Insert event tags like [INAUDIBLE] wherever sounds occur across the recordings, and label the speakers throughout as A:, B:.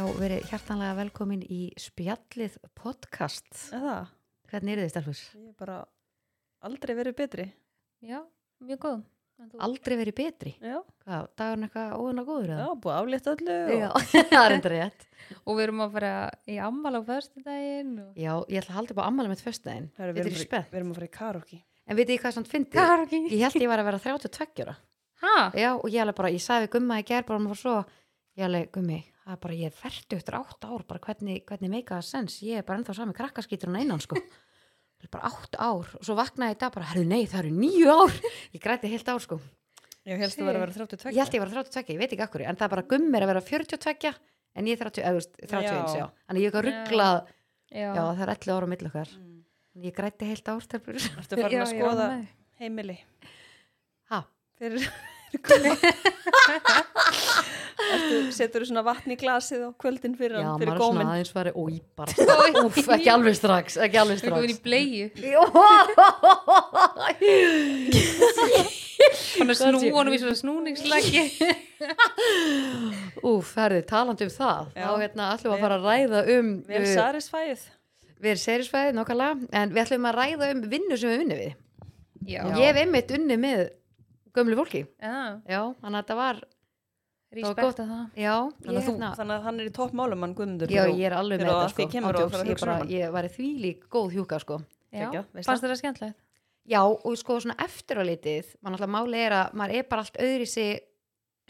A: og verið hjartanlega velkomin í Spjallið podcast.
B: Eða,
A: Hvernig eru þið, Stelfur?
B: ég er bara aldrei verið betri.
C: Já, mjög góð. En þú-
A: Aldrei verið betri.
B: Já,
A: Hvað, dagurinn eitthvað óðun og góður
B: já,
A: eða?
B: búið að aflétta öllu. og-
A: [LAUGHS] það er enda rétt.
C: Og við erum að fara í ammal á föstudaginn og...
A: Já, ég ætla að halda upp á ammæli mitt föstudaginn.
B: Herru,
A: Þetta
B: við,
A: er
B: erum bara-
A: spennt.
B: við erum að fara í karaoke.
A: En veit ég hvað samt fyndi?
C: [LAUGHS] Karki!
A: Ég held ég var að vera 32 ára.
C: Ha?
A: Já, og ég alveg bara, ég sagði við gumma í gerð bara um að fara svo, ég alveg, gummi, það er bara, ég er ferdu eftir 8 ár, bara hvernig, hvernig make a sense, ég er bara ennþá sami krakkaskíturinn að innan, sko. Það er bara 8 ár og svo vaknaði ég í dag bara, herru, nei, það eru 9 ár. Ég græti heilt ár, sko.
B: Ég helst að vera að vera 32.
A: Ég held ég var 32, ég veit ekki akkur, en það er bara gummi er að vera 42, en ég er 30, eða, þú veist, 31,
B: Já.
A: já. Þannig ég er ekki að
C: Já.
A: ruggla,
C: Já.
A: já, það er 11 ára á milli okkar.
B: Mm.
A: Ég græti heilt ár, stelpur.
B: Ertu farin að
C: Já, já,
B: skoða
C: nei.
B: heimili?
A: [LAUGHS] Ha,
C: [LAUGHS]
B: Fyrir gummi. Ertu, setur þú svona vatn í glasið á kvöldin fyrir
A: já,
B: hann,
A: maður
B: fyrir
A: er svona
B: gómin?
A: aðeins farið, ói,
B: [LAUGHS]
A: bara,
C: Oj.
A: úf, ekki alveg strax, ekki alveg
C: Við erum komin
A: strax.
C: í bleiu.
A: Jó. [LAUGHS]
C: Þannig að snú honum í svona snúningslæki.
A: [LAUGHS] Úf, herði, talandi um það
B: Já.
A: þá hérna ætlum við að
B: Vel-
A: fara að ræða um
B: Vel
A: uh,
B: sarisfæðið.
A: við erum serisfæði nokkalega en við ætlum að ræða um vinnu sem við unnið við
C: Já.
A: ég hef einmitt unnið með gömlu fólki
C: Já,
A: já, þannig að þetta var gott.
C: respekt að það.
A: já,
B: Þannig
A: ég,
B: að, þú,
A: hérna-
B: þannig að hann er í toppmálum, hann Guðmundur.
A: já, ég er alveg með
B: Þegar
A: þetta
B: að
A: sko,
B: því kemur og
A: ándjóks, ég,
B: fara að hugsa um
A: bara,
B: hann.
A: ég var í því lík góð hjúka sko.
C: Já,
B: Kekja, veist
C: fannst þetta skemmtilegt?
A: já, og sko svona eftir á litið mann alltaf máli er að maður er bara allt öðri sig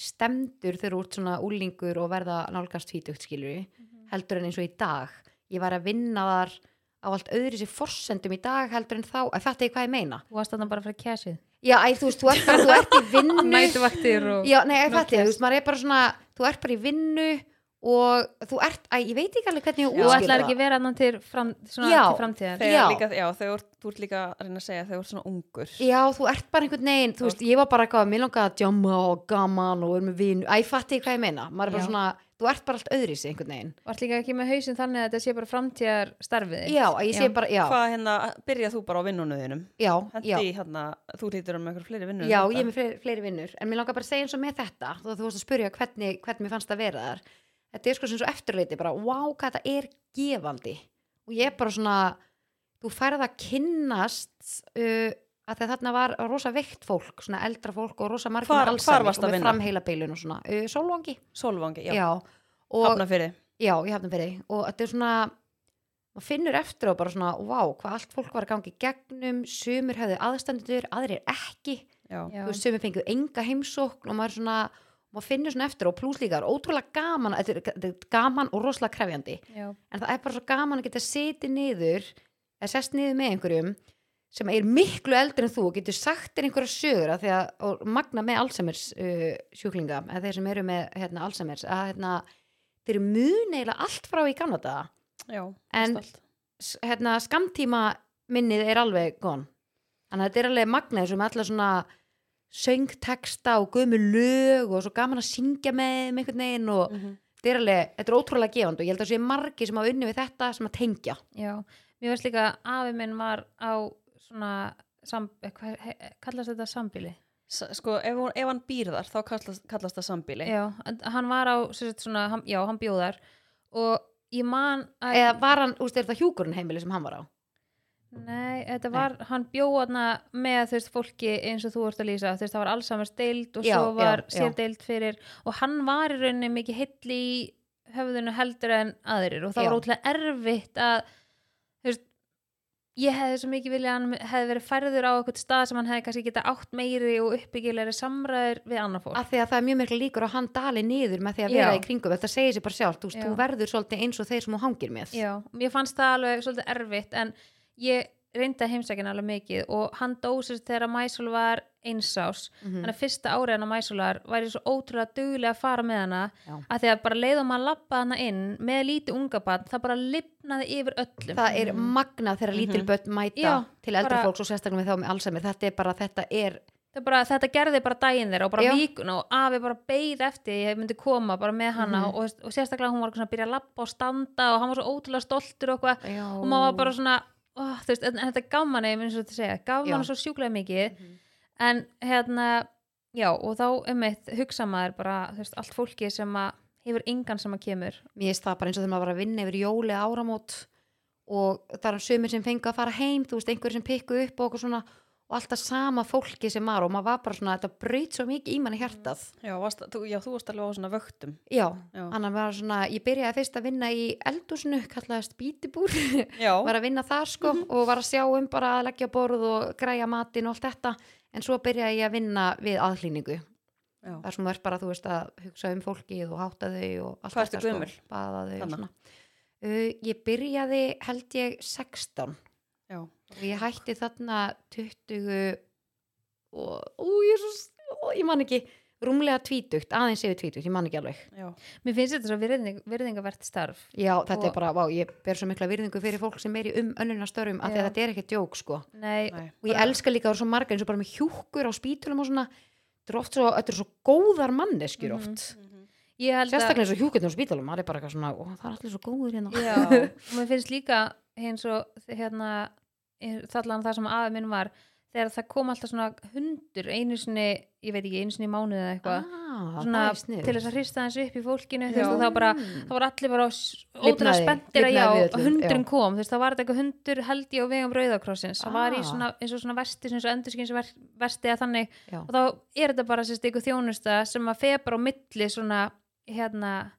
A: stemdur þegar þú ert svona úlingur og verða nálgast tvítugt skilur
B: Mhm.
A: heldur en eins og í dag ég var að vinna þar á allt öðru sér forsendum í dag heldur en þá að þetta er hvað ég meina
C: Þú varst þarna bara fyrir kæsið.
A: já, æ, þú veist, þú ert bara, þú ert
B: [LAUGHS]
A: í vinnu
C: Nætuvaktir og...
A: já, nei, ég
C: No
A: fætti,
C: case.
A: þú veist, maður er bara svona þú ert bara í vinnu og þú ert, æ, ég veit ekki alveg hvernig ég
C: Þú
A: útskýr
C: ætlar ekki vera annan til, fram, svona,
A: Já.
C: til framtíðar.
A: Já.
B: Þegar líka, já, þegar þú ert líka að reyna að segja, þegar þú ert svona ungur.
A: já, þú ert bara einhvern veginn, þú veist, ég var bara eitthvað mér langaði að djama og gaman og er með vinnu æ, fætti ég hvað ég meina, maður er bara
C: Já.
A: svona þú ert bara allt öðru sér einhvern veginn
C: Þú ert líka ekki með hausinn þannig að þetta sé bara framtíðar starfið. þitt.
A: já, að ég sé bara, já,
B: Hvað hérna, byrjað þú bara á vinnunum þínum?
A: já, já
B: Hendi hérna, þú hlýtur um einhver fleiri vinnur.
A: Já, ég er með fleiri, fleiri vinnur, en mér langar bara að segja eins og með þetta, þú, þú varst að spyrja hvernig, hvernig mér fannst að vera þar. Þetta er sko sem svo eftirleiti, bara, wow, hvað þetta er gefandi. Og ég er bara svona, þú færð að kynnast uh, að það þarna var rosa veikt fólk, svona eldra fólk og rosa margir
B: Hvar-
A: með
B: hvar
A: Alzheimer
B: varstu að
A: og með
B: vinna?
A: framheila beilun og svona. Uh, Sólvangi,
B: Solvangi,
A: já.
B: já,
A: Og,
B: hafna fyrir.
A: Já, ég hafði fyrir. Og þetta er svona, maður finnur eftir og bara svona, wow, hvað allt fólk var að gangi gegnum, sumur hefðu aðstandendur, aðrir ekki
B: Já.
C: Já.
A: þú veist, sem við fengið enga heimsókn og maður svona, maður finnur svona eftir og plúslíkar, ótrúlega gaman þetta er, þetta er gaman og rosalega krefjandi
C: Já.
A: en það er bara svo gaman að geta setið niður eða sest niður með einhverjum sem er miklu eldri en þú og getur sagt þér einhverja sögur að því að og magna með Alzheimer's uh, sjúklinga eða þeir sem eru með hérna, Alzheimer's að hérna, þeir eru mun eiginlega allt frá í Kanada
B: Já,
A: En-
B: stolt.
A: S- hérna, skamtíma minnið er alveg gón þannig að þetta er alveg magnaði sem allar svona söngteksta og gömur lög og svo gaman að syngja með þeim einhvern veginn
C: Mm.
A: og
B: Mhm.
A: þetta er alveg, þetta er ótrúlega gefandi og ég held að sé margi sem hafa unni við þetta sem að tengja
C: Já. Mér veist líka að afi minn var á svona, sam, eh, hvað he- kallast þetta sambíli?
B: S- Sko, ef, hún, ef hann býr þar, þá kallast, kallast það sambíli.
C: Já. en Hann var á, sem sagt, svona, hann, já, hann bjóðar og ég man að...
A: eða var hann, úst, er það hjúkurinn heimili sem hann var á
C: Nei, þetta var, hann bjóðna með þú veist fólki eins og þú ert að lýsa þú veist, það var allsamars deild og
A: Já,
C: svo var
A: já, já.
C: sér deild fyrir og hann var í rauninni mikið hill í höfðinu heldur en aðrir og það
A: Já.
C: var ótrúlega erfitt að þú veist, ég hefði svo mikið vilja að hann hefði verið færður á eitthvað stað sem hann hefði kannski geta átt meiri og uppbyggjulegri samræður við annar fólk.
A: af því að það er mjög miklu líkur að hann dali niður með því að vera
C: Já.
A: í kringum, þetta segir sér bara sjálft úst,
C: Já.
A: þú verður svolítið eins og þeir sem þú hangir með
C: Já, mér fannst það alveg svolítið erfitt en ég reyndi að heimsækina alveg mikið og hann dósist þegar Mæsul var einsás
A: Mhm.
C: þannig að fyrsta árið hann á Mæsular væri svo ótrúlega duglega að fara með hana
A: Já.
C: að því að bara leiðum að lappa hana inn með lítið unga barn, það bara lifnaði yfir öllum
A: það er magnað þegar
B: Mhm.
A: lítil börn mæta
C: Já,
A: til eldra
C: bara-
A: fólks og sérstaklega með þá með Alzheimer þetta er bara, þetta er
C: Það bara, þetta gerði bara daginn þeirra og bara
A: Já.
C: vikuna og afi bara beið eftir ég myndi koma bara með hana
A: Mhm.
C: og, og sérstaklega hún var eitthvað svona að byrja að lappa og standa og hann var svo ótrúlega stoltur og eitthvað
A: Já.
C: og maður var bara svona oh, þú veist, en, en þetta gaf manni, eins og þetta segja
A: Já.
C: gaf
A: Mhm.
C: manni svo sjúklega mikið en hérna, já, og þá um eitt hugsa maður bara, þú veist, allt fólki sem að hefur engan sem að kemur
A: mér finnst það bara eins og þegar maður var að vinna yfir jóli áramót og það er sömur sem fengu að fara heim, þú veist, einhverjir sem pikku upp og okkur svona og alltaf sama fólki sem var og maður var bara svona, þetta breyt svo mikið í manni hjartað
B: Já, varst, þú, já, þú varst alveg á svona vögtum.
A: já,
B: Já.
A: annar var svona, ég byrjaði fyrst að vinna í eldúsinu, kallaðast bítibúr
B: Já,
A: var að vinna þar sko
C: Mhm.
A: og var að sjá um bara að leggja borð og græja matinn og allt þetta en svo byrjaði ég að vinna við aðhlýningu
B: já.
A: þar sem þú ert bara, þú veist, að hugsa um fólkið og háta þau og allt
B: Hvað ertu
A: þetta, sko,
B: gömul?
A: baða þau og
B: Þarna?
A: svona uh, Ég byrjaði, held ég, 16
B: já.
A: og ég hætti þarna 20 og, ú, ég er svo ó, ég man ekki, rúmlega tvítugt aðeins yfir tvítugt, ég man ekki alveg
B: já.
C: mér finnst þetta svo virðing, virðingavert starf
A: Já, þetta
C: Og-
A: er bara, vá, ég ber svo mikla virðingu fyrir fólk sem er í um önnunastörfum af því
C: Já.
A: að þetta er ekki djók, sko
C: Nei,
B: Nei.
A: og ég elska líka að það eru svo margar eins og bara með hjúkkur á spítulum og svona þetta er oft svo, þetta eru svo góðar manneskjur
C: Mhm.
A: oft
C: ég held að
A: Sérstaklega eins og hjúkirnir á spítalum, maður er bara eitthvað svona, ó, það er allir svo góður hérna.
B: Já,
C: og mér finnst líka eins og hérna þallan það sem afi minn var þegar það kom alltaf svona hundur einu sinni, ég veit ekki, einu sinni í mánuði eða eitthvað,
A: [LAUGHS] Ah,
C: svona
A: það er sniðugt.
C: til þess að hrista þessu upp í fólkinu, þú
B: Já.
C: veist, og það var bara
A: Mm.
C: það var allir bara s- ótrúlega
A: Lifnaði-
C: spenntir að já,
A: lifnaði við
C: að
A: öllum,
C: hundurinn
A: já.
C: kom, þú veist, það var þetta eitthvað hundur held ég á vegum rauðakrossins, það var í
A: Ah.
C: svona eins og svona vesti, eins og endurskinsvesti eða þannig,
A: Já.
C: og þá er þetta bara sérst eitthvað þjónusta sem að febar á milli svona, hérna,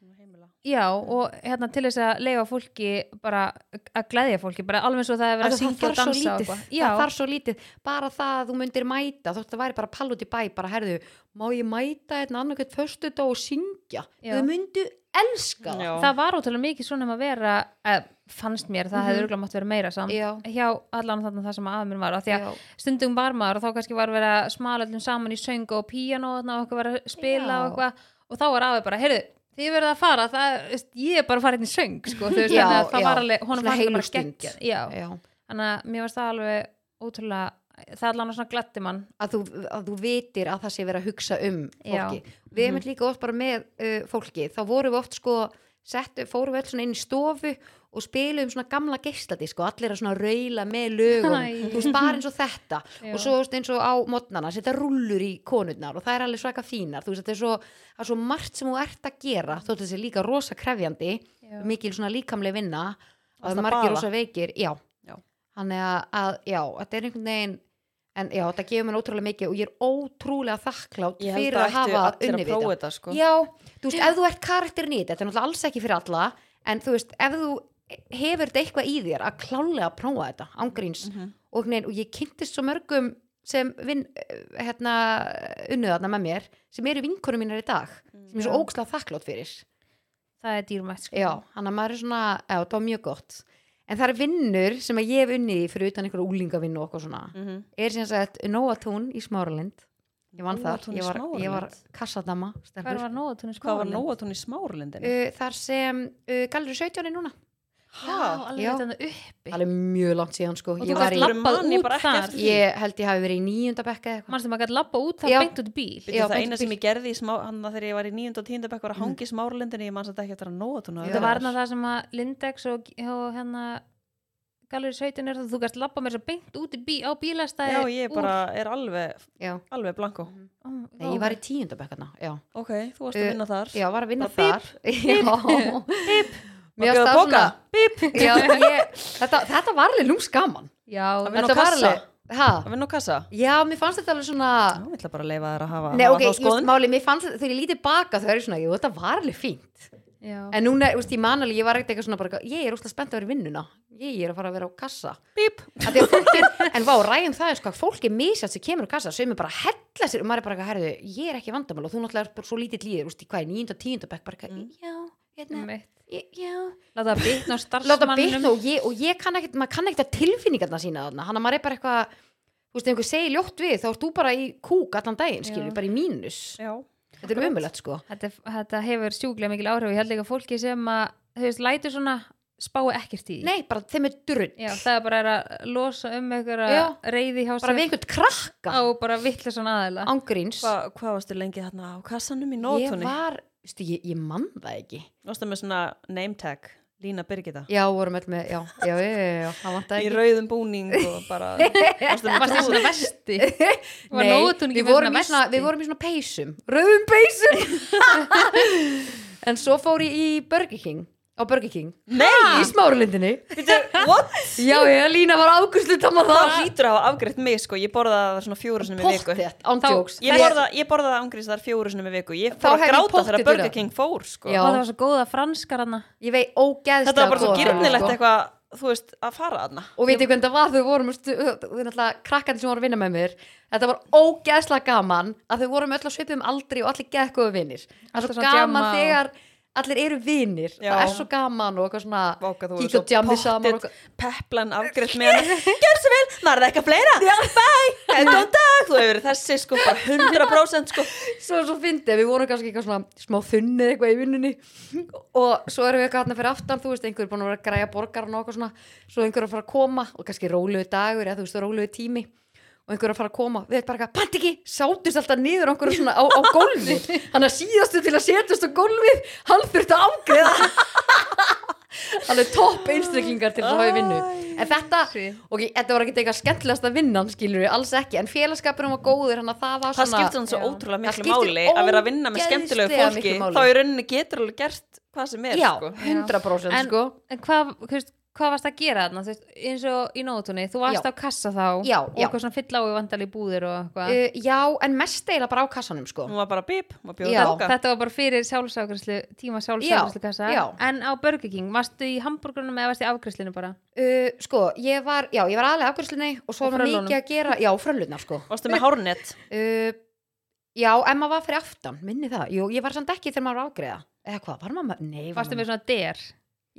B: Svona heimila.
C: Já, og hérna til þess að leifa fólki bara að glæðja fólki, bara alveg svo það er verið
A: Af
C: að
A: því Það
C: syngja og
A: þarf svo
C: dansa og
A: lítið,
C: eitthvað. Já,
A: það þarf svo lítið, bara það að þú myndir mæta, þótt það væri bara pall út í bæ, bara herðu, má ég mæta hérna annarkvæmt förstu dag og syngja,
C: Já.
A: þau myndu elska það.
B: Já.
C: það var ótrúlega mikið svona um að vera, eh, fannst mér, það
A: Mhm.
C: hefði örgulega mátt vera meira samt
A: Já.
C: hjá allan þarna það sem aðeins minn var, af því að
A: Já.
C: stundum var maður og þá kannski var verið að smala öllum saman í söng og píano og okkur var að spila
A: Já.
C: og eitthvað og þá var aðeins bara, heyrðu, þið verið að fara, það, þú veist, ég er bara að fara hérna í söng, sko, þú veist,
A: Já,
C: þannig að það
A: já.
C: var alveg, honum
A: Svona
C: fannst það bara
A: heilustund.
C: geggjað. Já.
A: Já.
C: þannig að mér varst það alveg ótrúlega, það allan svona glætti mann
A: Að, þú, að þú vitir að það sé verið að hugsa um
C: Já. Mhm.
A: fólki. Við erum líka oft bara með uh, fólki, þá vorum við oft sko, settu, fórum við öll svona inn í stofu og spilum svona gamla geisladisk og allir að svona raula með lögum
C: Æ.
A: þú veist, bara eins og þetta
C: Já.
A: og svo þú veist, eins og á mótnana, setja rullur í konurnar og það er alveg svaka fínar þú veist, þetta er svo, það er svo margt sem þú ert að gera þótt þessi líka rosa krefjandi
C: Já.
A: mikil svona líkamleg vinna
B: Varstu
A: að
B: að
A: margir
B: baða?
A: rosa veikir, já
B: Já.
A: þannig að, að, já, þetta er einhvern veginn en já, þetta gefur mér ótrúlega mikið og ég er ótrúlega þakklátt
B: Ég
A: fyrir að
B: held að ættu
A: hafa
B: allir
A: unni
B: að
A: við
B: prófa
A: þetta
B: þetta, sko.
A: Já, þú veist, ef þú ert karakterin í þetta þetta er náttúrulega alls ekki fyrir alla en þú veist, ef þú hefur þetta eitthvað í þér að klálega að prófa þetta, ángríns mm
B: Mhm.
A: og, nein, og ég kynntist svo mörgum sem vin, eh, hérna, unnuðarna með mér sem eru vinkonum mínar í dag sem ég er svo ógslag þakklátt fyrir
C: það er dýrmætt sko.
A: Já, hann að maður er svona, já, það var mjög gott en það er vinnur sem að ég hef unnið í fyrir utan einhverja úlingavinnu og okkur svona
B: Mhm.
A: er sem sagt Nóatún í Smáralind ég vann þar,
B: Nóatún í
A: ég var, ég var
B: Smáralind?
A: kassadama
C: hvað var nóðatún í
B: Hvað var
C: skólanum?
B: nóatún í smárlindinni?
A: Uh, þar sem uh, Galdur 17 er núna
C: já, alveg
A: Já.
C: þetta uppi
A: alveg mjög langt síðan sko
C: og
A: ég,
C: þú
A: var
C: gætt
A: í,
B: varst-
C: labbað
B: Man ég
C: út
B: bara ekki
C: þar
B: eftir því.
A: ég held ég hafi verið í nýjunda bekka eða eitthvað
C: mannstu maður gætt labbað út þar
A: Já.
C: beint út í bíl
A: Já,
B: Bíddu, það
A: beint
B: eina
A: í
B: sem ég gerði í smá, hann þegar ég var í 9. og 10. bekk var að hangi í smárlindinni, ég manns að þetta ekki eftir að nóa tún
A: Já.
C: þetta var hann það sem að Lindex og, og hérna Gallery 17 er það þú gætt labbað mér svo beint út í bíl á bílastæði Oh
B: Já, ég bara er alveg,
A: já.
B: alveg blanko.
C: úr,
A: Nei, ég var í tíunda bekka þarna já.
B: Ok, þú varst að
A: Uh,
B: vinna þar.
A: já, var að vinna
B: Bara
A: þar já, bíp
B: Mér varst að svona. Bíp,
A: já, ég, þetta, þetta var alveg lúms gaman
C: já,
B: Að vinna á
A: þetta var
B: kassa.
A: alveg ha?
B: að vinna á kassa.
A: já, mér fannst þetta alveg svona
B: Já, ég ætla bara að leifa þær að hafa,
A: Nei,
B: hafa
A: ok,
B: þá
A: ég veist,
B: skoðun.
A: máli, mér fannst þetta, þegar ég lítið baka þau eru svona, jú, þetta var alveg fínt
C: já.
A: En núna, þú veist, ég man alveg, ég var ekkert eitthvað svona bara, eitthvað, ég er úrslega spennt að vera í vinnuna, ég er að fara að vera á kassa.
B: Bíp,
A: Af því að fólk er, en vá, ræðum það, er sko, að fólk er misjátt sem kemur á kassa, sem er bara að hella sér og maður er bara, eitthvað, herðu, ég er ekki vandamál og þú náttúrulega er bara svo lítill líður, þú veist, í hvað er nýjunda, tíunda bekk, bara, eitthvað, já, hérna,
C: einmitt.
A: ég- já.
C: láta það bitna
A: [LAUGHS]
C: á
A: Láta
C: starfsmannum
A: byrna og ég, og ég kann ekkert, maður kann ekkert að tilfinningarna sína þarna, hann að maður er bara eitthvað, þú veist, ef einhver segir ljótt við, þá ert þú bara í kúk allan daginn,
C: Já.
A: skilur, bara í mínus.
B: já.
A: Þetta er umulett, sko.
C: þetta, þetta hefur sjúklega mikil áhrif ég held líka fólki sem að þú veist, lætur svona spái ekkert í því.
A: Nei, bara þeim er durrund.
C: Já, það er bara er að losa um einhverja
A: Já.
C: reyði hjá
A: Bara við einhvern krakka,
C: á bara vittlega svona aðeila
A: ángríns.
B: Hva, hvað varstu lengi þarna á kassanum í
A: Ég
B: nótunni?
A: var, veistu, ég, ég man það ekki.
B: Varstu með svona name tag? Lína Birgitta
A: já, vorum öll með, já, já, já, já, já það vantaði
B: í
A: [LAUGHS] ekki
B: rauðum búning
A: [LAUGHS]
B: og bara varstu með
C: Varstu í
B: trú-
C: svona [LAUGHS] vesti? Var
A: Nei,
C: nótun ekki
A: við
C: með
A: vorum,
C: svona
A: í svona,
C: vesti?
A: við vorum í svona peysum Rauðum peysum [LAUGHS] En svo fór ég í Burger King Á Burger King Nei Í smáralindinni
B: Bíddu, what?
A: Já, já, Lína var afgustlu Tamma
B: það
A: það
B: hlýtur að hafa afgreitt mig sko ég borðaði það svona fjóru sinni með viku
A: Pottet, án
C: Þá-
A: jokes
B: ég borðaði, ég borðaði ángrís þar fjóru sinni með viku ég
A: Þá
B: fór að
A: hef ég
B: gráta
A: pottið
B: þegar Burger
A: þetta.
B: King fór sko.
A: Já.
C: Og það var svo góða franskar hana
A: Ég veit ógeðslega
B: þetta var bara svo
A: góð þarna,
B: gyrnilegt
A: sko.
B: eitthvað þú veist að fara aðna
A: Og veitir hvernig það var þau vorum stu- Þau náttúrulega krakkandi sem voru að vinna með mér Þetta var ógeðslega gaman Að þau vorum öll að svipum aldri og allir geðgóðu vinir Það er
C: Alltaf
A: svo
C: svona
A: gaman
C: djamma og-
A: þegar allir eru vinir
B: Já.
A: Það er svo gaman og eitthvað svona
B: Váka, þú
A: Kíkja og djammi saman og-
B: peplan afgreitt með hana [LAUGHS] Gjör svo vel, var það eitthvað fleira Bæ, góðan dag Þú hefur verið þessi sko, bara 100% sko
A: svo, svo fyndið, við vorum kannski eitthvað svona smá þunnið eitthvað í vinnunni og svo erum við eitthvað hérna fyrir aftan, þú veist einhver er búin að vera að græja borgarna og eitthvað svona svo einhver er að fara að koma og kannski róluðu dagur eða þú veist, róluðu tími og einhver er að fara að koma, við erum bara eitthvað, pant ekki sátust alltaf niður okkur svona á, á
B: [LAUGHS]
A: gólfi hann er síðastu til að setjast á gólfið hann þurfti að ágreða [LAUGHS] alveg topp einstreklingar til þess að hafa í vinnu en þetta,
C: Sí.
A: ok, þetta var ekki eitthvað skemmtilegast að vinna, skilur við, alls ekki en félagskapurinn var góður, þannig að það var
B: Það
A: svona
B: skiptir hann svo
C: Já.
B: ótrúlega
A: Það
B: miklu
A: skiptir
B: máli að vera að vinna með
A: ógeðslega
B: skemmtilegu
A: miklu
B: fólki
A: máli.
B: þá í rauninni getur alveg gert hvað sem er
A: Já,
B: sko.
A: 100%
C: En- uh,
A: sko
C: En hvað, þú veist, hvað varst að gera þarna? Þú veist, eins og í nótunni, þú varst
A: Já.
C: á kassa þá
A: Já,
C: og
A: já.
C: eitthvað svona fyll á í vandal í búðir og eitthvað
A: uh, Já, en mest eiginlega bara á kassanum sko
C: Mm.
B: Hún var bara bíp, hún var
A: Já.
B: bjóða þóka
C: Þetta var bara fyrir sjálfságræslu, tíma sjálfságræslu kassa
A: Já, já.
C: En á Burger King, varstu í hambúrgrunum eða varstu í afgræslinu bara?
A: uh, Sko, ég var, já, ég var aðlega afgjörslinni og svo
C: Og
A: var
C: frölunum.
A: mikið að gera Já, fröllurnar sko
B: Varstu með hárnett
A: uh, Já, en maður var fyrir aftan, minni það Jú, ég var samt ekki þegar maður var að afgreða Eða hvað, var maður, nei var
C: Varstu
A: maður-
C: með svona der?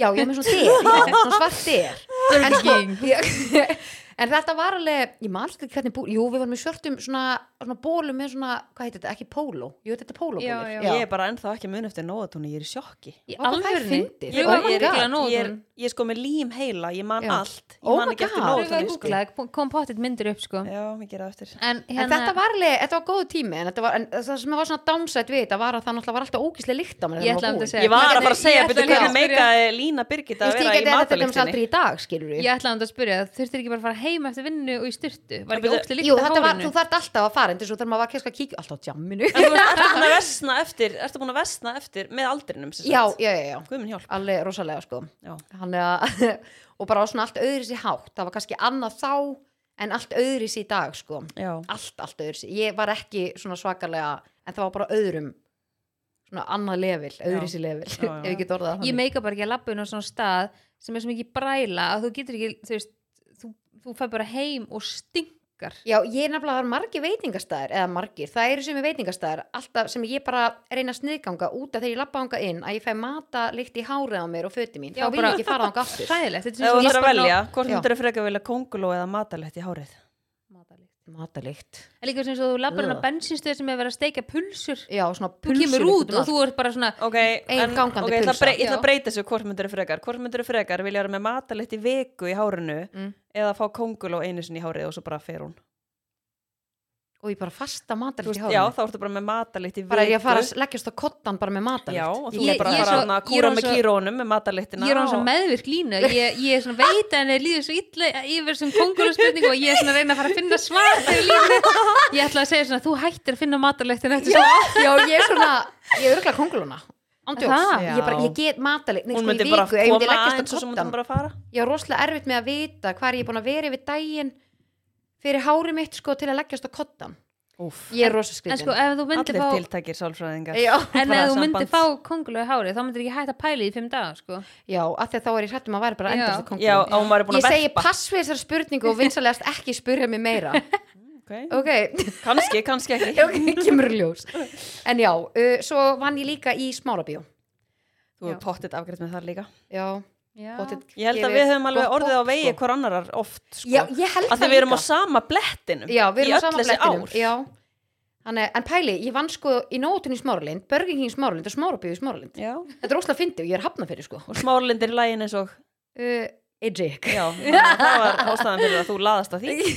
A: Já, ég var með svona dyr, já, svona svart
C: [LAUGHS]
A: dyr En sko, ég, [LAUGHS] en þetta var alveg Ég man ekki hvernig búl, jú, við varum með svörtum svona, svona bólum með svona, hvað heitir þetta, ekki póló Jú, þetta er
C: Já,
A: pólóbólir
C: já.
B: Ég er bara ennþá ekki mun eftir nóðatónu, ég er í sjokki
C: Í
A: Vá, hvað það er
C: alvörni?
A: fyndið.
C: Ég
A: Oh
C: var
A: my God.
C: ekki að
B: ég er,
C: nótunum
B: ég er sko með lím heila, ég man
A: Já.
B: allt Ég
A: Oh
B: man
A: my
B: ekki eftir
A: God.
C: Þú var að
B: nóðatónu sko.
C: googla, það kom pottitt myndir upp sko
B: Já, mér gera það eftir
C: En
A: En
C: hérna,
A: þetta var alveg, þetta var góð tími en, þetta var, en það sem var svona downside við þetta var að það náttúrulega var alltaf ógíslega líkt á mér
C: Ég ætlaði að segja.
B: Ég var að
C: Nei,
B: fara að segja,
C: ég
B: betur
C: ætla
B: hvernig
C: líka að spyrja-
B: meikaði Lína Birgitta
A: Ég
B: að
A: stýk
B: vera í
A: ekki að þetta er dæmis
B: matalyktinni
A: aldrei í dag, skilur við
C: ég ætlaði um þetta að spyrja það, þurftir ekki bara að fara heim eftir vinnu og í styrtu? Var ekki
B: Bíddu,
C: ógstu
A: Jú,
C: líkt að
A: þetta var,
C: hárinu?
A: þú þarft alltaf að fara en þessu þegar maður var kannski að kíkja alltaf á jamminu
B: En þú veist, ertu búin að vesna eftir, ertu búin að vesna eftir með aldrinum sem
A: [LAUGHS]
B: sagt?
A: Já, já, já, já,
B: Guð minn hjálp.
A: alveg rosalega sko
B: Já.
A: Hann er að, [LAUGHS] og bara á svona allt öðru sér hátt það var kannski annað þá en allt öðru sér í dag sko
B: Já.
A: allt, allt öðru sér, ég var ekki svona svakalega en það var bara öðrum svona annað level, öðru sér level
B: Já, já.
A: [LAUGHS] ef ég get orðað það
C: ég
A: þannig.
C: meika bara ekki að labba inn á svona stað sem er svo mikið bræla að þú getur ekki þú veist, þú, þú fær bara heim og stingar
A: Já, ég er nefnilega að það eru margir veitingastæðir eða margir, það eru sem er veitingastæðir alltaf sem ég bara reyna að sniðganga út af þegar ég lappa ánga inn að ég fæ mata líkt í hárið á mér og föti mín
C: Já,
A: þá vil
C: bara-
A: ég ekki fara ánga
B: [LAUGHS]
A: aftur
C: hræðilegt, þetta
B: Ef þú ættir að velja, hvort
A: Já.
B: myndir þú frekar vilja konguló eða matalett í hárið?
C: en
A: Matalikt
C: líka sem svo þú labbar inn á
A: Ugh.
C: bensinstöð sem er verið að steika pulsur
A: Já, svona
C: þú
A: pulsur
C: kemur út og þú ert bara svona
B: Ok,
A: Ein
B: en,
A: gangandi
B: ok, ég ætla að
A: pulsa.
B: brey- ég ætla
C: Já.
B: að breyta þessu hvort myndir þú frekar. Hvort myndir þú frekar vilja vera með matalett í viku í hárinu
A: Mm.
B: eða fá konguló einu sinni í hárið og svo bara fer hún?
A: og ég bara fasta
B: Þú
A: matalikt í
B: Veist, já,
A: hárið
B: þá ertu bara með matalett í viku.
A: bara er ég að fara að leggjast á kottan bara með
B: Já,
A: matalikt
B: og þú
C: Ég-
B: er bara
C: ég
B: að fara
C: er svo-
B: þarna að
C: ég er
B: kúra
C: orðin
B: með
C: svo-
B: kýrónum með matalettina.
C: ég er á svona meðvirk lína ég, ég er svona veit að henni líður svo illa yfir sem kongulusspurning og ég er svona að reyna að fara að finna svar þegar lífni ég ætla að segja svona þú hættir að finna matarlegtin eftir
A: Já, já, ég er svona ég er örgulega konguluna
C: Það?
A: Andjóks, ég, bara, ég get matalikt Nei,
B: Hún
A: sko, í
B: myndi bara
A: viku, ef ég myndi
B: koma
A: leggjast á
B: aðeins og svo myndi
A: koddann.
B: hún bara að fara.
A: ég á rosalega erfitt með að vita hvað er ég búin að vera yfir daginn fyrir hári mitt sko til að leggjast á kottan
B: Úf.
A: ég er rosa
C: en
A: skritin
C: sko ef þú myndir
B: Allir
C: fá
B: tiltækir sálfræðingar. [LAUGHS]
A: já,
C: en
B: bara
C: ef þú myndir
B: samband.
C: fá kongulögu hári þá myndir ekki hægt að pæla í fimm daga sko.
A: já, af því að þá er ég hrættum að væri bara
C: Já.
A: endast að
B: Já,
A: kongulum
B: á hún væri búin
A: ég
B: að
A: segi
B: verpa
A: pass við þessar spurningu og vinsalegast ekki spurja mig
B: [LAUGHS]
A: meira
B: okay.
A: ok, [LAUGHS]
B: Kanski, kannski [LAUGHS] ekki
A: ok, kemur í ljós en já, uh, svo vann ég líka í smálabíó
B: Þú hefur pottitt afgrætt með það líka
A: já,
C: Já.
A: pottet
B: Ég held að
A: gefið
B: við höfum alveg
A: gott
B: orðið á
A: popp,
B: vegi
A: sko.
B: hver annarar oft sko.
A: já, ég held
B: Af því
A: það
B: við erum á
A: líka.
B: sama blettinum
A: já, við
B: í
A: erum á
B: öll
A: sama
B: þessi
A: blettinum
B: ár.
A: já. Þannig, en pæli, ég vann sko í nótunni í Smáralind, Burger King í Smáralind og Smárabíu í Smáralind
B: Já.
A: Þetta er óslega fyndið og ég er hafna fyrir sko
B: Og smálindir í lægin eins og
A: uh,
B: [LAUGHS]
A: Ejik
B: Já,
A: [LAUGHS]
B: það var ástæðan fyrir að þú laðast að því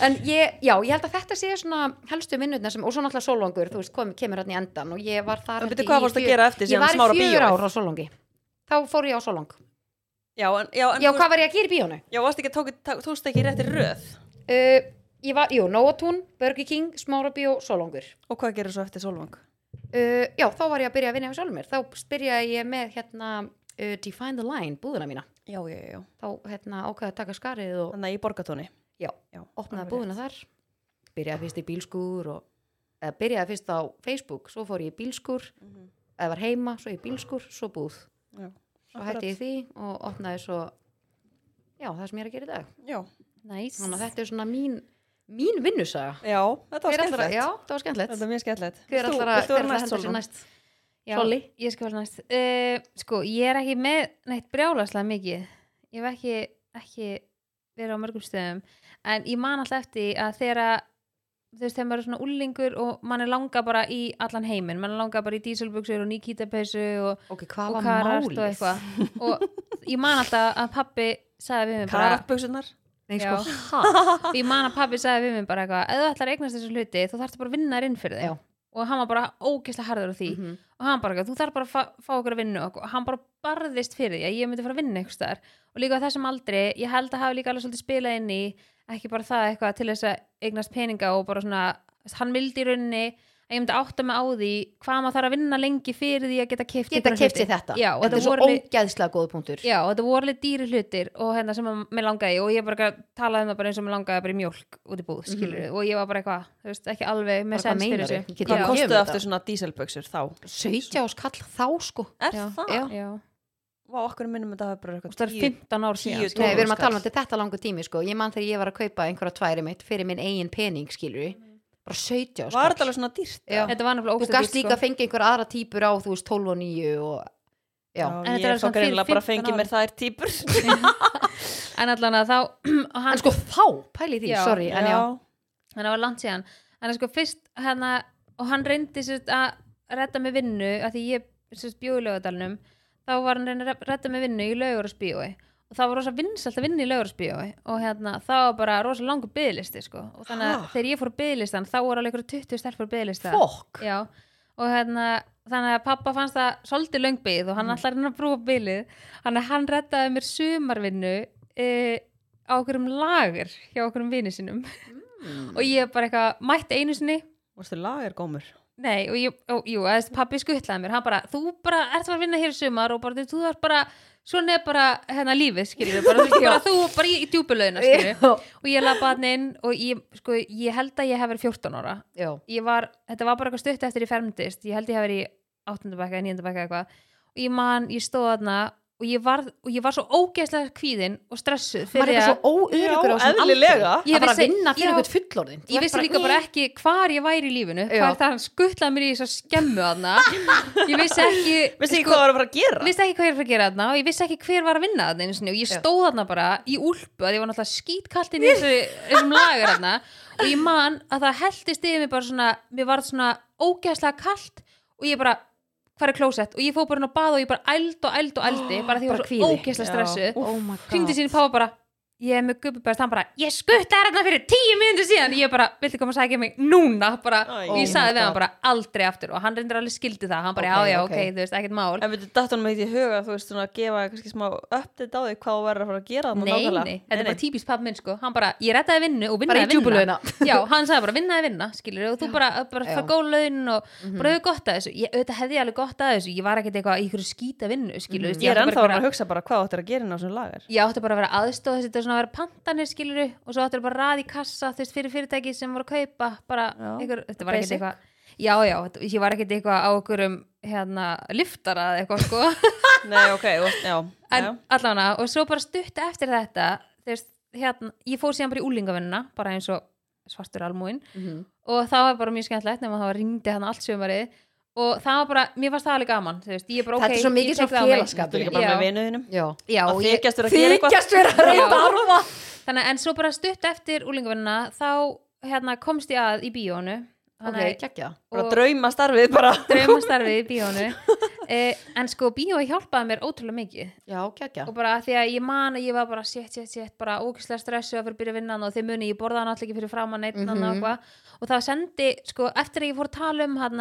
A: En ég, já, ég held að þetta sé svona helstu minnutna sem, og svo náttúrulega sólvangur þú veist, kom, kemur hann í endan og ég var þar
B: Og
A: held
B: byrju,
A: ég,
B: hvað
A: í
B: varstu að
A: fjö-
B: gera eftir
A: Ég
B: síðan
A: var
B: smára
A: í fjör
B: bíó?
A: ára á sólvangi þá fór ég á Solong
B: Já, en, já, en
A: já,
B: þú,
A: hvað var ég að gera í bíónu?
B: já, varst ekki, tók, tók, tókst ekki réttir röð
A: Uh, ég var, jú, Nóatún, Burger King, Smára Bíó, Solongur
B: Og hvað gerir svo eftir Solvang?
A: uh, já, þá var ég að byrja að vinna hjá sjálfur mér þá byrjaði ég með hérna uh, Define the Line, búðuna mína
B: Já, já, já, já.
A: þá hérna ákveði að taka skarið og
B: þannig að í borgatóni
A: já,
B: Já,
A: opnaði
B: alveg
A: búðuna þar byrjaði fyrst í bílskur og eða byrjaði fyrst á Facebook svo fór ég í bílskur,
B: rétt.
A: eða var heima svo í bílskur, svo búð
B: Já,
A: svo hætti ég því og opnaði svo já, það sem ég er að gera í dag
B: Já,
C: Næs
A: þannig að þetta er svona mín mín vinnusaga
B: já, þetta var
A: Hver ætlar að-
B: skemmtilegt
A: já, það var skemmtilegt
B: Þetta er mjög skemmtilegt
A: hver
B: Þú-
A: ætlar að,
B: viltu vera
A: hver ætlar að
B: næst,
A: henda sér
B: Sólrún?
A: næst
C: Já,
A: Solli?
C: Ég skal vera næst uh, Sko, ég er ekki með neitt brjálaslega mikið Ég hef ekki, ekki verið á mörgum stöðum En ég man alltaf eftir því að þegar að þú veist, þegar maður er svona ullingur og mann er langa bara í allan heiminn mann er langa bara í dísilbuxur og nýkítapessu og,
A: ok, hvað
C: og
A: var
C: karart og
A: málið?
C: eitthvað og ég man alltaf að pappi sagði við mig bara
B: Karatbuksurnar
A: Nei,
C: Já.
A: sko, ha?
C: Og ég man að pappi sagði við mig bara eitthvað ef þú ætlar að eignast þessu hluti þá þarftu bara að vinna þér inn fyrir þig
A: Já.
C: og hann var bara ógeðslega harður á því
A: Mhm.
C: og hann bara, þú þarf bara að fá, fá okkur að vinna og hann bara barðist fyrir því að ég myndi fara að vinna einhvers staðar og líka á þessum aldri, ég held að hafa líka alveg svolítið spilað inn í ekki bara það eitthvað til þess að eignast peninga og bara svona, hann vildi í rauninni að ég myndi átta mig á því hvað maður þarf að vinna lengi fyrir því að geta keift
A: geta kefti þetta
C: já, og
A: þetta er svo
C: voru alveg-
A: ógeðslega góð punktur
C: Já, og þetta voru alveg dýri hlutir og hérna sem að mér langaði í og ég bara talaði um það bara eins og mér langaði bara í mjólk út í búð, skilur og ég var bara eitthvað, þú veist, ekki alveg
A: Bara
C: með
A: hvað
C: sens fyrir
A: meinarðu?
C: þessu.
A: Get ég
C: Já.
B: Hvað
A: gefið
B: kostuðu
A: þetta?
B: aftur svona díselbuksur þá?
A: 17 ás kall þá sko
B: Er
C: Já.
B: það?
A: Já.
C: Já.
B: Vá, okkur minnum þetta hafi bara
C: Og
B: eitthvað
C: það er 15 ár síðan
B: tíu,
C: sko.
A: Nei, við erum að
B: skall.
A: tala um þetta, þetta langu tími sko ég man þegar ég var að kaupa einhverja tværi mitt fyrir minn eigin pening skilur bara 17 ás
B: Var þetta alveg svona dýrt?
A: Já.
C: Þetta var sko. nefnilega
A: þú
C: ógeðslega
A: gast
C: dýrt,
A: líka að fengja einhver aðra típur á þú veist 12 og 9 og já,
B: Já,
C: þetta er
B: ég
C: alveg
B: þá
C: svona fyrir
B: greinlega bara
C: 15
B: fengið
C: árum.
B: mér þær
A: [LAUGHS]
B: típur
C: en allan að þá [CLEARS THROAT] og hann,
A: en sko þá, pæli því,
C: Já.
A: sorry en já,
C: hann var langt síðan en sko fyrst hérna og hann reyndi sérst að redda með vinnu að því ég sérst bjóði lögadalunum þá var hann reyndi að redda með vinnu í lögurusbíói og það var rosa vinsalt að vinna í lögurusbíói og hérna það var bara rosa langur byðlisti sko og þannig að
B: Ha?
C: þegar ég fór á byðlistan þá voru alveg ykkur 20 stelpur á byðlista
A: fokk
C: Já, og hérna þannig að pappa fannst það svolítið löngbið og hann ætlar hann að brúa bilið þannig að hann rettaði mér sumarvinnu e, á okkur um lager hjá okkur um vini sinum og ég bara eitthvað mætti einu sinni
B: Varstu lagar gómur?
C: Nei, og ég, og, jú, að þessi pappi skuttlaði mér, hann bara, þú bara, ert að vinna hér í sumar og bara, þú- þú ert bara, svona er bara, hérna, lífið, skiljum, bara, þú, bara, þú, bara í, í djúpulauðina, skiljum,
A: já,
C: og ég lappaði hann inn og ég, sko, ég held að ég hef verið 14 ára
A: já,
C: ég var, þetta var bara eitthvað stutt eftir ég fermdist ég held ég hafi verið í 8. bekka, 9. bekka eitthvað og ég man, ég stóð þarna og ég var, og ég var svo ógeðslega kvíðin og stressuð
A: maður er
C: fyrir
A: eitthvað
C: að
A: svo óurugur á þessum
B: eðlilega.
A: aldri.
C: Ég
A: að fara að
C: vissi-
A: vinna fyrir
C: já.
A: einhvern fullorðin Þú
C: ég
A: ert
C: vissi líka bara ekki hvar ég væri í lífinu
A: Já.
C: hvað er það hann skuttlaði mér í þess að skemmu þarna ég vissi ekki
B: Vissi ekki hvað var að fara að
C: Ég
B: gera?
C: vissi ekki hvað ég er að fara að gera þarna og ég vissi ekki hver var að vinna þarna einu sinni og ég stóð þarna bara í úlpu að ég var náttúrulega skítkallt inn í þessu, þessum lagar þarna og ég man að það heldist yfir mig bara svona, mér varð svona ógeðslega kallt og ég bara hvað er klósett og ég fór bara inn á bað og ég bara eld og eld og eldi bara
A: bara
C: því ég var svo
A: kvíði.
C: ógeðslega
B: Já.
C: stressuð
A: Oh my god.
C: hringdi sín pápa bara ég er með gubbubæst, hann bara, ég skuttaði hérna fyrir tíu mínútur síðan, ég bara, viltu koma að sækja mig núna, bara,
B: Æ,
A: oh
C: og ég
A: my
C: sagði við hann
A: God.
C: bara aldrei aftur og hann reyndir alveg skildi það, hann bara,
A: Ok,
C: já, já,
A: ok.
C: ok, þú veist, ekkert mál
B: En veitu, datt honum eitthvað í huga, þú veist, svona að gefa kannski smá update á þig hvað þú verður að fara að gera þarna
C: nei,
B: nákvæmlega?
C: nei, þetta er bara típist pappi minn sko hann bara, ég rettaði vinnu og
A: Bara
C: vinnaði
A: í djúpulauðina.
C: [LAUGHS] já, hann sagði bara vinnaði vinna skilur, og þú bara, bara
A: Já.
C: fæ góð laun og bara hefur gott að þessu, ég, auðvitað hefði ég alveg gott að þessu ég var ekkert eitthvað í ykkur skýta vinnu skilur,
B: Ég er ennþá að vera að hugsa bara hvað þú ættir að gera inn á svona
A: [LAUGHS]
B: lagar
C: ég átti bara að vera aðstóð þessi, þetta er svona að vera pantanir skilur og svo átti bara að raða í kassa þú veist, fyrir fyrirtæki sem voru að kaupa bara
B: Já,
C: einhver, þetta var ekkert
B: basic.
C: eitthvað já, já, þetta- ég var ekkert eitthvað á okkur um hérna, liftara eða eitthvað sko
B: Nei, ok, þú veist, já,
C: en
B: já.
C: allavega, og svo bara stutt eftir þetta þú veist, hérna, ég fór síðan bara í úlingavinnuna bara eins og svartur almúin
A: Mhm.
C: og það var bara mjög skemmtilegt nema það var ringdi hann allt sömarið og það var bara, mér varst það alveg gaman þú veist, ég bara ok,
A: Þetta er svo
C: ég
A: mikið
C: tek
A: svona
C: það á mig.
A: félagsskapur
B: Þú líka bara
C: Já.
B: með vinuðinum
A: Já.
C: já,
B: Að
C: ég,
B: þykjast vera að gera eitthvað
A: þykjast vera að reyta arfa
C: þannig að en svo bara stutt eftir úlingavinnuna þá hérna, komst ég að í bíónu
A: ok,
C: Þannig
A: geggja
C: að-
B: Bara drauma starfið bara
C: draumastarfið í bíónu [LAUGHS] eh, en sko bíói hjálpaði mér ótrúlega mikið
A: já, geggja
C: og bara af því að ég man að ég var bara sétt, sétt, sétt, bara ógislega stressu að fyrir að byrja að vinna hann og þeir muni, ég borðaði hann allir ekki fyrir framan neitt mm
A: Mhm.
C: og eitthvað og það sendi, sko, eftir að ég fór að tala um hann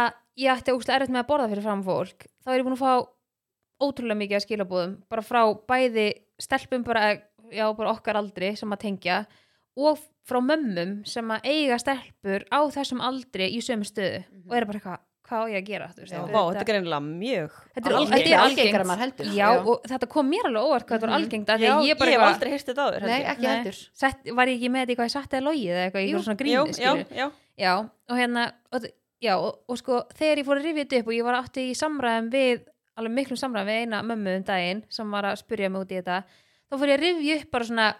C: að ég ætti ógislega erfitt með að borða fyrir framan fólk þá er ég búin að fá ótrúlega mikið að skilabóðum bara frá bæði stelpum bara, já, bara okkar aldri sem að tengja og frá mömmum sem að eiga stelpur á þessum aldri í sömu stöðu
A: Mhm.
C: og eru bara eitthvað, hvað á ég að gera þú veist,
A: Já.
B: Vá,
C: auðvitað-
B: þetta er greinilega mjög
C: Þetta
A: Algengt.
C: er algengt. Þetta er
A: Algengara en maður heldur.
C: Já,
A: Já.
C: og þetta kom mér alveg óvart hvað þetta var
A: Mhm.
C: algengt af því
B: Já,
C: að
B: ég
C: ég bara
B: hef
C: eitthvað-
B: aldrei heyrst þetta áður
A: Nei,
B: heldur.
A: ekki
C: Nei.
A: heldur
C: sett, var ég ekki með þetta í hvað ég satt eða logið eða eitthvað, ég
A: Jú.
C: var svona
B: já,
C: grínu
B: já, já,
C: já, og hérna og, þ- já, og, og sko, þegar ég fór að rifja þetta upp og ég var átti í samræðum við alveg miklum samræðum við eina mömmu um daginn sem var að spurja mig út í þetta þá fór ég að rifja upp bara svona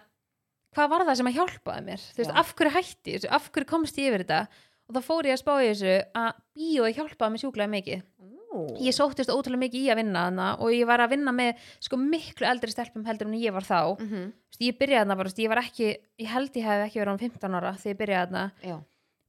C: hvað var það sem að hjálpaði mér Þú veist,
A: Já.
C: af hverju hætti ég þessu, af hverju komst ég yfir þetta og þá fór ég að spá í þessu að bíói hjálpaði mér sjúklega mikið ég sóttist ótrúlega mikið í að vinna þarna og ég var að vinna með sko miklu eldri stelpum heldur en ég var þá
A: mm -hmm.
C: Þú veist, ég byrjaði þarna bara, þú veist, ég var ekki ég held ég hef ekki verið án 15 ára þegar ég byrjaði þarna
A: Já,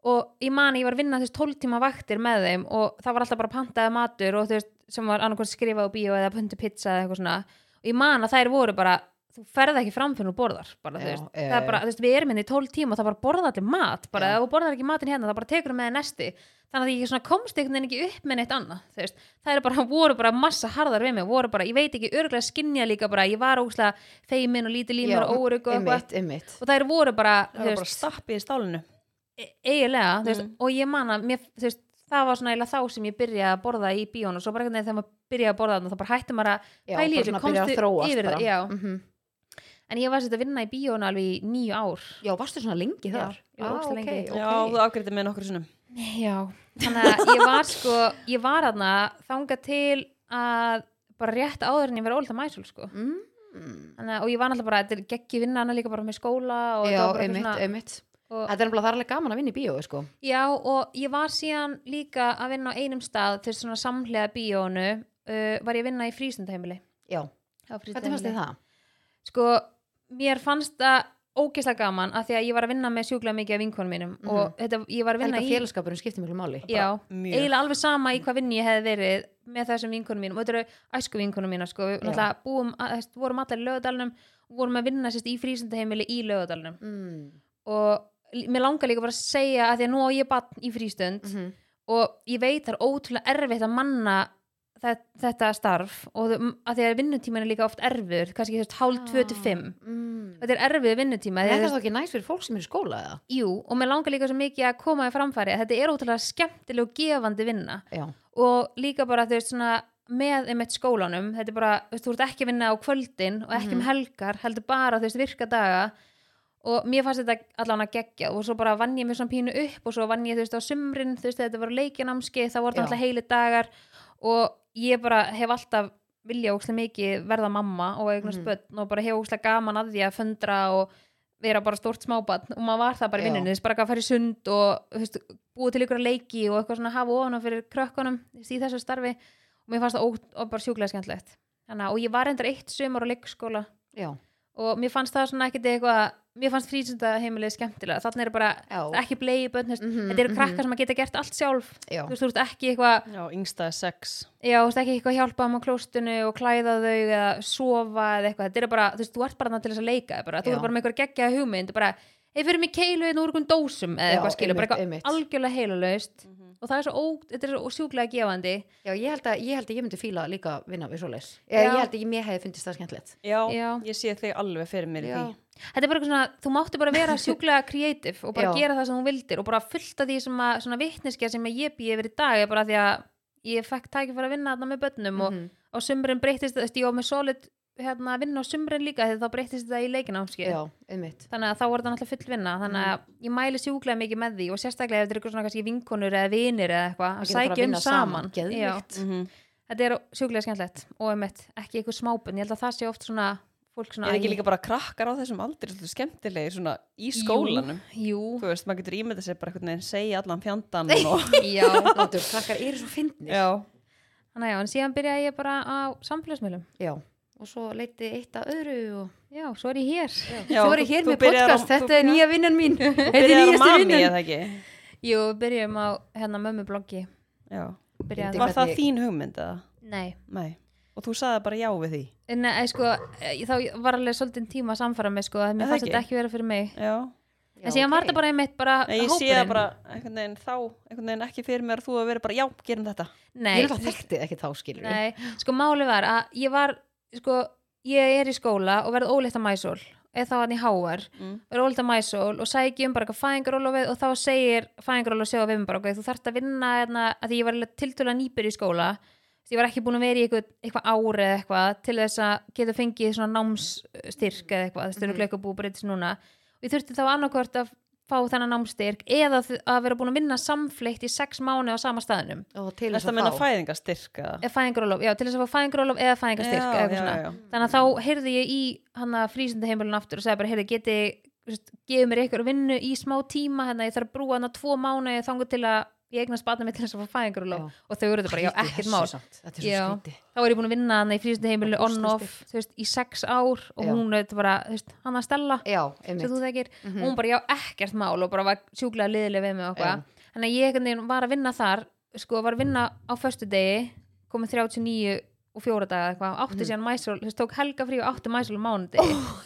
C: og ég man að ég var að vinna þess 12 tíma vaktir með þeim og það var alltaf bara pantaði matur og þú veist sem var annarkvæmt skrifað á bíó eða pöntu pizza eða eitthvað svona og ég man að þær voru bara þú ferð ekki fram fyrir og borðar bara, þú
A: Já,
C: veist,
A: já,
C: það er
A: já.
C: bara, þú veist, við erum henni í 12 tíma og það bara borða allir mat bara,
A: Já.
C: ef þú borðar ekki matinn hérna, það bara tekur með þér næsti þannig að ég svona komst einhvern veginn ekki upp með neitt annað, þú veist, það er bara, [LAUGHS] voru bara massa harðar við mig, voru bara, ég veit ekki örgulega skinja líka bara, ég var ógustlega feimin og lítið
A: Já,
C: límur og órygg og
A: einmitt,
C: eitthvað
A: einmitt
C: og þær voru bara, þú
B: það var
C: veist,
B: bara stappið í stálinu
C: e- eiginlega, þú veist,
B: Mm.
C: og ég man að mér, þú veist, það var svona eiginlega þá sem ég byrjaði að borða í bíón og svo bara einhvern veginn þegar maður byrjaði að borða þannig þá bara hætti maður að,
A: Já,
C: Pæli í
A: bara
C: þessu,
A: svona byrja að
C: komstu
A: þróast
C: yfir það,
A: bara.
C: já.
A: Mhm.
C: en ég var svolítið að vinna í bíón alveg í nýju ár
A: Já, varstu svona lengi
C: Já,
A: þar?
C: ég var ógeðslega
A: ok,
C: lengi.
A: ok.
B: já, þú afgriðið með nokkur sinnum
C: já, þannig að ég var sko ég var aðna þangað til að bara rétt áður en ég verið ólita mæsul sko
A: Mm.
C: Þannig, að- og ég var náttúrulega bara, þetta er geggi vinna hana líka bara með skóla og
A: Já,
C: þetta var bara eitthvað
A: einmitt,
C: svona-
A: einmitt
C: og-
A: Þetta er alveg þarlega gaman að vinna í bíói, sko
C: Já, og ég var síðan líka að vinna á einum stað til svona samhlega bíónu uh, var ég að vinna í frístundaheimili
A: Já,
C: Hvernig
A: hvernig fannst þið það?
C: Sko, mér fannst það ógeðslega gaman að því að ég var að vinna með sjúklega mikið af vinkonum mínum
A: Mhm.
C: og þetta, ég var að
A: Held
C: vinna
A: að
C: í
A: félagskapurinn skiptir miklu máli
C: Já,
B: mjög.
C: eiginlega alveg sama í hvað vinni ég hefði verið með þessum vinkonum mínum og þetta eru æsku vinkonum mína sko, við
A: Já.
C: náttúrulega búum, að, þess, vorum allar í lögadalunum vorum að vinna sérst í frístundaheimili í lögadalunum
A: mm.
C: og l- mér langar líka bara að segja að því að nú á ég bann í frístund
A: Mhm.
C: og ég veit það er ótrúlega erfitt að manna þe- þetta starf og þú- m- að því að vinnutíman er líka oft erfur kannski þú veist hálf 2 til 5
A: mm.
C: þetta er erfið vinnutíma
A: En
C: því
A: er
C: að þú
A: það
C: veist,
A: þá ekki næst fyrir fólk sem er í skóla eða?
C: jú, og mér langar líka svo mikið að koma í framfæri að þetta er ótrúlega skemmtileg og gefandi vinna
A: Já,
C: og líka bara þú veist svona með einmitt skólanum þetta er bara, þú veist, þú ert ekki að vinna á kvöldin og ekki
A: Mhm.
C: um helgar, heldur bara þú veist virka daga og mér fannst þetta allan að gegja og svo bara vann ég mér svona pínu upp og svo vann ég þú veist á sumrin þú veist þetta voru leikjanámski, það voru
A: Já.
C: alltaf heili dagar og ég bara hef alltaf vilja ókslega mikið verða mamma og eignast
A: Mhm.
C: börn og bara hef ókslega gaman að því að föndra og vera bara stórt smábarn og maður var það bara í
A: Já.
C: vinnunni, þess bara að fara í sund og þú veist, búið til ykkur leiki og eitthvað svona hafa ofan á fyrir krökkunum þú veist, í þessu starfi og mér fannst það ó, ó, bara sjúklega skemmtlegt Þannig, að- og ég var endur eitt sömur á leikskóla
A: já,
C: og mér fannst það svona ekkit eitthvað mér fannst frísundaheimilið skemmtilega þannig er bara
A: já.
C: ekki blei bönn mm
A: Mhm,
C: þetta eru
A: mhm.
C: krakkar sem að geta gert allt sjálf
A: já.
C: þú veist, þú veist ekki eitthvað
B: já, yngsta er sex
C: Já, þú veist ekki eitthvað að hjálpa þeim á klóstinu og klæða þau eða sofa eða eitthvað. Þetta er bara, þú veist, þú ert bara þarna til þess að leika. þér Bara. Þú
A: Já.
C: er bara með eitthvað geggjaða hugmynd, bara, um hei, fyrir mig keilu einn hérna úr einhvern dósum eða
A: Já,
C: eitthvað skilur, bara
A: einmitt,
C: eitthvað
A: einmitt.
C: algjörlega heilalaust.
B: Mhm.
C: Og það er svo, ó, þetta er svo sjúklega gefandi.
A: já ég, held að, ég held að ég myndi fíla líka að vinna við svoleiðis Ég, ég
C: Já.
A: held að ég mér hefði fundist það skemmtilegt
B: já,
C: Já.
B: ég sé þig alveg fyrir mér í
A: Já.
B: því
C: Þetta er bara eitthvað svona, þú máttu bara
A: [LAUGHS]
C: vera sjúklega kreatív og bara
A: Já.
C: gera það sem þú vildir og bara fullt af því sem að, svona vitneskja sem að ég býi yfir í dag er bara því að ég fekk tækifæri að vinna þarna með börnum og
A: Mhm.
C: á sumrin breyttist, þú veist, ég var með solid hérna að vinna á sumrin líka þegar þá breyttist þetta í leikinámskið.
A: Já, einmitt
C: þannig að þá voru það náttúrulega full vinna þannig að
B: Mm.
C: ég mæli sjúklega mikið með því og sérstaklega ef þetta er eitthvað svona kannski vinkonur eða vinir eða eitthvað
A: geta bara
C: að
A: að
C: sækja um
A: vinna
C: saman,
A: saman.
C: Já,
A: Geðveikt. Mm.
B: Mhm.
C: þetta er sjúklega skemmtlegt og einmitt, ekki eitthvað smábun, ég held að það sé oft svona fólk svona
B: er ekki
C: æ,
B: líka bara krakkar á þessum aldrei svolítið skemmtilegir svona í skólanum
C: Jú,
B: þú veist, maður getur ímyndið sér bara einhvern veginn segja allan fjandan og
C: já
A: [LAUGHS] Náttúr, krakkar eru svo fyndnir
B: já,
C: Þannig að já, en síðan byrjaði ég bara á samfélagsmiðlum
A: Já, og svo leiti eitt að öðru og...
C: Já, svo er ég hér
B: já
A: Svo er ég hér
B: þú
A: með
B: byrjar á-
A: podcast,
B: þú-
A: þetta er nýja vinnan mín
B: þú
A: Þetta er
B: byrjar á
A: nýjasta
B: Mami,
A: vinnan
B: eða ekki?
C: Jú, byrjum á hérna mömmubloggi
B: Já.
A: Fyndi
C: Byrjaði
A: hvað-
B: var það
A: hvernig-
B: þín hugmynd eða?
C: Nei
B: nei, og þú sagði bara já við því
C: Nei, eh, sko, eh, þá var alveg svolítið tíma að samfara mig, sko, að mér
B: Er það
C: fannst
B: ekki?
C: þetta ekki vera fyrir mig.
B: já,
A: Já,
C: en síðan var
A: ok.
C: þetta bara einmitt bara
B: Nei, ég sé
C: hópurinn.
B: það bara einhvern veginn þá, einhvern veginn ekki fyrir mér að þú að vera bara, já, gerum þetta.
C: nei,
A: Ég er alltaf þekktið ekki þá skilur
C: Nei, sko máli var að ég var sko, ég er í skóla og verð ólétt að mæsól eða þá hann í háar,
B: Mm.
C: verð ólétt að mæsól og sæki um bara eitthvað fæðingarólofið og þá segir fæðingarólof sjóða við mig bara okay, þú þarft að vinna hérna, að því ég var tiltöla nýpur í skóla því ég var ekki búin að vera í eitthvað, eitthvað ári eða eitthvað til þess að geta fengið svona námsstyrk eða eitthvað, þú styrir
A: Mhm.
C: glöggabú breytist núna og ég þurfti þá annarkvort að fá þennan námstyrk eða þ- að vera búin að vinna samfleitt í sex mánu á sama staðnum
A: og til þess
B: Þetta
A: að
B: meina
A: fá
B: fæðingastyrk eða?
C: eða fæðingarólof, já, til þess að fá fæðingarólof eða fæðingarstyrk eða eitthvað svona.
B: já.
C: þannig að þá heyrði ég í hann að frísundaheimilun aftur og segði bara, heyrði, geti þú veist, gefið mér eitthvað vinnu í smá tíma hérna, ég þarf að brúa hann að tvo mánu þangu til að ég eignast batna mitt til þess að fá fæðingarólof og þau eru þetta bara, já,
A: Skrítið
C: ekkert
A: þessu
C: mál
A: samt. Þetta er
C: Já.
A: svo skríti
C: þá er ég búin að vinna hann í frísundaheimilun
A: Þetta er
C: on-off, þú veist, í sex ár og
A: Já.
C: hún auðvitað bara, þú veist, hann að stella
A: Já,
C: sem
A: einmitt Mhm.
C: þú þekkir, og hún bara, já, ekkert mál og bara var sjúklega liðileg við mig og
A: Já.
C: eitthvað þannig að ég einhvern veginn var að vinna þar sko, var að vinna á föstudegi komið 39 og fjóra daga eitthvað, átti
A: Mhm.
C: síðan mæsól, þú veist, tók helga frí og átti mæsól mánudegi oh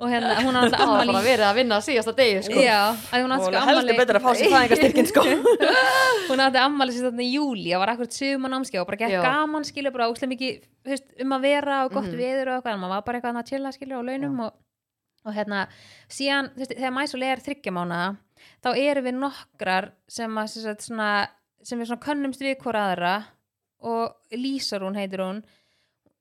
C: og hérna, hún er alltaf
A: Það var
C: ammali
A: bara verið að vinna síðasta degi sko.
C: já, að hún
B: Og
C: átti sko
B: heldur
C: ammali
B: betur að fá
C: [LAUGHS]
B: sér fæðingarstyrkin sko.
C: hún átti ammali sér þarna í júli það var akkur suma námskei og bara
A: Já.
C: gekk gaman skilur bara óslega mikið þú veist, um að vera og gott
A: Mhm.
C: veður og eitthvað en maður var bara eitthvað þarna að chilla skilur á launum og, og hérna síðan þú veist, þegar mæsul er þryggjamána þá erum við nokkrar sem, að, sem, sagt, svona, sem við svona könnumst við hvora aðra og Lísar hún heitir hún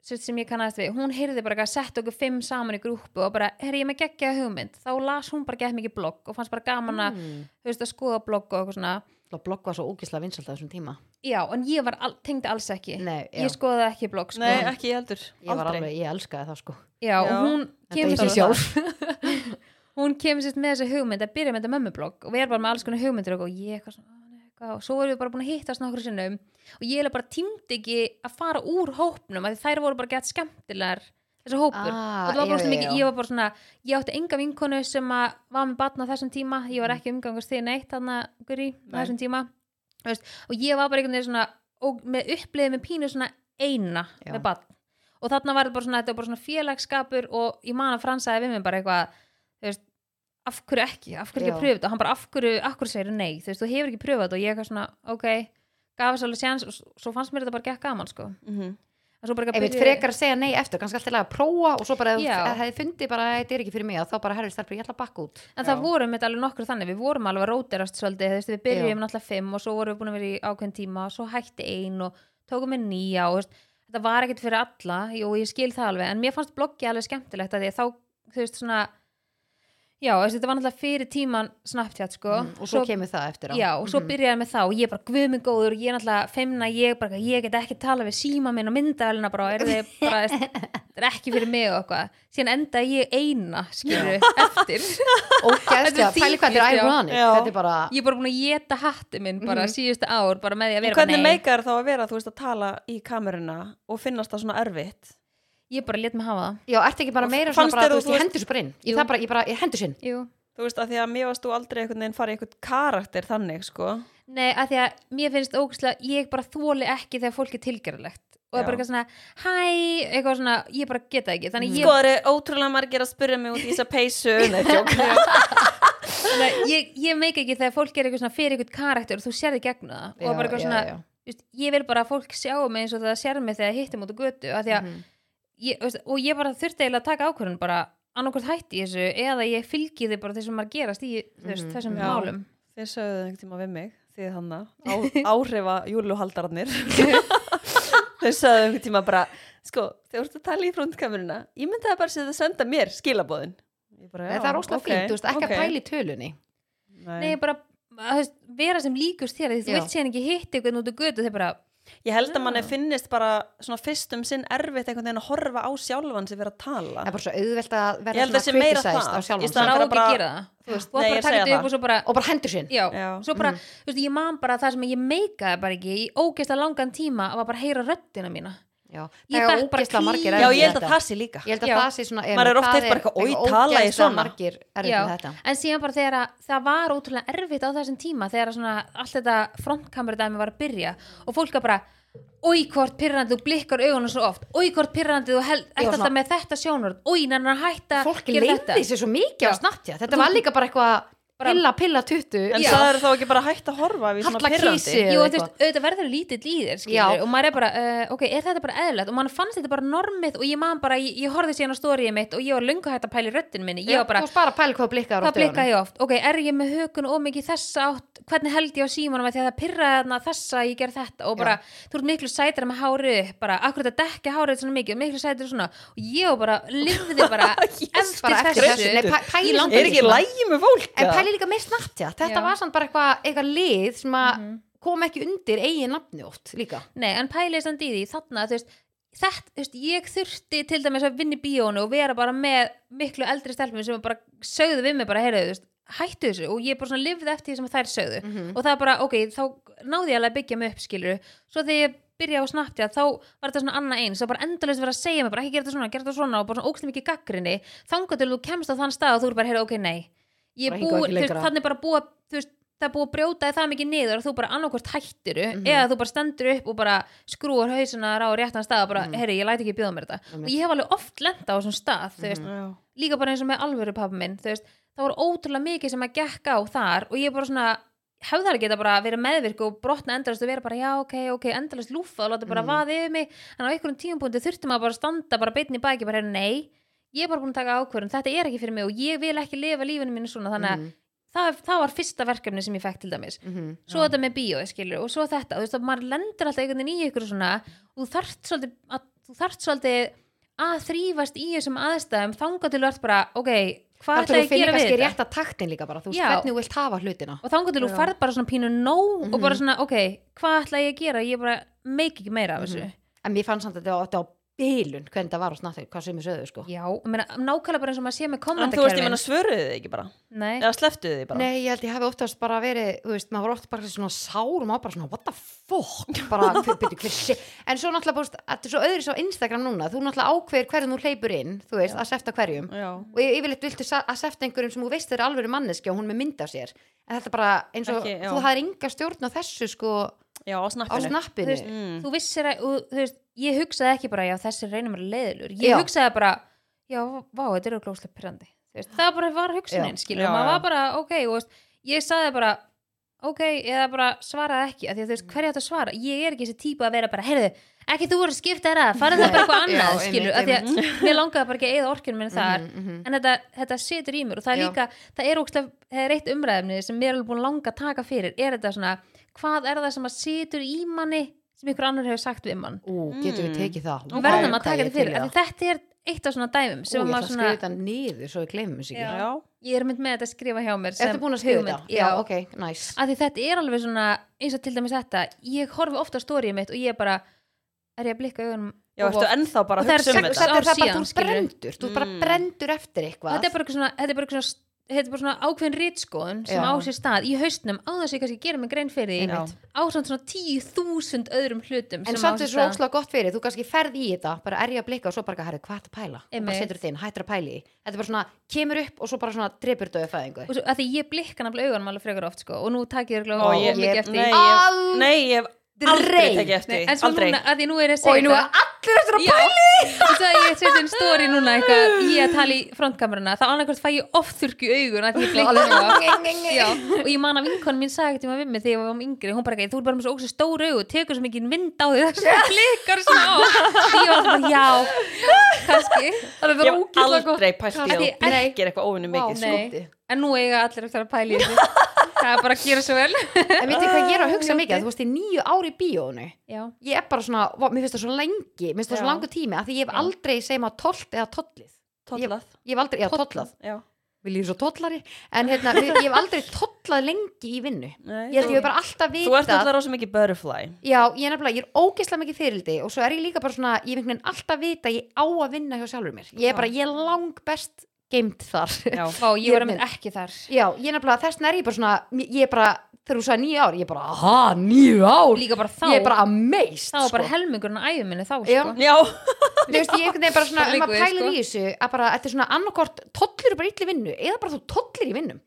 C: sem sem ég kannaðist við, hún heyrði bara að setja okkur fimm saman í grúpu og bara, herri ég er með geggja hugmynd, þá las hún bara gett mikið blogg og fannst bara gaman að,
A: Mm.
C: þú veist, að skoða blogg og eitthvað svona,
A: Það blogg var svo ógislega vinsalt á þessum tíma
C: Já, en ég var al, tengdi alls ekki
A: Nei, já.
C: Ég skoði ekki blogg sko.
B: Nei, ekki ég heldur.
A: Ég var
B: Aldrei.
A: alveg, ég elskaði það sko
C: Já, og
B: Já,
C: hún
A: Þetta
C: kemur
A: er
C: sér
A: sér
B: sjálf.
A: sjálf
C: [LAUGHS] Hún kemur sér með þessa hugmynd að byrja með þetta mömmublogg og við erum bara með alls konar hugmyndir og ég eitthvað svona "Ó, nei, eitthvað." og svo erum við bara búin að hittast nokkru sinnum og ég er bara tímdi ekki að fara úr hópnum að þær voru bara gett skemmtilegar þessi hópur
A: Ah,
C: og það var bara
A: já,
C: svona
A: já,
C: mikið,
A: já.
C: ég var bara svona ég átti enga vinkonu sem að var með batna þessum tíma, ég
A: Mm.
C: var ekki umgangast þig neitt þannig að Guri,
B: Nei.
C: þessum tíma Þú veist, og ég var bara einhvern veginn svona og með uppliðið með pínu svona eina
A: Já.
C: með batn og þarna var þetta bara svona, þetta var bara svona félagsskapur og ég man að fransaði við mig bara eitthvað þú veist, af hverju ekki, af hverju ekki
A: Já.
C: að pröfa þetta og hann bara af hverju, af hverju segir nei, þú veist, þú hefur ekki pröfað þetta og ég eitthvað svona, ok gaf þess alveg séns og s- svo fannst mér þetta bara gekk gaman sko.
B: Mhm.
C: En svo bara eitthvað
A: einmitt
C: byrjuði-
A: frekar að segja nei eftir, kannski alltaf að prófa og svo bara ef ef
C: Já.
A: hefði fundið bara að þetta er ekki fyrir mig að þá bara herrið stelpur, ég ætla að bakka út
C: En
B: Já.
C: það vorum þetta alveg nokkur þannig, við vorum alveg að róterast svolítið, þú veist,
A: Já.
C: við byrjum náttúrulega fimm og svo vorum við búin að vera í ákveðin tíma og svo hætti ein og tókum við nýja og þú veist, þetta var ekkert fyrir alla, jú, ég skil það alveg, en mér fannst bloggi alveg skemmtilegt að því að þá, þú veist, svona, já, þú veist, þetta var náttúrulega fyrir tíman Snapchat, sko.
A: mm, og svo, kemur það eftir á
C: Já,
A: [LAUGHS]
C: og svo
A: Mhm.
C: byrjaði með það og ég bara guð mig góður og ég náttúrulega femna, ég bara, ég get ekki tala við síma minn og myndavælina bara, er þið bara, þetta er ekki fyrir mig og eitthvað. Síðan endaði ég eina,
A: [LAUGHS]
C: skilur, eftir.
A: og
C: Þetta
A: gæstja,
C: er
A: pæli hvað þetta er
C: þýðir, já.
A: ironic
B: Já.
A: þetta er bara,
C: ég er bara búin að geta hatti minn bara síðustu ár, bara með því að
B: En
C: vera bara,
B: hvernig
C: nei,
B: meikar þá að vera, þú veist, að tala í kameruna og finnast það svona erfitt?
C: ég bara let mig hafa það
A: já, ertu ekki bara meira
B: Fannst
A: svona bara,
B: þér
A: þú
B: þú
A: veist, ég
B: veist-
A: hendur svo bara inn ég,
C: Jú.
A: það bara, ég bara, ég hendur sinn
C: Jú.
B: Þú veist, að því að mér varst þú aldrei einhvern veginn fara í einhvern karakter þannig, sko.
C: nei, að því að mér finnst ógustlega ég bara þóli ekki þegar fólk er tilgerðilegt og það er bara
B: Já.
C: eitthvað svona, hæ eitthvað svona, ég bara geta ekki þannig
B: Sko,
C: ég,
B: það eru ótrúlega margir að spyrja mig út í þessa peysu. [LAUGHS] Nei, tjók.
C: þannig, að ég, ég meika ekki þegar fólk er eitthvað svona fyrir eitthvað karakter og þú sérði gegn það og
A: Já,
C: bara eitthvað
A: já,
C: svona,
A: já.
C: Just, ég vil bara að fólk sjá mig eins og það sér mig þegar hittum út á götu að því að
A: Mhm.
C: ég, veist, og ég bara þurfti eiginlega að taka ákvörðun bara annarkvort hætti ég þessu eða ég fylgi þið bara þessum maður gerast í mm
A: Mhm.
C: þessum
B: Já.
C: málum
B: Þið sögðu einhvern tíma við mig, þið hann
A: [LAUGHS]
B: að áhrifa [LAUGHS] júluhaldararnir. Þið sögðu einhvern tíma bara, sko, þegar þú ert að tala í frontkameruna, ég myndi það bara sem þið senda mér skilabóðin. Ég bara,
A: Nei, það er óslega fínt, þú veist, ekki að pæli tölunni
C: Nei, bara að, þú veist, vera sem líkust þér af því þú
A: Já.
C: vilt séðan ekki hitt einhvern út á götu þegar bara,
B: Ég held að manni finnist bara svona fyrst um sinn erfitt einhvern veginn að horfa á sjálfan sem vera að tala.
A: það er bara svo auðvelt að
B: Ég
A: vera
B: held að sé
A: svona
B: meira
A: criticized
B: það.
A: á sjálfan
B: Í
C: það
B: staðan
A: sig.
C: á
B: fyrir
C: ekki
B: að bara-
C: að gera það þú veist,
B: Nei,
C: og bara
B: ég
C: taka
B: segi
C: þetta
B: það.
C: upp og svo bara
A: og bara hendur sinn
C: já,
B: Já.
C: svo bara, þú veist, ég man bara það sem ég meikaði bara ekki í ógeðslega langan tíma að var bara að heyra röddina mína
A: Já,
C: Ég
A: það er
C: fekk bara
A: ógeðslega
C: kví-
A: margir
B: Já,
A: erfitt með
B: ég held að
A: þetta.
B: það sé líka.
A: ég held að
C: Já.
A: það sé svona ef
B: Maður er oft
A: það
B: heyrt bara eitthvað, "Oj, tala ég
A: ógeðslega
B: svona?"
A: margir erfitt
C: Já,
A: með þetta
C: en síðan bara þegar að, það var ótrúlega erfitt á þessum tíma þegar að svona, allt þetta frontkamerudæmi var að byrja og fólk að bara Új, hvort pirrandi, þú blikkar augunum svo oft Új, hvort pirrandi, þú held
A: Já,
C: ert alltaf
A: svona-
C: með þetta sjónvörð Új, nann að hætta að
A: fólki
C: gera þetta.
A: leiði sér svo mikið á
C: Já.
A: snattja þetta var líka bara eitthvað
C: Bara-
A: pilla pilla tuttu
B: En
C: Já.
B: það er þá ekki bara hægt að horfa við svona
A: Halla kísi.
B: pyrrandi [LAUGHS]
A: eða
C: Jú, en þú
A: eitthvað.
C: veist, auðvitað verður lítill í þér
A: Já.
C: skilur, og maður er bara, uh, ok, er þetta bara eðlilegt og mann fannst þetta bara normið og ég man bara ég, ég horfði síðan á stóriðið mitt og ég var löngu hægt að pæla í röddin minni, ég var bara,
A: þú varst bara að pæla hvað blikkar
C: hvað blikka ég oft ok, er ég með hökun og mikið þessa átt hvernig held ég á símanum að því að það pirraði þarna þessa ég ger þetta og bara, þú ert miklu sætir með hárið upp, bara, akkur þetta dekka hárið svona mikið, miklu sætir svona og ég var bara, lifði
A: [LAUGHS]
C: bara eftir
A: bara eftir þessu Nei,
C: þessu
A: pæ- pæli
C: Ég
A: líka-
C: langar
B: Er ekki lægi með fólk?
A: sko. en
B: eða?
A: pæli líka með snattja þetta
C: Já.
A: var samt bara eitthvað eitthvað lið sem að kom ekki undir eigin nafni oft líka
C: Nei, en pælið samt í því þarna, þú veist, þetta, þú veist, ég þurfti til dæmis að vinna í bíónu og vera bara með miklu eldri stelpum sem bara sögðu við mig bara, heyrðu, þú veist, hættu þessu og ég bara svona lifði eftir því sem þær sögðu
A: Mhm.
C: og það er bara, ok, þá náði ég alveg að byggja mig upp, skilur, svo þegar ég byrja á snapptja, þá var þetta svona annað eins, það var bara endalaust verið að segja mig, bara ekki gera þetta svona, gera þetta svona og bara svona ókslega mikið gaggrinni, þangar til þú kemst á þann stað og þú er bara, heyrðu, ok, nei ég
A: Bara
C: er
A: hingað og
C: búin,
A: ekki
C: þú veist,
A: lengra.
C: þannig bara búa þú veist, það er búið að brjóta þig það mikið niður og þú bara annarkvort hættiru
A: Mhm.
C: eða þú bara stendur upp og bara skrúar hausunar á réttan stað og bara,
A: Mhm.
C: heyrðu, ég læti ekki bjóða mér þetta og ég hef alveg oft lenda á þessum stað, þú veist
B: Já.
C: líka bara eins og með alvöru pappa minn þú veist, það var ótrúlega mikið sem að gekk á þar og ég bara svona hefðar að geta bara að vera meðvirk og brotna endalast og vera bara já ok ok endalast lúfa og láta bara mm. vaði yfir mig en á einhverjum tímapunkti þurfti maður bara að standa bara beinni í bæki bara heyrðu, nei ég er bara búin að taka ákvörðun þetta er ekki fyrir mig og ég vil ekki lifa lífinu mínu svona þannig að
A: Mhm.
C: það, það var fyrsta verkefni sem ég fekk til dæmis
A: Mhm.
C: svo þetta með bíó skilur, og svo þetta, þú veist að maður lendur alltaf einhvern veginn í ykkur svona og þú þarft svolítið að, þú þarft svolítið að þrýfast í þessum aðstæðum þangað til þú ert bara, ok, hvað
A: þar til
C: ætla
A: þú
C: ég að
A: finnir
C: gera við
A: kannski
C: þetta
A: rétt að taktin líka bara þú veist
C: Já.
A: hvernig þú vilt hafa hlutina
C: og þangað til þú
B: Já. Mhm.
C: farð bara svona pínu nóg og bara svona, ok, hvað ætla ég að gera ég bara meik ekki meira af
B: Mhm.
C: þessu
A: en mér fannst samt að þetta var- þetta á bilun hvernig það var á snattja hvað sem ég sögðu sko
C: já, ég meina, nákvæmlega bara eins og maður sé með
B: En þú veist, ég
C: kommandakerfin
B: menna svöruðu þið ekki bara
C: nei,
B: Eða sleftuðu þið bara
A: Nei, ég held ég hafi oftast bara verið, þú veist, maður var oft bara svona sár og maður bara svona, what the fuck, bara, hver, byrju, hver, sé- en svo náttúrulega, búst, þetta er svo öðru svo Instagram núna, þú náttúrulega ákveður hverjum þú hleypur inn, þú veist, að sefta hverjum
B: Já
A: og ég yfirleitt viltu sa- að sefta einhverjum sem þú veist er alveg manneski og hún með mynda sér, en þetta er bara eins og,
B: Ekki, já.
A: þú hafðir enga stjórn á þessu, sko,
B: Já, á
A: á
B: snappinu
A: snappinu,
B: Mm.
C: Þú þú vissir að, og, þú veist, ég hugsaði ekki bara já, þessi er reynum er leiðilur, ég
A: Já.
C: hugsaði bara já, vá, þetta eru glóðslega pirrandi Þú veist, það bara var hugsunin, skilur,
B: Já, já.
C: maður var bara ok, og, þú veist, ég sagði bara ok, eða bara svaraði ekki, af því að þú
A: Mm.
C: veist, hverja átt að svara, ég er ekki þessi típa að vera bara, heyrðu, ekki þú voru að skipta þér að
A: [LAUGHS]
C: farið það bara
A: Já,
C: eitthvað annað,
A: einmitt,
C: skilur, af því að mér langaði bara ekki að eða orkjunum minn þar
A: Mhm, mhm.
C: en þetta, þetta situr í mér og það er
A: Já.
C: líka það er, ókslega, það er eitt umræðumni sem mér er alveg búin að langa að taka fyrir er þetta svona, hvað er það sem að situr í manni sem ykkur annar hefur sagt við mann
A: ú, getur við tekið það,
B: Ok.
A: Vá,
C: og verðum að
A: hvað
C: taka
A: ég
C: þetta
A: til í
C: fyrir af
A: það.
C: því þetta er eitt af svona dæmum
A: Ú,
C: sem
A: ég ætla að
C: maður
A: skrifa
C: svona,
A: þetta niður svo ég gleymum þessu ekki.
C: Já.
B: Já
C: ég er mynd með þetta að skrifa hjá mér sem
A: Ertu búin að skrifa
C: hugmynd.
A: þetta?
C: Já,
A: ok, nice.
C: af því þetta er alveg svona eins og til dæmis þetta, ég horfi ofta á stórið mitt og ég er bara, er ég að blikka augunum
B: Já,
C: of
B: ertu
C: oft?
B: ennþá bara
C: Og
B: að
C: það er
B: hugsa um þetta?
C: sex-
A: þetta
C: ár
A: er það bara
C: síðan,
A: þú
C: skilurðu.
A: brendur þú bara
B: Mm.
A: brendur eftir
C: Og
A: eitthvað
C: þetta er bara eitthvað svona, þetta er bara eitthvað svona Þetta er bara svona ákveðin rítskoðun sem
A: Já.
C: á sér stað í haustnum á þess að ég kannski gera mig grein fyrir því
B: Einmitt.
C: ásamt svona tíu þúsund öðrum hlutum
A: en
C: sem á
A: samt
C: sér
A: þessu
C: stað
A: óslag gott fyrir þú kannski ferð í þetta bara erja að blikka og svo bara herri hvað ertu að pæla og bara
C: Einmitt.
A: setur þinn hættir að pæli þetta er bara svona kemur upp og svo bara svona drepur döðu fæðingu
C: og svo, að því ég blikka nafnilega augunum alveg frekar oft sko, og nú takk ég
B: Ó,
C: örgulega
A: ég-
C: og mikið eftir
B: Nei,
C: því.
B: ég,
A: Aldrei.
B: nei, ég hef aldrei tekið eftir
C: Nei,
B: því,
C: en svo
B: Aldrei
C: núna, að því nú er ég að
A: og
C: segja
A: nú er allir eftir að
C: Já, og svo að ég setja einn stóri núna eitthvað, ég að tala í frontkameruna þá annarkvært fæ ég oft þurrku augun að ég blikka eitthvað. Já,
A: pæla
C: og ég man að vinkonum mín sagði eitthvað við mig þegar ég var um yngri, hún bara ekki, þú er bara með svo ógstu stór augu, tekur svo mikið mynd á [LAUGHS] því þess að blikkar svona á og ég var alltaf bara, já, kannski það er
B: Ég
C: bara
B: hef
C: ógæslega gott
B: aldrei pælt í
C: Kannski-
B: að þú
C: Nei.
B: blekkir eitthvað óvinni mikið
A: Vá,
B: sko.
A: skoti.
C: Nei, en nú eiga allir eftir að pæla í þessu það er bara að gera svo vel
A: en veitir hvað ég er að hugsa mikið að þú veist í nýju ári bíónu
C: já,
A: ég er bara svona vá, mér finnst það svo lengi mér finnst það svo
B: Já.
A: langu tími að því ég hef aldrei segjum að tolt eða tollið
B: Tollað
A: ég hef aldrei, já tollað,
B: Já
A: vil ég svo tollari en hérna, mér- ég hef aldrei tollað lengi í vinnu
B: Nei,
A: ég held ég hef
B: þú-
A: bara alltaf
B: Þú ert
A: vitað
B: alltaf rosa mikið butterfly
A: já, ég er nefnilega, ég er ógeðslega mikið fyrildi og svo er ég líka bara svona, ég er einhvern veginn alltaf vita að ég á að vinna hjá sjálfur mér ég er bara, ég er lang best geimt þar já, [LAUGHS]
B: Já,
C: Vá, ég var einmitt ekki þar
A: ég er nefnilega, þessna er ég bara svona ég er bara, þegar þú sagði nýju ár ég er bara, aha, nýju ár
C: líka bara þá,
A: ég er bara amazed
C: þá var bara
A: sko.
C: helmingurinn að æfi minni þá
A: Já.
C: sko.
A: [LAUGHS]
B: já,
A: Þú veist, ég er bara svona,
C: Það
A: um
C: liggur
A: að
C: við,
A: pæla
C: sko.
A: í þessu að bara, þetta er svona annarkort, tollir bara illi vinnu eða bara þú tollir í vinnum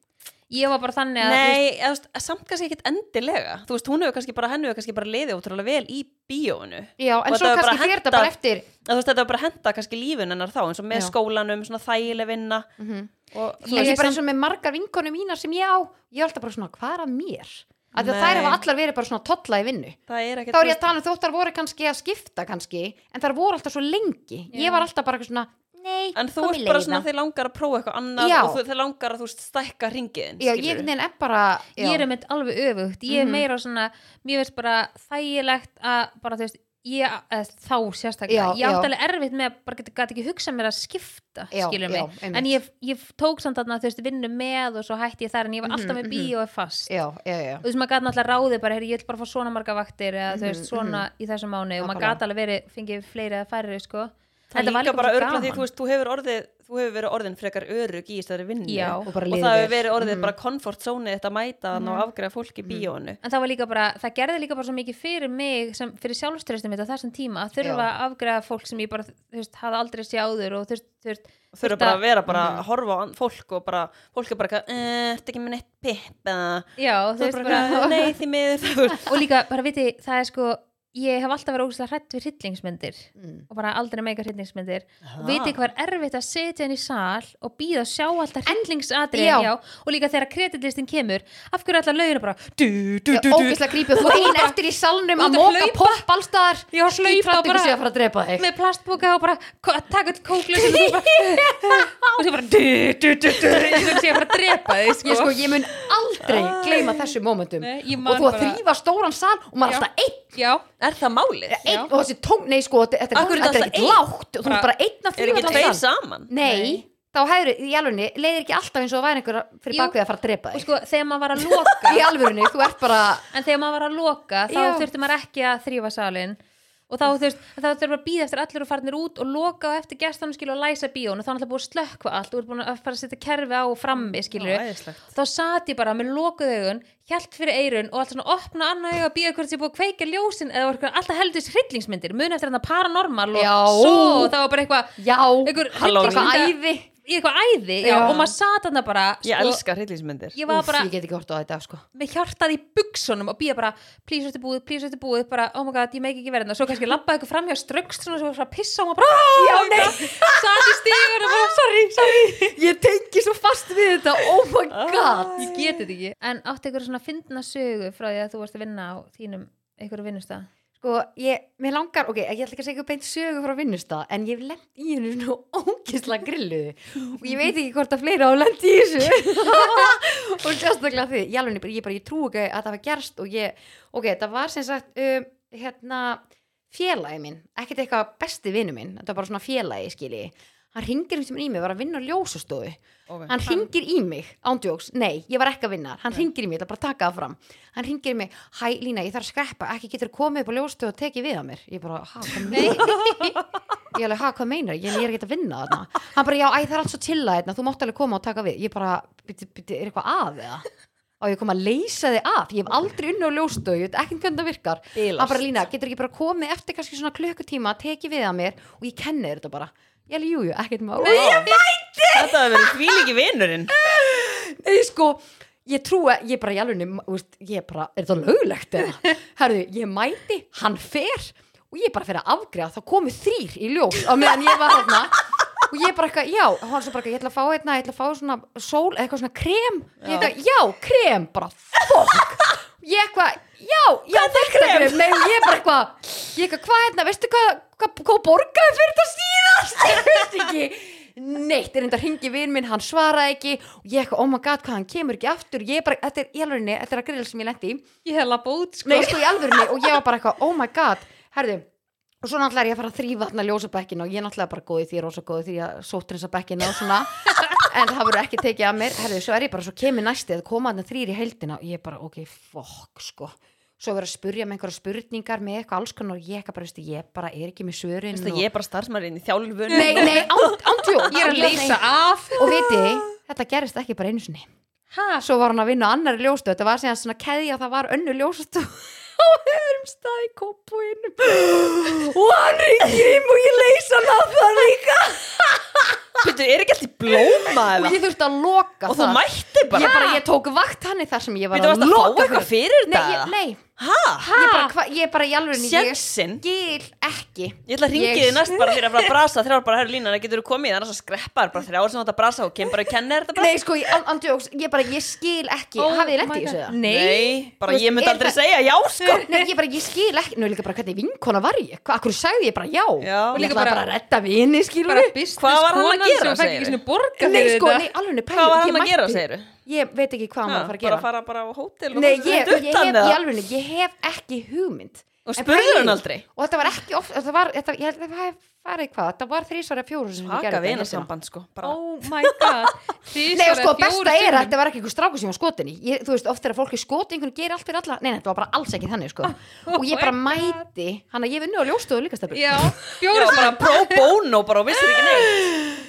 C: ég var bara þannig að þú veist,
B: Nei, eða, þú veist, samt kannski ekkit endilega Þú veist, hún hefur kannski bara, henni hefur kannski bara leiðið ótrúlega vel í bíóinu
A: já, en
B: Og
A: svo
B: þetta var bara
A: kannski fyrir þetta bara
B: hentað.
A: eftir
B: Að Þú veist, þetta var bara að henda kannski lífun hennar þá eins og með
A: Já.
B: skólanum, svona þægileg vinna
A: mm
B: og,
A: ég er
C: Ég
A: bara
C: sam-
A: eins og með margar vinkonu mínar sem ég á ég er alltaf bara svona, hvað er að mér? Af því að
B: Nei.
A: þær hafa allar verið bara svona tolla í vinnu
B: Það er ekkit
A: þá er ég að tala um þóttar voru kannski að skipta kannski en þær voru alltaf svo lengi
C: Já.
A: ég var alltaf bara eitthvað svona, nei,
B: En þú
A: kom
B: ert
A: í
B: bara
A: leiða.
B: svona þeir langar að prófa eitthvað annað
A: um Já.
B: og þú, þeir langar að þú veist, stækka ringiðin
A: já, ég neina er bara já.
C: ég er einmitt alveg öfugt ég er
A: Mhm.
C: meira svona, mér veist bara þægilegt að bara þú veist ég, eða, þá sérstaklega,
A: Já,
C: ég átti
A: já.
C: alveg erfitt með að bara geta, gæti ekki hugsa mér að skipta
A: Já,
C: skilur
A: já,
C: mig,
A: einmitt.
C: en ég, ég tók samt þarna þú veist vinnu með og svo hætti ég þar en ég var
A: Mhm,
C: alltaf með
A: mhm.
C: bíó og fast
A: já, já, já,
C: og þú veist maður gæti náttúrulega ráði bara, heyr, ég vil bara fá svona marga vaktir eða þú veist
A: Mhm,
C: svona í þessum mánu og maður
A: Nákvæmlega.
C: gæti alveg verið, fengið fleiri eða færri sko,
B: Það
C: Þetta
B: er
C: var
B: líka
C: líka
B: bara
C: bara
B: örgla því
C: gaman.
B: þú veist, þú hefur orðið þú hefur verið orðin frekar örug í þessari vinnu
C: Já.
A: og bara
B: og
A: líður
B: það hefur
A: vel.
B: verið orðið
A: Mhm.
B: bara comfort zone þetta mæta mm. og afgreða fólk í bíónu
C: en það var líka bara, það gerði líka bara svo mikið fyrir mig, sem, fyrir sjálfströstum mitt á þessum tíma, að þurfa
A: Já.
C: að afgreða fólk sem ég bara, þú veist, hafði aldrei sjáður og þurft, þurft,
B: þurfa
C: Þurft
B: bara
C: að-
B: að vera bara
A: Mhm.
B: að horfa á ann- fólk og bara, fólk er bara eitthvað, "Eh, ertu ekki með neitt pipp eða,
C: já, þú
B: þú er
C: veist
B: bara,
C: bara
B: eitthvað, nei því miður [LAUGHS] þú veist.
C: og líka, bara viti, það er sko ég hef alltaf verið ógustlega hrætt við hryllingsmyndir
A: Mm.
C: og bara aldrei meika hryllingsmyndir og viti hvað er erfitt að setja henni í sal og býða að sjá alltaf hryllingsadrið
A: já.
C: og líka þegar kreditlistin kemur af hverju allar löginu bara du, du,
A: Já,
C: du, du,
A: ógeðslega grípið,
C: [LAUGHS]
A: þú ein eftir í salnum
C: Þú
A: að
C: ert að
A: móka
C: hlaupa.
A: popp allstaðar
C: Já, hlaupa
A: skítrætt ykkur
C: bara.
A: sé að fara að drepa þig
C: með plastbóka og bara ko- taka öll kóklu sem þú bara [LAUGHS] og svo bara du, du, du, du, eins og sé að fara að drepa þig
A: ég,
C: sko.
A: sko, ég mun aldrei gleyma þessum momentum
C: Nei, ég man
A: og þú að
C: bara-
A: þrýfa stóran sal og maður er
C: Já.
A: alltaf einn
C: já,
B: er það málið?
A: einn og þessi tón, nei sko, þetta þetta
B: Af
A: er,
B: hverju er
A: þetta er
B: alltaf
A: ekkert
B: einn?
A: lágt og þú er
C: Bara-
A: bara einn að
B: er
A: þrýfa
B: ekki tveir saman?
A: nei,
C: Nei.
A: þá hefur, í alvegni, leiðir ekki alltaf eins og það væri einhver fyrir
C: Jú.
A: bakvið að fara að drepa
C: og
A: þig
C: sko þegar maður var að loka
A: í alvegni, þú ert bara
C: en þegar maður var að loka þá
A: Já.
C: þurfti maður ekki að þrýfa salin og þá þurft, þá þurfti maður að býða eftir allir og farnir út og loka á eftir gestanum skilur og læsa bíón og þá er alltaf búið að slökka allt og er búin að fara að setja kerfi á og frammi skilur
B: æðislegt.
C: þá sat ég bara með lokuð augun hjælt fyrir eirun og alltaf svona opna annað auga að býða hvort ég er búið að kveika ljósin eða var eitthvað- alltaf heldist hryllingsmyndir mun eftir þetta paranormal og
A: Já.
C: svo og það var bara eitthvað
A: já,
C: einhver
B: Halló,
A: bara svona
C: hryllingsmynda-
A: æði
C: í eitthvað æði já,
A: Já.
C: og maður sat hann
A: sko-
C: bara sko,
B: ég elska hryllingsmyndir
C: ég var
A: Úf,
C: bara
A: ég get ekki hort á þetta sko.
C: með hjartað í buksunum og býja bara please þetta er búið, please þetta er búið bara oh my god, ég meik ekki verðin og svo kannski labbaði ykkur framhjá ströggst svona svo að pissa og maður bara já, nei satt í stígur og bara sorry, sorry
A: ég tengi svo fast við þetta, oh my god
C: Ah, ég geti þetta ekki en átti ykkur svona fyndna sögu frá því að þú varst að vinna á þínum ykkur vinnustag
A: sko, ég, mér langar, ok, ég ætla ekki að segja ykkur beint sögu frá vinnustad, en ég hef lent í hennu svona ógislega grilluðu og ég veit ekki hvort að fleira á lent í þessu [LAUGHS] og sérstaklega því ég, alveg, ég bara, ég trú ekki að það var gerst og ég, ok, það var sem sagt um, hérna, félagi minn ekkert eitthvað besti vinnu minn þetta var bara svona félagi, skilji hann ringir um sem í mig, var að vinna á ljósastofu
B: okay.
A: hann ringir í mig, ándjóks, nei, ég var ekki að vinna hann ringir í mig, ég ætla bara að taka það fram hann ringir í mig, hæ Lína, ég þarf að skreppa ekki getur komið upp á ljóstu og tekið við að mér ég bara, hæ, hvað meinar ég alveg, hæ, hvað meinar, ég, ég er ekki að vinna þarna hann bara, já, æ, það er allt svo til að þarna þú mátt alveg koma og taka við, ég bara "Bíddu, bíddu, er eitthvað að eða og ég kom að leysa þig af, ég hef aldrei unni á ljóstu ég veit ekki hvernig það virkar
B: Bilast.
A: hann bara, Lína, getur ekki bara komið eftir kannski svona klukkutíma tekið við að mér og ég kenni þér þetta bara ég alveg, jú, jú, ekkert mál ég
B: þetta hefur verið kvílíki vinurinn
A: Nei, sko, ég trúi að ég bara í alveg, úst, ég bara, er það löglegt eða? Herðu, ég mæti, hann fer og ég bara fer að afgreða, þá komu þrýr í ljós á meðan ég var hérna og ég bara eitthvað, já, og hann svo bara eitthvað, ég ætla að fá hérna, ég ætla að fá svona sól, eitthvað svona krem, já, eitthvað, já krem, bara fokk, ég eitthvað, já, já, þetta er krem, nei, ég bara eitthvað, ég eitthvað, hvað hérna, veistu hvað, hvað, hvað borgaði fyrir þetta síðast, ég veist ekki, neitt, er enda að ringi vinn minn, hann svaraði ekki, og ég eitthvað, oh my god, hvað hann kemur ekki aftur, ég bara, þetta er í alvörinni, þetta er að grill sem ég lendi í,
C: ég hef lapp út sko
A: Nei, sko í alvörunni og ég var bara eitthvað, oh my god, herðu og svo náttúrulega er ég að fara að þrýfa þarna ljósa bekkinu og ég er náttúrulega bara góði því, rosa góði því að sótrinsa bekkinu og
C: [LAUGHS]
A: svona en það voru ekki tekið af mér, herðu, svo er ég bara svo kemur næsti að koma þarna þrýr í heildina og ég er bara, ok, fokk, sko svo verið að spurja með einhverja spurningar með eitthvað alls konar og ég eitthvað bara, veistu, ég bara er ekki með svörin
B: Veistu,
A: og...
B: ég er bara starfsmærin í þjálfun
A: Nei, nei, ántjú
C: ég er að leysa af
A: Og viti, þetta gerist ekki bara einu sinni
C: ha,
A: svo var hann að vinna á annari ljóstu þetta var síðan svona keðja það var önnu ljóstu á öðrum stað í kompoinum og hann ringir um og ég leysa hann á það líka [LAUGHS]
B: er ekki allt í blóma
A: og
B: eða
A: ég þurfti að loka
B: og þú
A: það
B: mættir Nei, bara
A: ég, bara, ég tók vakt hann þar sem ég var
B: Við þú varst að fá
A: loka
B: eitthvað fyrir
A: Nei, ég,
B: þetta
A: nei
B: Hæ?
A: ég, bara, hva, ég bara í alveg ég
B: Sjensin
A: skil ekki
B: Ég ætla að ringi
A: Ég-
B: þið næst bara fyrir að fara að brasa þrjár bara herru lína, það getur þú komið, annars að skreppa þér bara þrjár sem þú átt að brasa og kemur bara að kenna þér þetta bara
A: Nei, sko, ég, an, andjóks, ég bara, ég skil ekki
C: Oh
A: Hafið þið lent
C: my
A: í þessu
C: God.
A: það?
C: Nei,
B: bara ég myndi
A: er
B: aldrei
A: það-
B: segja já sko
A: Nei, ég bara, ég skil ekki Nú, líka bara, hvernig vinkona var ég? Hva, akkur sagði ég bara já?
B: Já.
A: Og
C: Líka
A: líka bara,
C: bara-
A: bara að redda vini, skilur
C: bara business
B: Hvað var hann að
C: konan
B: gera,
C: sem fæk
B: segirðu?
C: ekki svona borga
A: Nei,
C: fyrir
A: sko,
C: þetta
A: nei, alveg
B: Hvað var hann að gera, segirðu?
A: Ég veit ekki hvað hann var að fara að
B: Bara
A: gera
B: að fara bara á hótel og
A: Nei,
B: fara
A: ég,
B: þetta
A: ég, hef,
B: utan
A: í
B: eða?
A: alveg, ég hef ekki hugmynd
B: Og
A: En
B: spurður
A: pælið-
B: hann aldrei
A: Og þetta var ekki oft, þetta var, þetta, ég held að það hef farið hvað Þetta var þrísvara fjóru sem ég gerði
B: Haka
A: þetta
B: vina
A: hérna.
B: samband sko bara
C: oh my god
A: Nei, og sko, besta er að þetta var ekki einhver stráku sem var skotin í ég, Þú veist, oft er að fólki skotin, einhvern gerir allt fyrir alla Nei, nei, þetta var bara alls ekki þannig,
B: [LAUGHS]
A: sko Og ég bara
C: my
A: mæti, hann að ég vinnu á ljóstöðu líka stefnir
C: já,
B: Oh Já,
C: fjóra
B: bara pro bono bara og vissir ekki neitt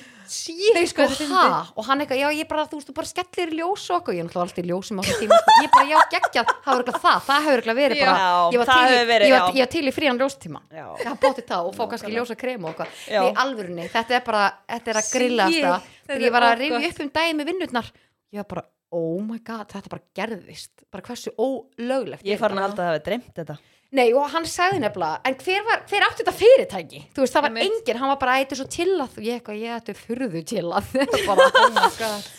A: Nei, sko, ha, og hann eitthvað, já, ég bara, þú veist, þú bara skellir í ljós og okkur, ég er náttúrulega alltaf í ljósum á þessum tíma, sko. ég bara, já, geggjað, það var eitthvað það, það hefur eitthvað verið bara,
B: Já,
A: ég var
B: það
A: til í-
B: hefur verið,
A: ég var-
B: já.
A: ég var til í frían ljóstíma,
B: Já.
A: það bóti það og fá kannski ljósa krem og eitthvað,
B: Já.
A: nei, alvörunni, þetta er bara, þetta er að
C: Shit,
A: grilla þetta,
C: þetta
A: þegar
C: er
A: ég var að
C: ógott.
A: rifja upp um daginn með vinnurnar, ég var bara, oh my god, þetta bara gerðist, bara hversu ólöglegt.
B: Ég er farin
A: þetta
B: að halda að það hefði dreymt þetta
A: Nei, og hann sagði nefnilega, en hver, var, hver átti þetta fyrirtæki? Þú veist, það var
C: Einmitt.
A: enginn, hann var bara, "Æ, þetta er svo tillað, og ég eitthvað, ég ætti furðu tillað, [LAUGHS] bara, oh my god.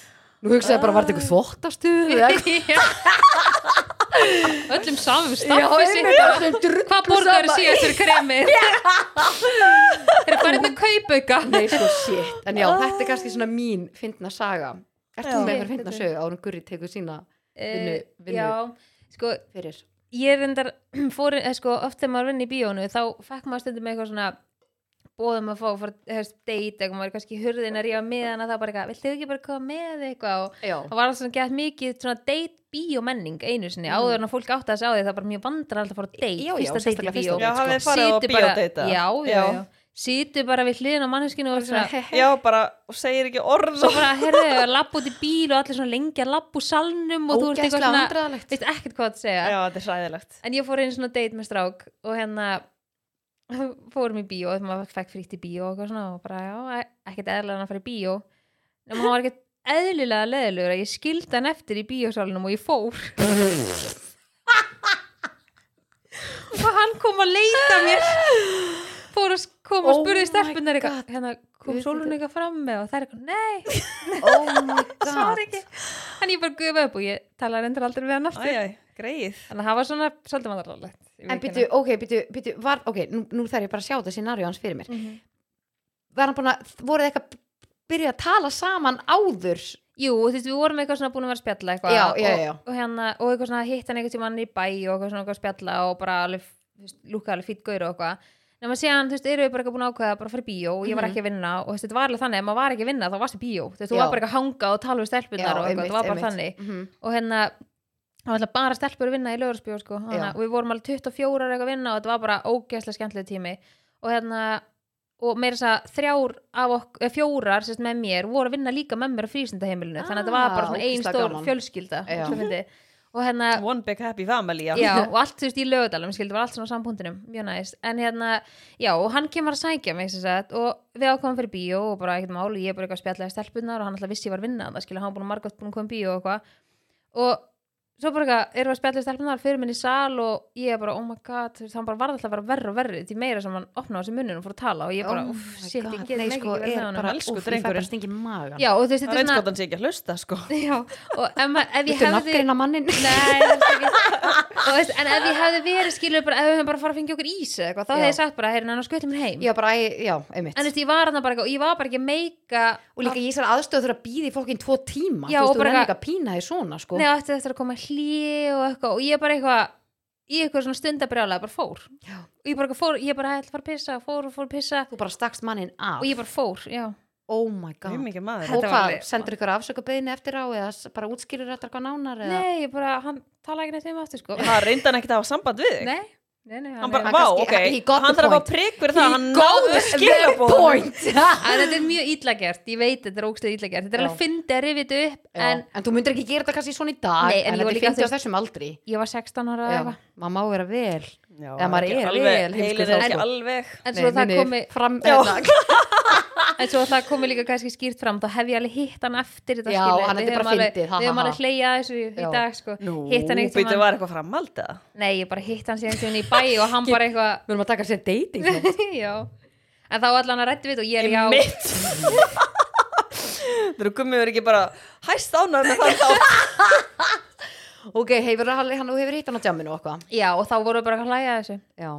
A: Nú hugsaði ég bara, var þetta eitthvað þvóttastuð eða eitthvað?
C: [LAUGHS] Já. öllum samum
A: Já,
C: staffi
A: einmitt, bara sem drullu
C: hvað borgar
A: saman.
C: síðast fyrir kremið [LAUGHS] þeir farið með kaupauka
A: Nei, sko, shit. En já, þetta er kannski svona mín fyndna saga. Ert þú
B: Ah. Já.
A: með einhver fyndna
C: Þetta
A: sögu árum Gurri tekur sína
C: Eh,
A: vinnu-
C: já, sko
A: fyrir?
C: ég reyndar [CLEARS THROAT] fór, eh, sko, oft þegar maður vinn í bíónu þá fekk maður stundum eitthvað svona bóðum að fá, fór, hefst, date eitthvað maður er kannski hurðin að rífa með hana þá bara eitthvað, viltu ekki bara koma með eitthvað og
A: Já.
C: það var alltaf svona gett mikið svona date bíómenning einu sinni, Mm. áður en að fólk átti að segja á því það var mjög vandrar alltaf að fara á date,
A: Já, já,
C: fyrsta date
A: sérstaklega
C: í
A: fyrsta
C: bíó
A: date.
B: Já,
A: sko.
B: hafið þið farið á
C: Situr bara-
B: bíódeita
C: já, já, já, situr bara við hliðin á manneskinu og er svona [LAUGHS]
B: Já, bara, og segir ekki orð
C: svo bara, herðu, lapp út í bíl og allir svona lengi að lapp úr salnum og þú ert eitthvað
A: Ógeðslega
C: svona,
A: vandræðalegt.
C: veist ekkert hvað að segja
B: Já, þetta er sæðilegt
C: en ég fór einu svona date með strák og hérna [LAUGHS] fórum í bíó þegar maður fekk frítt í bíó og eitthvað svona og bara já, e- ekkert eðlilega hann að fara í bíó en hann var ekkert eðlilega leðilegur að ég skildi hann eftir í bíósalunum og ég fór [LAUGHS] og hann kom að leita mér fór að s- kom og
A: Oh
C: spurði
A: my
C: stelpunar eitthvað
A: God.
C: hérna kom
A: Guð,
C: sólun eitthvað fram með og það er eitthvað, nei,
A: Oh
C: [LAUGHS]
A: my god.
C: það var ekki en ég bara gufa upp og ég talaði endur aldrei við hann aftur
B: Æjæ, greið
C: þannig að það var svona svolítið vandrarlegt
A: En byrju, ok, byrju, byrju, var, ok, nú, nú þarf ég bara að sjá þetta scenario hans fyrir mér.
B: Mhm.
A: Var hann búin að, voruð þið eitthvað byrjað að tala saman áður?
C: Jú, þú veist, við vorum eitthvað svona búin að vera að spjalla eitthvað
A: Já, já, já.
C: Og, og, hérna, og eitthvað svona hitt hann eitthvað tímann í bæ og eitthvað svona eitthvað að spjalla og bara alveg, þú veist, lúkka alveg fýtt gaur og eitthvað Nefnir síðan, þú veist, eru við bara eitthvað búin að ákveða bara að fara í bíó og ég var
A: Mhm.
C: ekki að vinna og þú veist, þetta var alveg þannig, ef maður var ekki að vinna þá varst í bíó Þú veist, þú
A: Já.
C: var bara eitthvað að hanga og tala við stelpunar og eitthvað, það var bara þannig
A: Mm
C: og hérna, það var alltaf bara stelpur að vinna í lögurspjó sko, hana,
A: Já.
C: og við vorum alveg 24 ára eitthvað að vinna og þetta var bara ógeðslega skemmtileg tími og hérna og meira þess að þrjár af okkur fjórar sérst, með mér voru að vinna líka með mér á frístundaheimilinu þannig að þetta var
A: Ah,
C: bara svona ein
A: ógeðslega
C: stór
A: gaman.
C: fjölskylda
A: Já.
C: ógeðslega fyndið. og hérna
B: One big happy family, já
C: já, og allt þú veist í lögadalum skildi var allt svona á sampúndinum, mjög næst en hérna, já, og hann kemur að sækja mig sem sagt, og við ákomum fyrir bíó og bara ekkert máli, ég er bara eitthvað að spjalla í stelpunar og hann alltaf vissi ég var að vinna, það skilja, hann var búin að margótt búin að koma í bíó og eitthvað og svo bara eitthvað, erum við að spjalla í stelpunar fyrir minni í sal og ég er bara, oh my god þú veist, hann bara varð alltaf bara verri og verri því meira sem hann opnaði þessi munnum og fór að tala og ég
B: Oh
C: bara,
A: Oh
C: uff, shit, ég get ekki verið með honum
B: elsku
A: Úf, ég fæ
B: drengurinn.
A: sko, bara stingi magan.
C: já, og þú
B: Það
C: veist,
B: er
C: þetta er
B: eins gott
C: svona
B: hann sé ekki að hlusta, sko
C: [LAUGHS] já, og ef, ma- ef ég
A: Viltu
C: hefði
A: nafngreina mannin?
C: Nei, helst ekki. Og veist, en ef ég hefði verið skilur bara, ef við hefðum bara farið að fengja okkur ís eða eitthvað, þá
A: Já.
C: hefði ég sagt bara, heyrðu, hann skutlum mér heim.
A: Já, bara, æ, já, einmitt.
C: En þú veist, ég var hann bara eitthvað, og ég var bara ekki að meika,
A: og líka ég sér aðstöðu þurfa að býða í fólkinn tvo tíma.
C: Já,
A: þú veist, þú
C: og bara
A: verður
C: eitthvað-
A: líka að pína þig svona, sko.
C: neða, ætti þetta að koma hlið og eitthvað, og ég bara eitthvað, í eitthvað svona stundabrjálega, bara fór.
A: Já.
C: Og ég bara eitthvað fór, ég bara, ætla að fara að pissa, fór og fór að pissa,
A: Þú bara stakst mannin af.
C: og ég bara fór, já.
A: Oh my
B: Mjög
A: god.
B: mikið maður
A: Og
C: Þetta var
A: hvað,
C: alveg-
A: sendur ykkur afsökubeðinu eftir á eða s- bara útskýrur þetta eitthvað nánar? eða-
C: Nei, ég bara, hann talaði ekki neitt við mig aftur, sko.
B: Það reyndi hann ekkert að hafa samband við þig
C: Nei, nei, nei,
B: Hann
C: hann er-
B: bara,
A: hann
B: vá,
A: kannski-
B: ok
A: he got
B: Hann
A: the
B: þarf að
A: point.
B: fá prigg fyrir það Hann
A: He got
B: náðu
A: the
B: skilabóð
A: point.
C: Æ, Þetta er mjög ítlagert, ég veit þetta er ógstuð ítlagert Þetta
A: Já.
C: er alveg fyndið að rifja þetta upp
A: Já,
C: En
A: en, þú myndir ekki gera þetta kannski svona í dag
C: Nei,
A: en,
C: en ég var
A: þetta
C: líka
A: finnst ég
C: þú
A: á þessum aldri
C: ég var 16 ára eða
A: Já,
C: eitthvað
A: maður má vera vel
B: Já,
A: Eða maður
B: ekki
A: er
B: alveg,
A: vel heimskur
B: heilin
A: þá,
B: er ekki
A: sko.
B: alveg
C: en svo það komi
A: [LAUGHS] fram,
B: Já.
A: hérna,
C: en svo það komi líka kannski skýrt fram þá hef ég alveg hitt hann eftir þetta
A: Já,
C: skilurðu.
A: hann
C: Við
A: þetta er
C: höfum
A: bara
C: alveg-
A: fyndið, ha,
C: við
A: ha,
C: höfum
A: ha.
C: alveg hleyjað þessu í- í
A: Já.
C: dag sko. hitt hann
B: Nú, býttu
C: eitthvað
B: var eitthvað framhald eða?
C: nei, ég bara hitt hann síðan tíðan í bæ og hann bara eitthvað [LAUGHS]
A: við erum að taka sér dating sko. þátt.
C: já en þá allan að rætti við þetta og ég er já
B: Einmitt Þú eru gummið verið ekki bara hæst ánað með þann þá
A: ok, hefur hann, hann þú hefur hitt hann á djamminu og eitthvað
C: já og þá voru við bara að hlæja að þessu
A: já,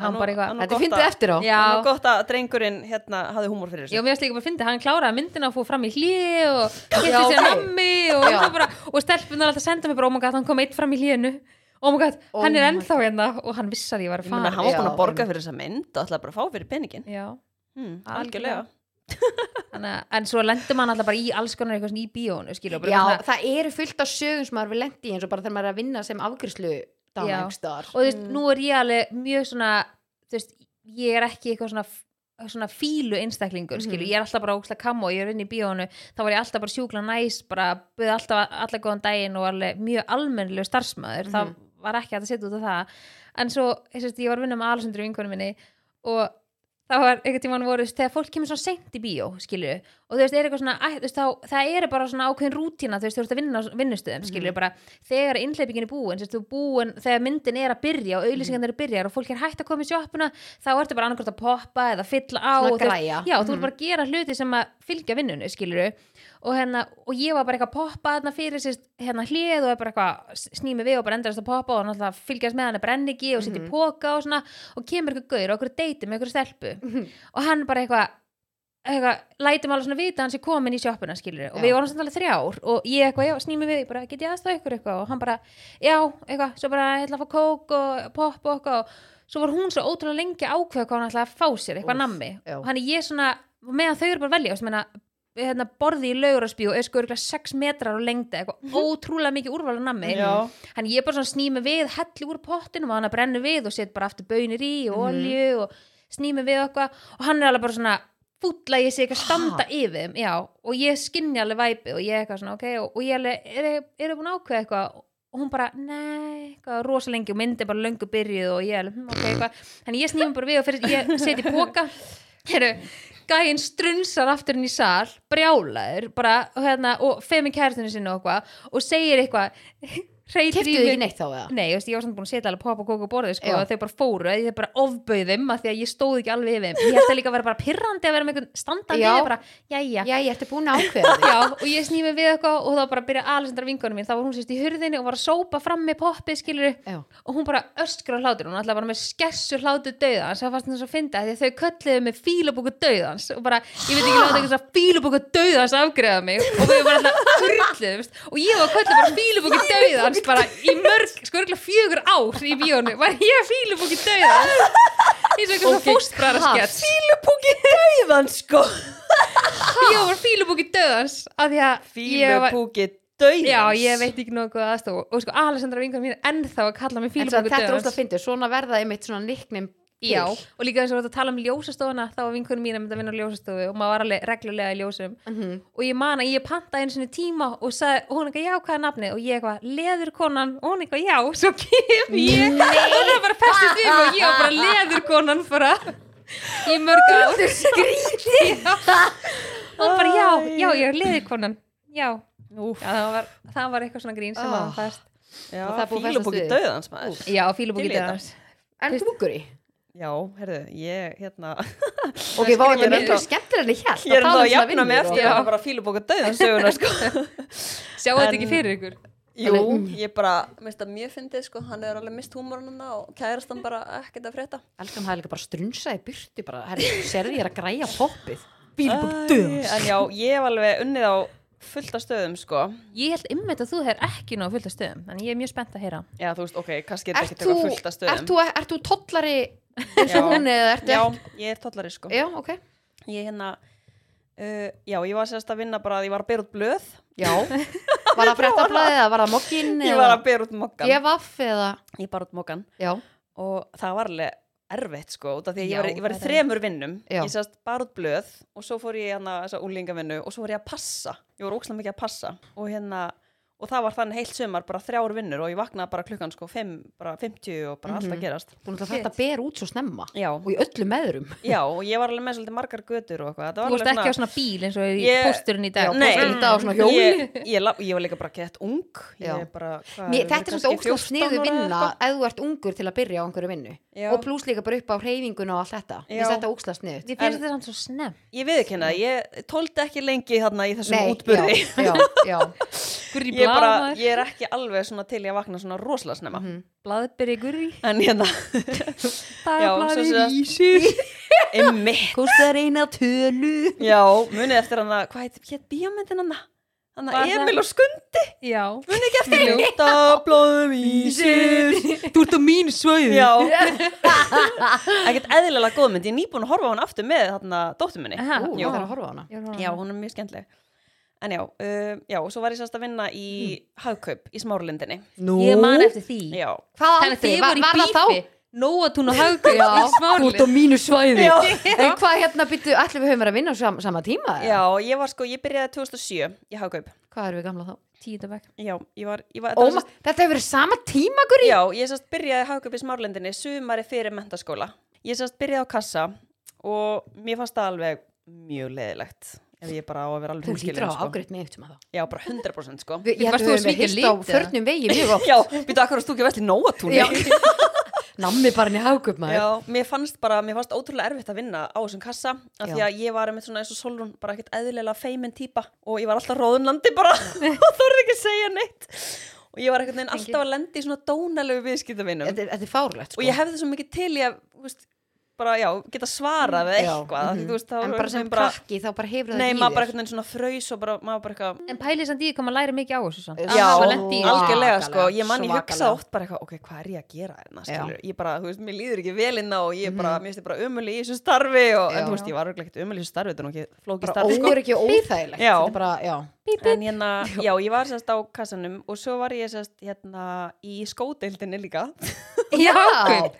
C: Hann bara eitthvað-
A: þetta er fyndið eftir á
C: Já.
B: Nú gott að drengurinn hérna hafði húmor fyrir
C: Já,
B: þessu
C: mér finnst líka bara að fyndi, hann kláraði myndina og fóð fram í hlið og kynnti
A: Já,
C: sér
A: ok.
C: nammi og,
A: Já.
C: það bara, og stelpunar alltaf senda mér bara, oh my god, hann kom eitt fram í hliðinu oh my god,
A: Oh
C: hann er
A: my
C: ennþá hérna og hann vissi að ég var
B: Ég
C: að
B: meina,
C: fara
B: hann var búin
A: Já,
B: að borga fyrir þessa mynd og ætlaði bara að fá fyrir peningin
C: Já,
B: hmm,
C: Algjörlega.
B: Algjörlega
C: Þannig, að- en svo lendur mann alltaf bara í alls konar eitthvað svona í bíónu, skilur bara
A: já,
C: svona-
A: það eru fullt af sögum sem maður við lendi í eins og bara þegar maður er að vinna sem afgjörslu
C: Já.
A: dánægstar
C: og þú veist, nú er ég alveg mjög svona þú veist, ég er ekki eitthvað svona svona fílu einstaklingur, skilu,
A: Mhm.
C: ég er alltaf bara ógslag kammo, ég er inn í bíónu, þá var ég alltaf bara sjúkla næs, bara byrði alltaf allar góðan daginn og alveg mjög almennilegu starfsmæður, mm
A: Mhm.
C: það var ekki hægt að setja út af það, en svo, ég, sérst, ég var að vinna með Alessandru vinkonu minni og þá var einhvern tímann voru, þú veist, þegar fólk kemur svona seint í bíó, skilu, og þú veist, er eitthvað svona, æ, þú veist, þá, það er bara svona ákveðin rútína, þú veist, þú veist að vinna á vinnustöðum, skilu, bara þegar innleipingin er búin, sérst, þú búin þegar myndin er að byrja og auðlýsingarnir er að byrja og fólk er hægt að koma í sjoppuna þá ertu bara annarkvort að poppa eða fylla á
A: Svona
C: og þú veist-
A: græja.
C: já, þú ert bara að gera hluti sem að fylgja vinnunni, skilur og, hérna, og ég var bara eitthvað að poppa þarna fyrir sérst, hérna hlið og er bara eitthvað snými við og bara endast að poppa og náttúrulega fylgjast með hann er brenningi og
A: Mhm.
C: sitja í póka og svona og kemur eitthvað gaur og okkur deyti með okkur stelpu
A: Mhm.
C: og hann bara eitthvað eitthvað, lætum alveg svona vita að hann sé komin í sjoppuna skilur og
A: Já.
C: við vorum samt alveg þrjár og ég eitthvað, já, snými við, bara get ég aðstæða ykkur eitthvað og hann bara, já, eitthvað, svo bara ég ætla að fá kók og popp og eitthvað og svo var hún svo ótrúlega lengi að ákveða hvað hún ætla að fá sér, eitthvað
A: Úff,
C: nammi
A: já.
C: og hann er ég svona, og meðan þau eru bara að velja og sem hérna, hérna borði í laugurarsbíu og er sko örgulega 6 metrar á lengda
A: [LAUGHS]
C: eitthvað ótrúlega mikið úrval af nammi
B: Já.
C: hann ég bara svona snými við, helli úr pottinum og hann að brenna við og set bara aftur bönir í og
A: Mhm.
C: olju og snými við og eitthvað og hann er alveg bara svona fúll að ég sé ekki að standa yfir þeim, já, og ég skinni alveg væpi og ég eitthvað svona, ok, og, og ég alveg eru er búin að ákveða eitthvað og hún bara, nei, eitthvað rosa lengi og myndi bara löngu byrjuð og ég alveg, hm, ok, eitthvað þannig ég snými bara við og fyrir, ég seti í póka heru, gæinn strunsar aftur inn í sal, brjálaður bara, og hérna, og femi kærtinu sinni og eitthvað, og segir eitthvað [LAUGHS] hreytir
A: keftuðu ekki neitt þá eða
C: Nei, þú veist, ég var samt búin að setja alveg poppa kók á borðið sko,
A: Já.
C: og þau bara fóru, þau bara ofbauðum að því að ég stóð ekki alveg yfir þeim. Ég held að líka að vera bara pirrandi að vera með einhvern standandi
A: Já.
C: eða bara, jæja,
A: já, ég ertu búin að ákveða
B: [LAUGHS]
A: þig
C: já, og ég sný mig við eitthvað og þá bara byrja Alessandra vinkonum mín, þá var hún sérst í hurðinni og var að sópa fram með poppið, skilur
A: já,
C: og hún bara öskra á hlátur, hún alltaf bara með skessu hlátur döðans, það fannst hún svo að finna því að þau kölluðu með fílabúku döðans og bara, ég veit ekki láta eitthvað svona fílabúku döðans afgreða mig og við bara alltaf hurluðumst og ég var að köllu bara fílabúku döðans bara í mörg, sko örgulega fjögur ár í bíónu, var ég fílabúku döðans eins og eitthvað svona
A: Ok,
C: fóstbræðarskett
B: Fílupúki döiðan sko
C: ég var fílabúku döðans af því að ég var-
B: Fílupúki döiðan
C: Já, ég veit ekki nokkuð aðstof og sko, Alessandra vingar mín er ennþá að kalla mig
A: en svo,
C: fílabúku
A: þetta er
C: döðans
A: óslega fyndið, svona verða einmitt svona niknim
C: Já, og líka þess að við vorum að tala um ljósastofuna þá var vinkunum mín að mynda að vinna á ljósastofu og maður var alveg reglulega í ljósum
A: Mhm.
C: og ég man að ég pantaði einu sinni tíma og, sagði, og hún eitthvað já, hvað er nafnið? Og ég eitthvað, leðurkonan og hún eitthvað já, svo kem ég [LAUGHS] og hún er bara festist við mig og ég
A: [LAUGHS]
C: var bara leðurkonan bara í mörg ár Þú skríti [LAUGHS] og hún bara já, já, ég er leðurkonan já, já það, var, það var eitthvað svona grín sem var
A: Ah.
C: fast
B: Já,
A: Og það er búið að festast
B: fílupúki
A: við.
B: döiðans maður
C: Já, fílubúk í
B: Til í
C: dag
A: en klúkuri
B: Já, herðu, ég hérna [LAUGHS]
A: ok, vá, þetta er
B: Ég er
A: miklu
B: ennþá-
A: skemmtir en ég held
B: Ég er ennþá
A: tala um
B: að
A: svona
B: jafna mig
A: vinnur og-
B: eftir að bara fílupúki döiðan söguna sko
C: Sjáu þetta
B: En-
C: ekki fyrir ykkur?
B: Jú,
A: Alveg, mm.
B: ég bara, minnst það mjög fyndið sko, hann er alveg mist húmorununa og
A: Mm.
B: kærast hann bara ekkert að frétta
A: Elskan, það er líka bara strunsa í burti bara, herri, sérðu ég er að græja poppið
B: Æ, En já, ég hef alveg unnið á fullt af stöðum sko
C: Ég held ymmit að þú hefur ekki nóg fullt af stöðum en ég er mjög spennt að heyra
B: Já, þú veist, ok, kannski er þetta
A: Ert
B: ekkert
A: þú,
B: eitthvað fullt af
A: ert
B: stöðum
A: þú, ert þú tollari eins
B: Já.
A: og hún eða ertu
B: Já,
A: ekki-
B: ég er tollari sko
A: Já, ok
B: Ég hérna, uh, já, ég var sérst að vinna bara að ég var að bera út blöð
A: [LAUGHS] Já, var það fréttablaðið eða var það mokkin
B: Ég var að bera út mokkan
A: Ég vaff eða
B: Ég bara út mokkan
A: Já,
B: og það var alveg erfitt sko út af því að
C: Já,
B: ég var, ég var í
C: það er
B: þremur vinnum
A: Já.
B: ég sérst bara út blöð og svo fór ég hérna þessa úlingavinnu og svo var ég að passa ég var ókslega mikið að passa og hérna og það var þannig heilt sumar bara þrjár vinnur og ég vaknaði bara klukkan sko 5, bara 50 og bara allt
A: Mhm.
B: að gerast
A: Þú náttúrulega þarft að bera út svo snemma
B: já,
A: og í öllum meðrum
B: já og ég var alveg með svolítið margar götur og eitthvað Þetta var
C: Þú varst
B: alveg
C: ekki á svona bíl eins og í
B: Ég-
C: pósturinn í dag
B: Já, Nei.
A: Þú ert á svona hjóli
B: ég, ég, la- ég var líka bara gett ung
A: Já.
B: ég bara, hvað,
A: Mér,
B: ég var
A: þetta er svona
B: kannski
A: ógstlega sniðu
B: 14 ára eða
A: vinna
B: eitthvað.
A: ef þú ert ungur til að byrja á einhverju vinnu
B: Já.
A: og pluss líka bara upp á hreyfinguna og allt þetta Mér finnst
B: Já.
A: þetta ógstlega sniðut
C: Ég finnst þetta samt svo snemm
B: ég viðkynna, ég tóldi ekki lengi þarna í þessum útbyrði
A: já, já, já.
C: Gurri
B: ég, bara,
C: blaðmaður
B: ég er ekki alveg svona til ég vakna svona rosalega snemma
A: Mhm.
C: Blaðberi gurri
B: en hérna, Já, svo
A: [LAUGHS]
C: Dagblaði
B: sem
C: vísir
B: emmi
A: Kostar eina tölu
B: já, munið eftir hann að hvað heit, hétt bíómyndin hann hann
C: Var
B: að
C: það-
B: Emil og Skund
C: Já
B: munið ekki eftir ljóta blóðum í
A: [LAUGHS]
B: sér
A: Þú ert á mínu svæði
B: já ekkert eðlilega góð mynd, ég er nýbúin að horfa á hann aftur með þarna dóttur minni
C: Aha.
A: Ú,
B: Já.
A: ég þarf að horfa á hana
B: Já, hún er mjög skemmtileg. En já, uh, já, og svo var ég sérst að vinna í hagkaup í smárlindinni.
A: Nú,
C: Ég man eftir því
B: Já.
A: hvað
C: Þannig að
A: aldrei,
C: þið
A: var,
C: voru
A: var
C: í
A: það þá?
C: bífi um Nóatún og haugur
A: Já, þú ert á
C: Smáli
A: mínu svæði
B: Já.
A: En hvað hérna byttu, allir við höfum verið að vinna á sama, sama tíma? eða?
B: já, ég var sko, ég byrjaði 2007 í hagkaup.
A: Hvað erum við gamla þá?
C: Tíðabæk
B: Já, ég var, ég var, þetta var
A: Óma, þetta hefur verið sama tíma, Guri?
B: já, ég sérst byrjaði í hagkaup í smárlindinni sumari fyrir mentaskóla. Ég sérst byrjaði á kassa og mér fannst það alveg mjög leðilegt. Ef ég bara á að vera alveg
A: Þú lítur
B: hreinskilin,
A: á ágreitt með eitthvað þá
B: Já, bara 100% sko.
A: Við- Ég held
C: Varst
A: að við
C: þú að
A: höfum
C: svíkja
A: hist á
C: lit, eða?
A: förnum vegi mjög oft
B: Já, býtu, akkur að stúkja vestli nóatúni.
A: Já. [LAUGHS] Nammi bara henni haugup maður
B: Já, mér fannst bara, mér fannst ótrúlega erfitt að vinna á þessum kassa af því
A: Já.
B: að ég var einmitt svona eins og Solrún bara ekkert eðlilega feimin típa og ég var alltaf róðunlandi
A: [LAUGHS]
B: bara og þorði ekki að segja neitt og ég var ekkert neginn alltaf að lenda í svona dónalegu viðskiptavinnum
A: Þetta er- þetta er fárlegt sko
B: og ég hefði svo mikið til í að, þú veist, bara já, geta svarað eða
A: Já,
B: eitthvað
A: mhm.
B: mm -hmm.
A: En bara sem krakki þá bara hefur það
B: Nei,
A: ekki í
B: maður bara
A: þér.
B: ekkert neginn svona fraus og bara, maður bara eitthvað
C: En pælið samt í hvað maður læri mikið á þessu samt
A: Já,
C: Að hafa lent í-
A: algjör-
B: algjörlega sko,
A: Svakalega,
B: ég man ég hugsa
A: svakalega.
B: oft bara eitthvað, ok, hvað er ég að gera
A: Já.
B: hérna,
A: Mhm.
B: skilur, ég bara, þú veist, mér líður ekki vel inná og ég bara, mér finnst ég bara ömulig í þessu starfi og,
A: Já.
B: en þú veist, ég var örugglega ekkert ömulig í þessu starfi, þetta er nú ekki flókið
A: Bara
B: starfi sko,
A: óöryggi og óþægilegt
B: Já.
A: Þetta er bara,
B: [LAUGHS]
A: já
B: en hérna,
A: [LAUGHS]
B: já, ég var sérst á kassanum og svo var ég sérst, hérna, í skódeildinni líka,
C: Já,
A: Já.
C: haugur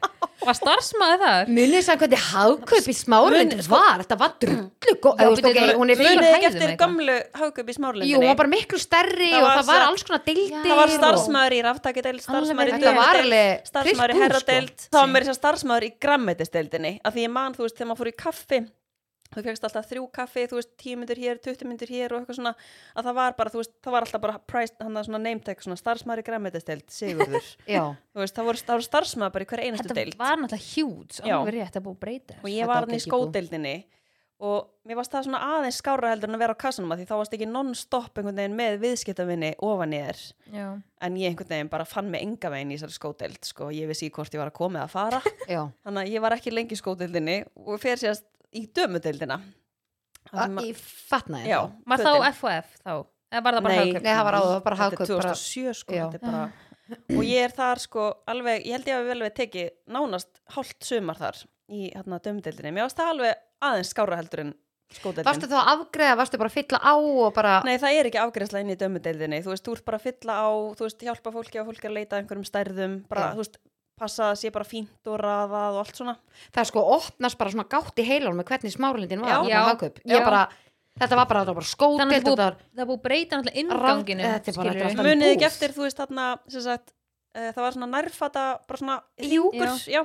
C: Var starfsmaður þar?
A: Munið sann hvernig hagkaup í smáralind
B: sko.
A: var Þetta var drullu góð
C: Já,
A: Þú veist,
C: byrju,
A: ok,
C: þetta var-
A: Hún er
C: Munið-
A: fyrir
B: munið
C: hæðum
B: ekki eftir
C: eitthvað.
B: gömlu haugup í smárlindinni,
A: Jú, hún var bara miklu stærri
B: Það
A: og
B: var
A: það var
B: svo-
A: alls konar deildir
B: það var
A: og-
B: starfsmaður í raftakideild, starfsmaður í
A: Þetta var
B: dögdeild,
A: alveg fullt
B: starfsmaður í
A: hús, sko.
B: herradeild þá var mér þess að starfsmaður í grammetisdeildinni af því ég man, þú veist, þegar maður fór í kaffi þú fegst alltaf þrjú kaffi, þú veist, tíu myndir hér 20 myndir hér og eitthvað svona að það var bara, þú veist, það var alltaf bara price, hann það svona name tag, svona starfsmaður í grammetisdeild Sigurður,
A: [LAUGHS] Já,
B: þú veist, það voru, það voru starfsmaður bara í hver einastu
C: Þetta
B: deild
C: var náttúrulega hjúts
B: Já.
C: Alveg rétt að búið að breyta
B: og
C: þessu.
B: ég
A: Þetta
B: var
A: átti
B: hann í
A: ekki bú.
B: skódeildinni og mér varst það svona aðeins skára heldur en að vera á kassanum að því þá varst ekki non-stop einhvern veginn með viðskiptavinni ofan í þér
C: Já.
B: en ég einhvern veginn bara fann mig enga veginn í þessari skódeild sko, ég vissi í hvort ég var að koma eða fara [LAUGHS]
A: já
B: þannig að ég var ekki lengi í skódeildinni og fer sérst í dömudeildina Það sem að-
A: Ég fatna
B: já,
A: þetta
C: Var þá
B: fötin.
C: F og F þá? Eða var það bara
B: Nei.
C: haugur?
A: Nei, það var áður, það var bara
B: þetta er
A: hagkaup bara-
B: 2007 sko,
A: Já.
B: þetta er bara [CLEARS THROAT] og ég er þar sko alveg, ég held ég að vel við tekið nánast hálft sumar þar í hérna, dömudeildinni, mér varst það alveg aðeins skára heldur en skódeildin
A: Varstu þá að afgreða, varstu bara að fylla á og bara
B: Nei, það er ekki afgreðsla inn í dömudeildinni þú veist, þú ert bara að fylla á, þú veist, hjálpa fólki og fólki að leita að einhverjum stærðum bara,
A: Já.
B: þú veist, passa að sé bara fínt og raðað og allt svona
A: það sko opnast bara svona gátt í heilan með hvernig smáralindin var
B: Já.
A: þarna
C: Já.
A: á hagkaup. Ég
C: Já.
A: bara, þetta var bara, þetta var bara
C: Þannig
A: skótild
C: að
A: þetta
C: það
A: var,
C: búið- það er búið að breyta náttúrulega
A: Ráð-
C: innganginu
A: Þetta er bara- þetta er
C: skilurðu.
A: alltaf-
B: munið ekki
A: búð.
B: eftir, þú veist þarna sem sagt, uh, það var svona nærfata bara svona hjúkur já.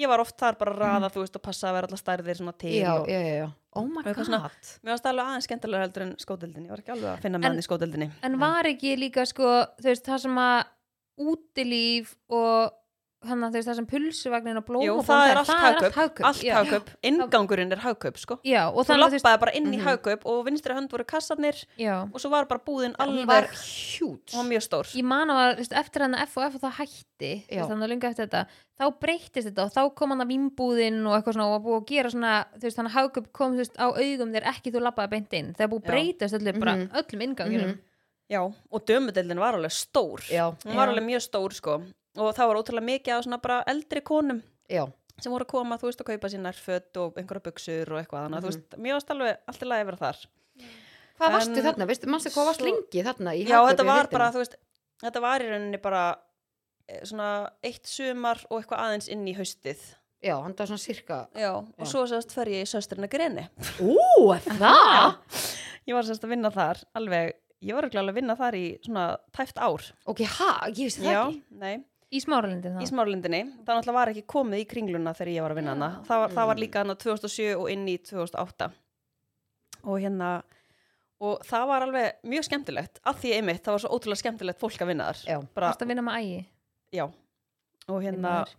B: ég var oft þar bara að
C: Mhm.
B: raða, þú veist, og passa að vera alltaf stærðir svona til
A: já,
B: og
A: já, já, já, oh my
B: Og eitthvað
A: god
B: svona- mér varst alveg aðeins skemmtilega heldur en skódeildin ég var ekki alveg að finna
C: En-
B: með hann í skódeildinni
C: en var ekki líka sko þú veist það sem að útilíf og hann að þú veist það sem pulsuvagnin og blóma
B: Jú, það er allt hagkaup, allt
C: já.
B: hagkaup, inngangurinn er hagkaup sko.
C: já og
B: Þú
C: þannig að þú veist
B: lappaði bara inn í
A: Mhm.
B: hagkaup og vinstri hönd voru kassarnir
C: já
B: og svo var bara búðin
A: hún
B: alveg,
A: var
B: hún
A: hjút
B: var mjög stór
C: ég man á að þú veist, eftir hann að F og F og það hætti þú
A: Já.
C: veist, þannig að lunga eftir þetta þá breyttist þetta og þá kom hann að vimbúðin og eitthvað svona og var búið að gera svona þú veist þannig að hagkaup kom þú veist á augum þér ekki þú lappaði beint inn þegar búið
B: Já.
C: að breytast öllu bara
A: Mhm.
C: öllum innganginum
B: Já, og dömudeldin var alveg stór
A: já,
B: hún var
C: Já.
B: alveg mjög stór sko og það var ótrúlega mikið af svona bara eldri konum
A: já,
B: sem voru að koma, þú veist, að kaupa sínar fött og einhverja buksur og eitthvað þannig, að þú
A: Mhm.
B: veist, mér varst alveg allt í lagi að vera þar
A: hvað
B: En-
A: varstu þarna, veistu, manstu hvað varst
B: Svo-
A: lengi þarna í
B: Já,
A: hagkaup
B: þetta
A: í
B: var
A: heildina?
B: bara, þú veist, þetta var í rauninni bara eh, svona eitt sumar og eitthvað aðeins inn í haustið
A: já, hann var svona sirka,
B: Já, og
A: Já.
B: svo sérst fer ég í söstrina greni
A: ú, það
B: Ég var sérst að vinna þar alveg ég var örugglega alveg að vinna þar í svona tæft ár
A: ok, ha, ég vissi það
B: já,
A: ekki
B: nei,
C: Í smáralindin þá
B: í smárlindinni það náttúrulega var ekki komið í kringluna þegar ég var að vinna hana það var, það var líka hana 2007 og inn í 2008 og hérna og það var alveg mjög skemmtilegt að því einmitt, það var svo ótrúlega skemmtilegt fólk að vinna þar
A: Já.
B: bara,
C: Varst að vinna með ægi
B: já og hérna,
C: Vinna þar.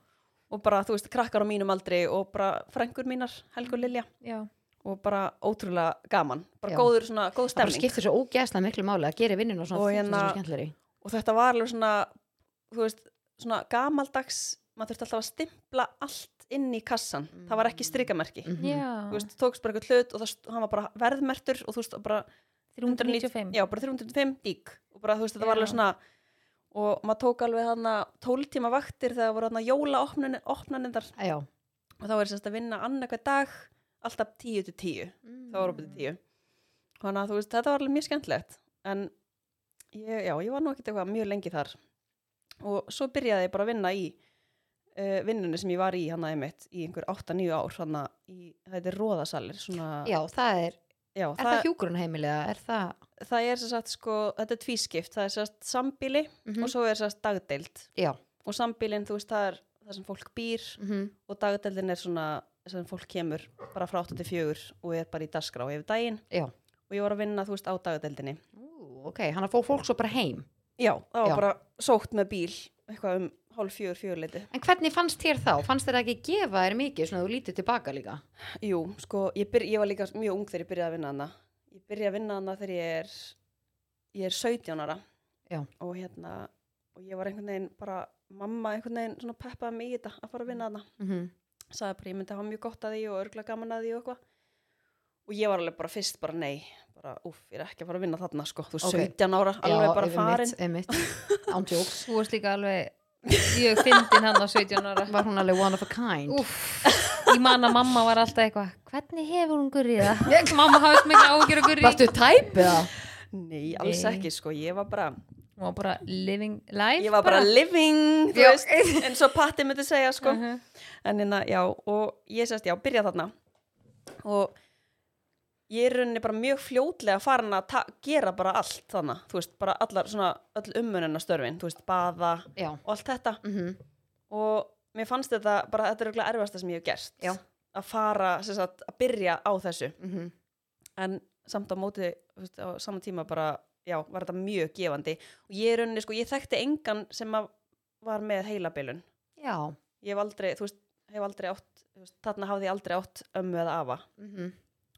B: og bara þú veist, krakkar á mínum aldri og bara frængur mínar, Helgu Lilja
C: Já,
B: og bara ótrúlega gaman bara
A: Já.
B: góður svona, góð
A: það bara
B: stemning
A: skiptir svo ógeðslega miklu máli að gera vinnun og svona
B: Og
A: þykir
B: hérna-
A: svo skemmtilegri
B: og þetta var alveg svona þú veist, svona gamaldags maður þurfti alltaf að stimpla allt inn í kassan það var ekki strikamerki
A: Mhm.
C: já
B: þú veist, tókst bara eitthvað hlut og það, st- hann var bara verðmertur og þú veist, og bara
C: 395
B: já, bara 305 dík og bara þú veist, þetta var
C: Já.
B: alveg svona og maður tók alveg þarna 12 tíma vaktir þegar voru þarna jólaopnanindar
A: Æ, já.
B: og þá var þess að vinna annarkvæð dag alltaf 10 til 10 þá var opið til tíu þannig að þú veist, þetta var alveg mjög skemmtilegt en ég, já, ég var nú ekkert eitthvað mjög lengi þar og svo byrjaði ég bara að vinna í uh, vinnunni sem ég var í hann að einmitt í einhver 8-9 ár hann að í- þetta er róðasalir svona,
A: já, það er
B: já,
A: er það hjúgrunheimili eða er það
B: það er sem sagt sko, þetta er tvískipt það er sem sagt sambíli
A: Mhm.
B: og svo er sem sagt dagdeild
A: já,
B: og sambílin, þú veist, það er það sem fólk býr
A: mhm,
B: og dagdeldin er svona sem fólk kemur bara frá 8-4 og er bara í dagskrá yfir daginn
A: já
B: og ég var að vinna, þú veist, á dagdeldinni
A: Ú, ok, hann að fó fólk svo bara heim
B: Já, það var
A: Já.
B: bara sótt með bíl eitthvað um hálf fjör, fjörleiti
A: en hvernig fannst þér þá, fannst þér ekki gefa þér mikið svona þú lítið tilbaka líka
B: Jú, sko, ég, byr, ég var líka mjög ung þegar ég byrjaði að vinna hana Ég byrjaði að vinna hana þegar ég er ég er 17 ára
A: Já.
B: og hérna, og ég var einhvern veginn bara, mamma einhvern veginn svona peppaði mig í þetta að fara að vinna hana
A: mhm,
B: sagði bara, ég myndi hafa mjög gott að því og örgla gaman að því og eitthvað og ég var alveg bara fyrst bara nei bara, úff, ég er ekki að fara að vinna þarna sko þú
A: Ok.
B: 17 ára, alveg
A: já,
B: bara farin
A: einmitt, einmitt. ándjóks,
C: Þú varst líka alveg Ég fyndin hann á 17 ára
A: var hún alveg one of a kind
C: Úff, ég man að mamma var alltaf eitthvað Hvernig hefur hún
B: [LAUGHS]
C: gurriða? mamma hafði svo mikla ágjur að gurri
A: varstu tæpið það
B: Nei, alls
C: Nei.
B: ekki sko, ég var bara
C: Hún var bara living life
B: ég var bara living þú
C: Já.
A: [LAUGHS]
B: veist, eins og Patti myndi segja sko.
C: Mhm.
B: en hérna, já, og ég sérst já, byrja þarna og ég er í rauninni bara mjög fljótlega farin að ta- gera bara allt þannig, þú veist, bara allar svona, öll ummunina störfin, þú veist, baða
A: já,
B: og allt þetta,
A: mhm,
B: og mér fannst þetta bara, þetta er auðvitað erfasta sem ég hef gert
A: Já.
B: að fara, sem sagt, að byrja á þessu
A: mhm
B: en samt á móti þú veist, á saman tíma bara, já, var þetta mjög gefandi og ég er rauninni, sko, ég þekkti engan sem að var með heilabilun
A: já,
B: ég hef aldrei, þú veist, hef aldrei átt þú veist, þarna hafði ég aldrei átt ömmu eða afa
A: mhm,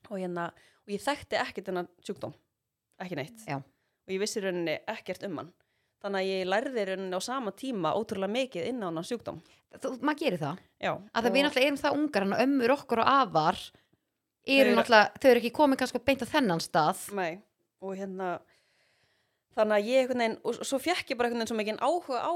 B: og, hérna, og ég þekkti ekkert þennan sjúkdóm ekki neitt
A: Já.
B: og ég vissi í rauninni ekkert um hann þannig að ég lærði í rauninni á sama tíma ótrúlega mikið inn á hann sjúkdóm
A: þú, maður gerir það
B: já,
A: að það við náttúrulega erum það ungar en ömmur okkur og afar eru
B: eru-
A: náttúrulega, þau eru ekki komið kannski beint á þennan stað
B: Nei, og hérna þannig að ég einhvern veginn og svo fekk ég bara einhvern veginn svo mikinn áhuga á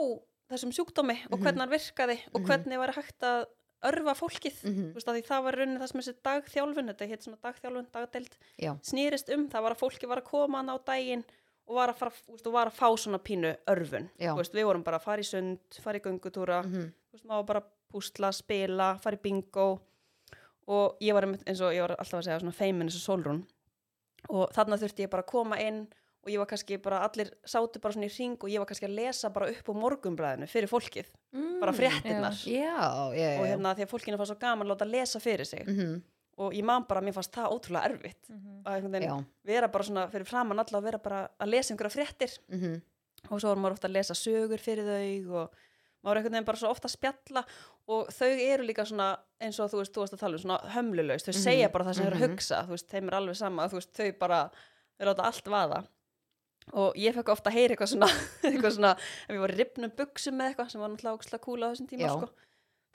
B: þessum sjúkdómi og
A: Mhm.
B: hvernig hann virkaði og
A: Mhm.
B: hvernig var hægt að örfa fólkið
A: Mhm.
B: þú veist að því það var runni það sem þessi dagþjálfun þetta hétt svona dagþjálfun, dagdelt
A: Já.
B: snýrist um, það var að fólki var að koma hann á daginn og var að, fara, þú veist, og var að fá svona pínu örfun
A: Já.
B: Þú veist, við vorum bara að fara í sund, fara í göngutúra
A: Mhm.
B: þú veist, maður var bara að púsla, spila, fara í bingo og ég var einmitt, eins og ég var alltaf að segja svona feimin eins og sólrún og þarna þurfti ég bara að koma inn og ég var kannski bara, allir sátu bara svona í ring og ég var kannski að lesa bara upp úr morgumblæðinu fyrir fólkið, bara fréttinnar
A: Mhm. Mm, Já, já, já.
B: og hérna því að fólkinu fannst svo gaman að láta lesa fyrir sig
A: Mhm,
B: og ég man bara að mér fannst það ótrúlega erfitt
C: Mhm.
B: að einhvern
A: já,
B: veginn vera bara svona fyrir framann alla að vera bara að lesa einhverja fréttir
A: mhm,
B: og svo var maður ofta að lesa sögur fyrir þau og maður er einhvern veginn bara svo ofta að spjalla og þau eru líka svona eins og þú veist, þú varst að tala um svona hömlulegst þau
A: Mhm,
B: segja bara það sem þau eru að
A: mhm.
B: hugsa þú veist, þeim er alveg sama, þú veist, þau bara þau láta allt vaða og ég fekk ofta að heyra eitthvað svona, [LAUGHS] eitthvað svona ef ég var í ripnum buksum með eitthvað sem var náttúrulega óksla kúla á þessum tíma
A: Já.
B: sko,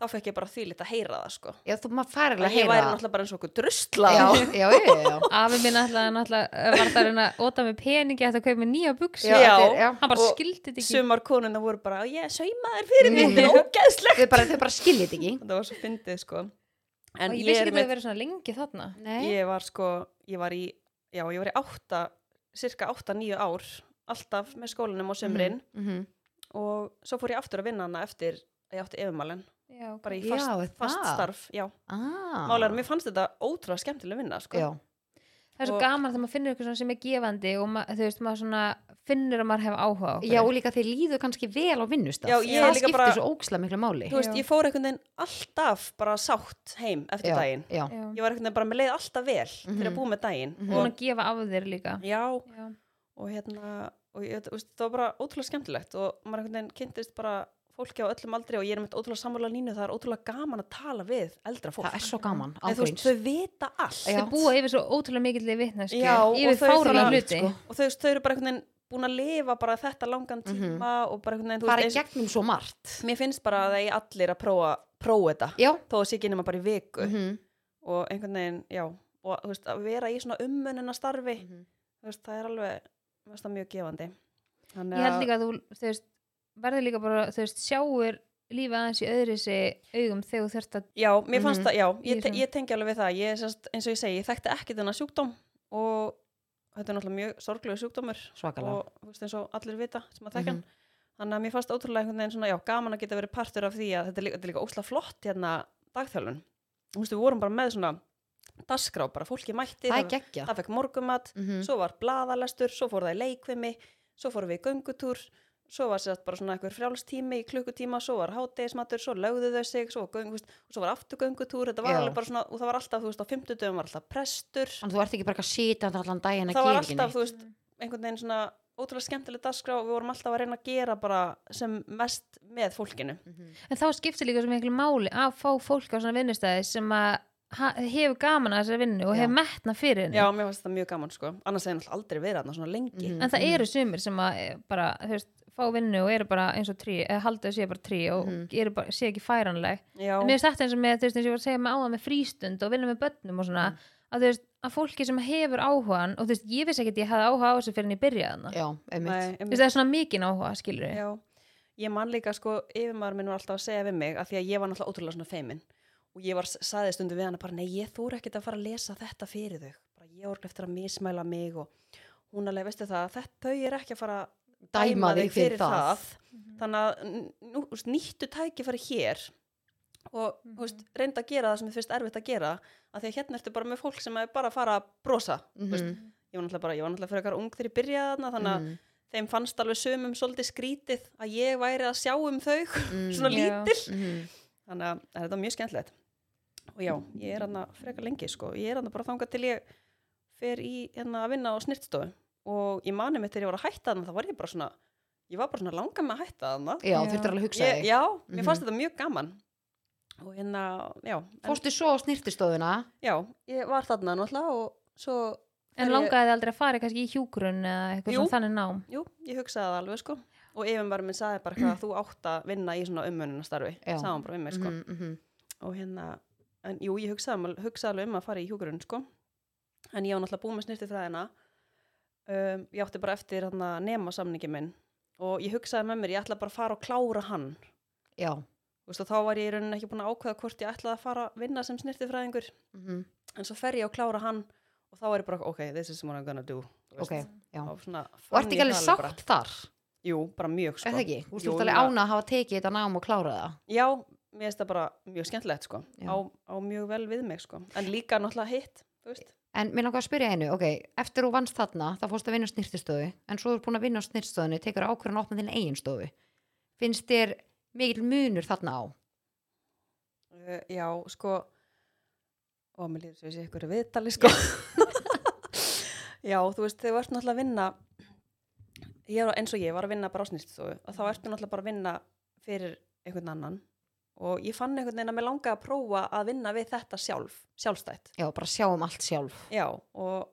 B: þá fekk ég bara þvílitt að heyra það sko.
A: já, þú maður færir
B: að
A: að
B: ég
A: heyra
B: væri náttúrulega bara eins og okkur drusla
A: Já,
B: [LAUGHS]
A: já, já, já, já.
C: Afi minn ætlaði náttúrulega var það að reyna að óta með peningi ætlaði að kaupa með nýja buksi
B: Já.
A: þetta er- já.
C: Hann bara
B: Og
C: skildi þetta ekki
B: sumar konuna voru bara, ég sauma þær fyrir
A: Mhm.
B: mig, [LAUGHS] þetta er ógeðslegt
A: Þau bara, þau bara skiljið ekki
B: þetta var svo fyndið sko en
C: Og
B: ég,
C: ég vissi
B: er
C: ekki að
B: með,
C: það verið svona lengi þarna
A: Nei,
B: ég var sko ég var í, já ég var í átta cirka átta nýju ár alltaf með skólanum á sömrin
A: mhm,
B: og svo fór ég aftur að vinna hana eftir að ég átti yfirmálin,
C: Já, ok.
B: bara í
A: Já,
B: fast,
A: er
B: fast
A: það?
B: starf já,
A: ah,
B: málar, mér fannst þetta ótrúlega skemmtileg vinna sko,
A: Já,
C: það er svo
B: Og-
C: gaman þegar maður finnir eitthvað svona sem er gefandi og ma, þú veist, maður svona finnur að maður hefur áhuga á okkur.
A: Já, og líka þeir líðu kannski vel á vinnustaf.
B: Já, ég er
A: það
B: líka
A: skiptir
B: bara-
A: svo ókslega miklu máli.
B: þú veist,
C: Já.
B: ég fór einhvern veginn alltaf bara sátt heim eftir daginn
A: Já, já.
C: Já.
B: ég var einhvern veginn bara með leið alltaf vel mm fyrir
A: Mhm.
B: að búa með daginn
A: Mhm.
C: Búin að gefa af þér líka.
B: og, já,
C: Já.
B: og hérna og ég, þú veist, það var bara ótrúlega skemmtilegt og maður einhvern veginn kynntist bara fólki á öllum aldri og ég er með ótrúlega sammála línu það er ótrúlega gaman að tala við eldra fólk
A: Það er svo gaman,
B: En þú veist,
A: ángríns.
B: þau vita allt
A: Já.
C: Þau búa yfir svo ótrúlega mikill vitnesku,
B: Já, og
C: yfir
B: þau
C: fárulega
B: þurfa-
C: hluti.
A: sko.
B: og þau, veist, þau eru bara einhvern veginn búin að lifa bara þetta langan tíma
A: Mhm.
B: og bara einhvern veginn, þú
A: Það er
B: veist,
A: gegnum svo margt.
B: eins, mér finnst bara að það er allir að prófa, prófa þetta
A: Já.
B: þó að sé ekki nema bara í viku
A: Mhm,
B: og einhvern veginn, já og þú veist, að vera í svona ummunina starfi
A: mhm.
B: veist, það er alveg, mér finnst það mjög gefandi Þannig
C: Ég held líka að þú, þú veist, verður líka bara, þú veist, sjáur lífið aðeins í öðru augum þegar þú þurft að
B: Já, mér fannst
A: Mhm.
B: það, já,
C: Í
B: ég, te
C: svona.
B: ég tengi alveg við það ég, sérst, eins og ég segi, ég þekkti ekki þennan sjúkdóm og þetta er náttúrulega mjög sorglegu sjúkdómur
A: Svakalega. Mhm.
B: og þú veist, eins og allir vita sem að þekkja hann þannig að mér fannst ótrúlega einhvern veginn svona, já, gaman að geta verið partur af því að þetta er líka, þetta er líka ósla flott hérna dagþjálfun þú veist, við vorum bara með svona dagskrá, bara fólki mætti,
A: Það er
B: það,
A: geggja.
B: það fekk morgumat
A: Mhm.
B: svo var blaðalestur, svo fór það í leikvimi svo fórum við í göngutúr svo var sérst bara svona einhver frjálstími í klukkutíma svo var hátegismatur, svo lögðu þau sig svo var, göng, þú veist, og svo var aftur göngutúr þetta var
A: Já.
B: alveg bara svona, og það var alltaf, þú veist, á fimmtudöfum var alltaf prestur
A: Þannig að þú ert ekki bara eitthvað sitjandi allan daginn að
B: það var
A: gera ekki
B: alltaf,
A: neitt.
B: þú veist, einhvern veginn svona ótrúlega skemmtileg dagskrá og við vorum alltaf að reyna að gera bara sem mest með fólkinu
A: Mhm.
C: En þá skiptir líka svo miklu máli að fá fólk á svona vinnustæði sem að ha- hefur gaman að þessari vinnu og
A: Já.
C: hefur metna fyrir henni.
B: já, mér fannst það mjög gaman sko annars hefði náttúrulega aldrei verið þarna svona lengi
A: Mhm.
C: En það eru sumir sem að eh, bara, þú veist, fá vinnu og eru bara eins og trí, eða haldið sé bara trí og
A: Mhm.
C: eru bara, sé ekki færanleg.
B: já,
C: En mér finnst þetta eins og með, þú veist, eins og ég var að segja með áðan með frístund og vinna með börnum og svona, að þú veist, að fólki sem hefur áhugan, og þú veist, ég vissi ekki að ég hefði áhuga á þessu fyrir en ég byrjaði þarna.
A: Já, einmitt.
B: Nei,
C: Þú
B: einmitt.
C: veist, það er svona mikinn áhuga, skilur við.
B: Já, ég man líka sko yfirmaður minn var alltaf að segja við mig að því að ég var náttúrulega ótrúlega svona feimin og ég var, saði stundum við hann bara, nei, ég þúr ekkert að fara að lesa þetta fyrir þau bara ég orgla eftir að mismæla mig og hún alveg, veistu það, þetta þau er ekki að fara að
A: Dæma þig
B: þig
A: fyrir það."
B: þannig að nú, þú veist, nýttu tækifæri hér og mm veist, reynda að gera það sem þið finnst erfitt að gera að því að hérna ertu bara með fólk sem er bara að fara að brosa mm veist,
A: Mhm.
B: ég var náttúrulega bara, ég var náttúrulega fyrir ung þegar ég byrjaði þarna þannig að
A: Mhm.
B: þeim fannst alveg sumum svolítið skrítið að ég væri að sjá um þau [LAUGHS]
A: Mm.
B: svona
C: Já.
B: lítil
A: Mhm.
B: þannig að þetta var mjög skemmtilegt og já, ég er hann frekar lengi sko. ég er hann bara þangað til ég fer í hérna að vinna á snirtstofu og ég mani mig þegar ég var að hætta þannig þá var ég bara svona ég var bara svona langað með að hætta þannig
A: Já,
C: Já.
A: þurftur alveg að hugsa
B: ég,
A: þig.
B: já, mér fannst
A: Mhm.
B: þetta mjög gaman og hérna, já en,
A: Fórstu svo á snýrtistofuna?
B: já, ég var þarna náttúrulega og svo
C: En
B: þegar ég-
C: langaði þið aldrei að fara kannski í hjúkrun eða eitthvað
B: Jú.
C: svona þannig nám?
B: Jú, ég hugsaði það alveg sko og yfirmaður minn sagði bara hvað þú átt að vinna í svona umönunastarfi
A: Já.
B: sagði hann bara við mig sko
A: Mhm, mhm.
B: og hérna, en jú, ég hugsaði, um- hugsaði alveg um að fara í hjúkurinn sko en ég var náttúrulega búið með snirtið fræðina um, ég átti bara eftir hann að nema samningi minn og ég hugsaði með mér, ég ætla bara að fara og klára hann
A: Já.
B: Þú veist, og þá var ég í rauninni ekki búin að ákveða hvort ég ætlaði að fara að vinna sem snirtið fræðingur
A: Mhm.
B: en svo fer ég og klára hann og þá er ég bara, ok, this is what I'm gonna do Þú veist,
A: Ok, já.
B: þá svona
A: Og ert
B: fann
A: ekki
B: ég
A: alveg
B: það bara.
A: sátt þar?
B: Jú, bara mjög sko
A: Er það ekki? Þú
B: Jú,
A: stúst alveg
B: já.
A: ána að hafa tekið þetta nám og klárað það?
B: Já, mér finnst það bara mjög skemmtilegt sko,
A: Já.
B: á, á mjög vel við mig sko, en líka náttúrulega hitt, þú veist.
A: En mér langar að spyrja einu, ok, eftir þú vannst þarna, þá fórst að vinna á snýrtistöðu, en svo þú er búin að vinna á snýrtistöðunni, tekur ákvörðan að opna þinn eigin stofu. Finnst þér mikill munur þarna á?
B: Uh, já, sko, og mér líður svo þessi ykkur viðtali sko. [LAUGHS] já, þú veist, þegar þú ert náttúrulega að vinna, ég er, eins og ég var að vinna bara á snýrstofu, að þá ertu náttúrulega bara að vinna fyrir einhvern annan og ég fann einhvern veginn að mér langaði að prófa að vinna við þetta sjálf, sjálfstætt.
A: Já, bara sjá um allt sjálf.
B: Já, og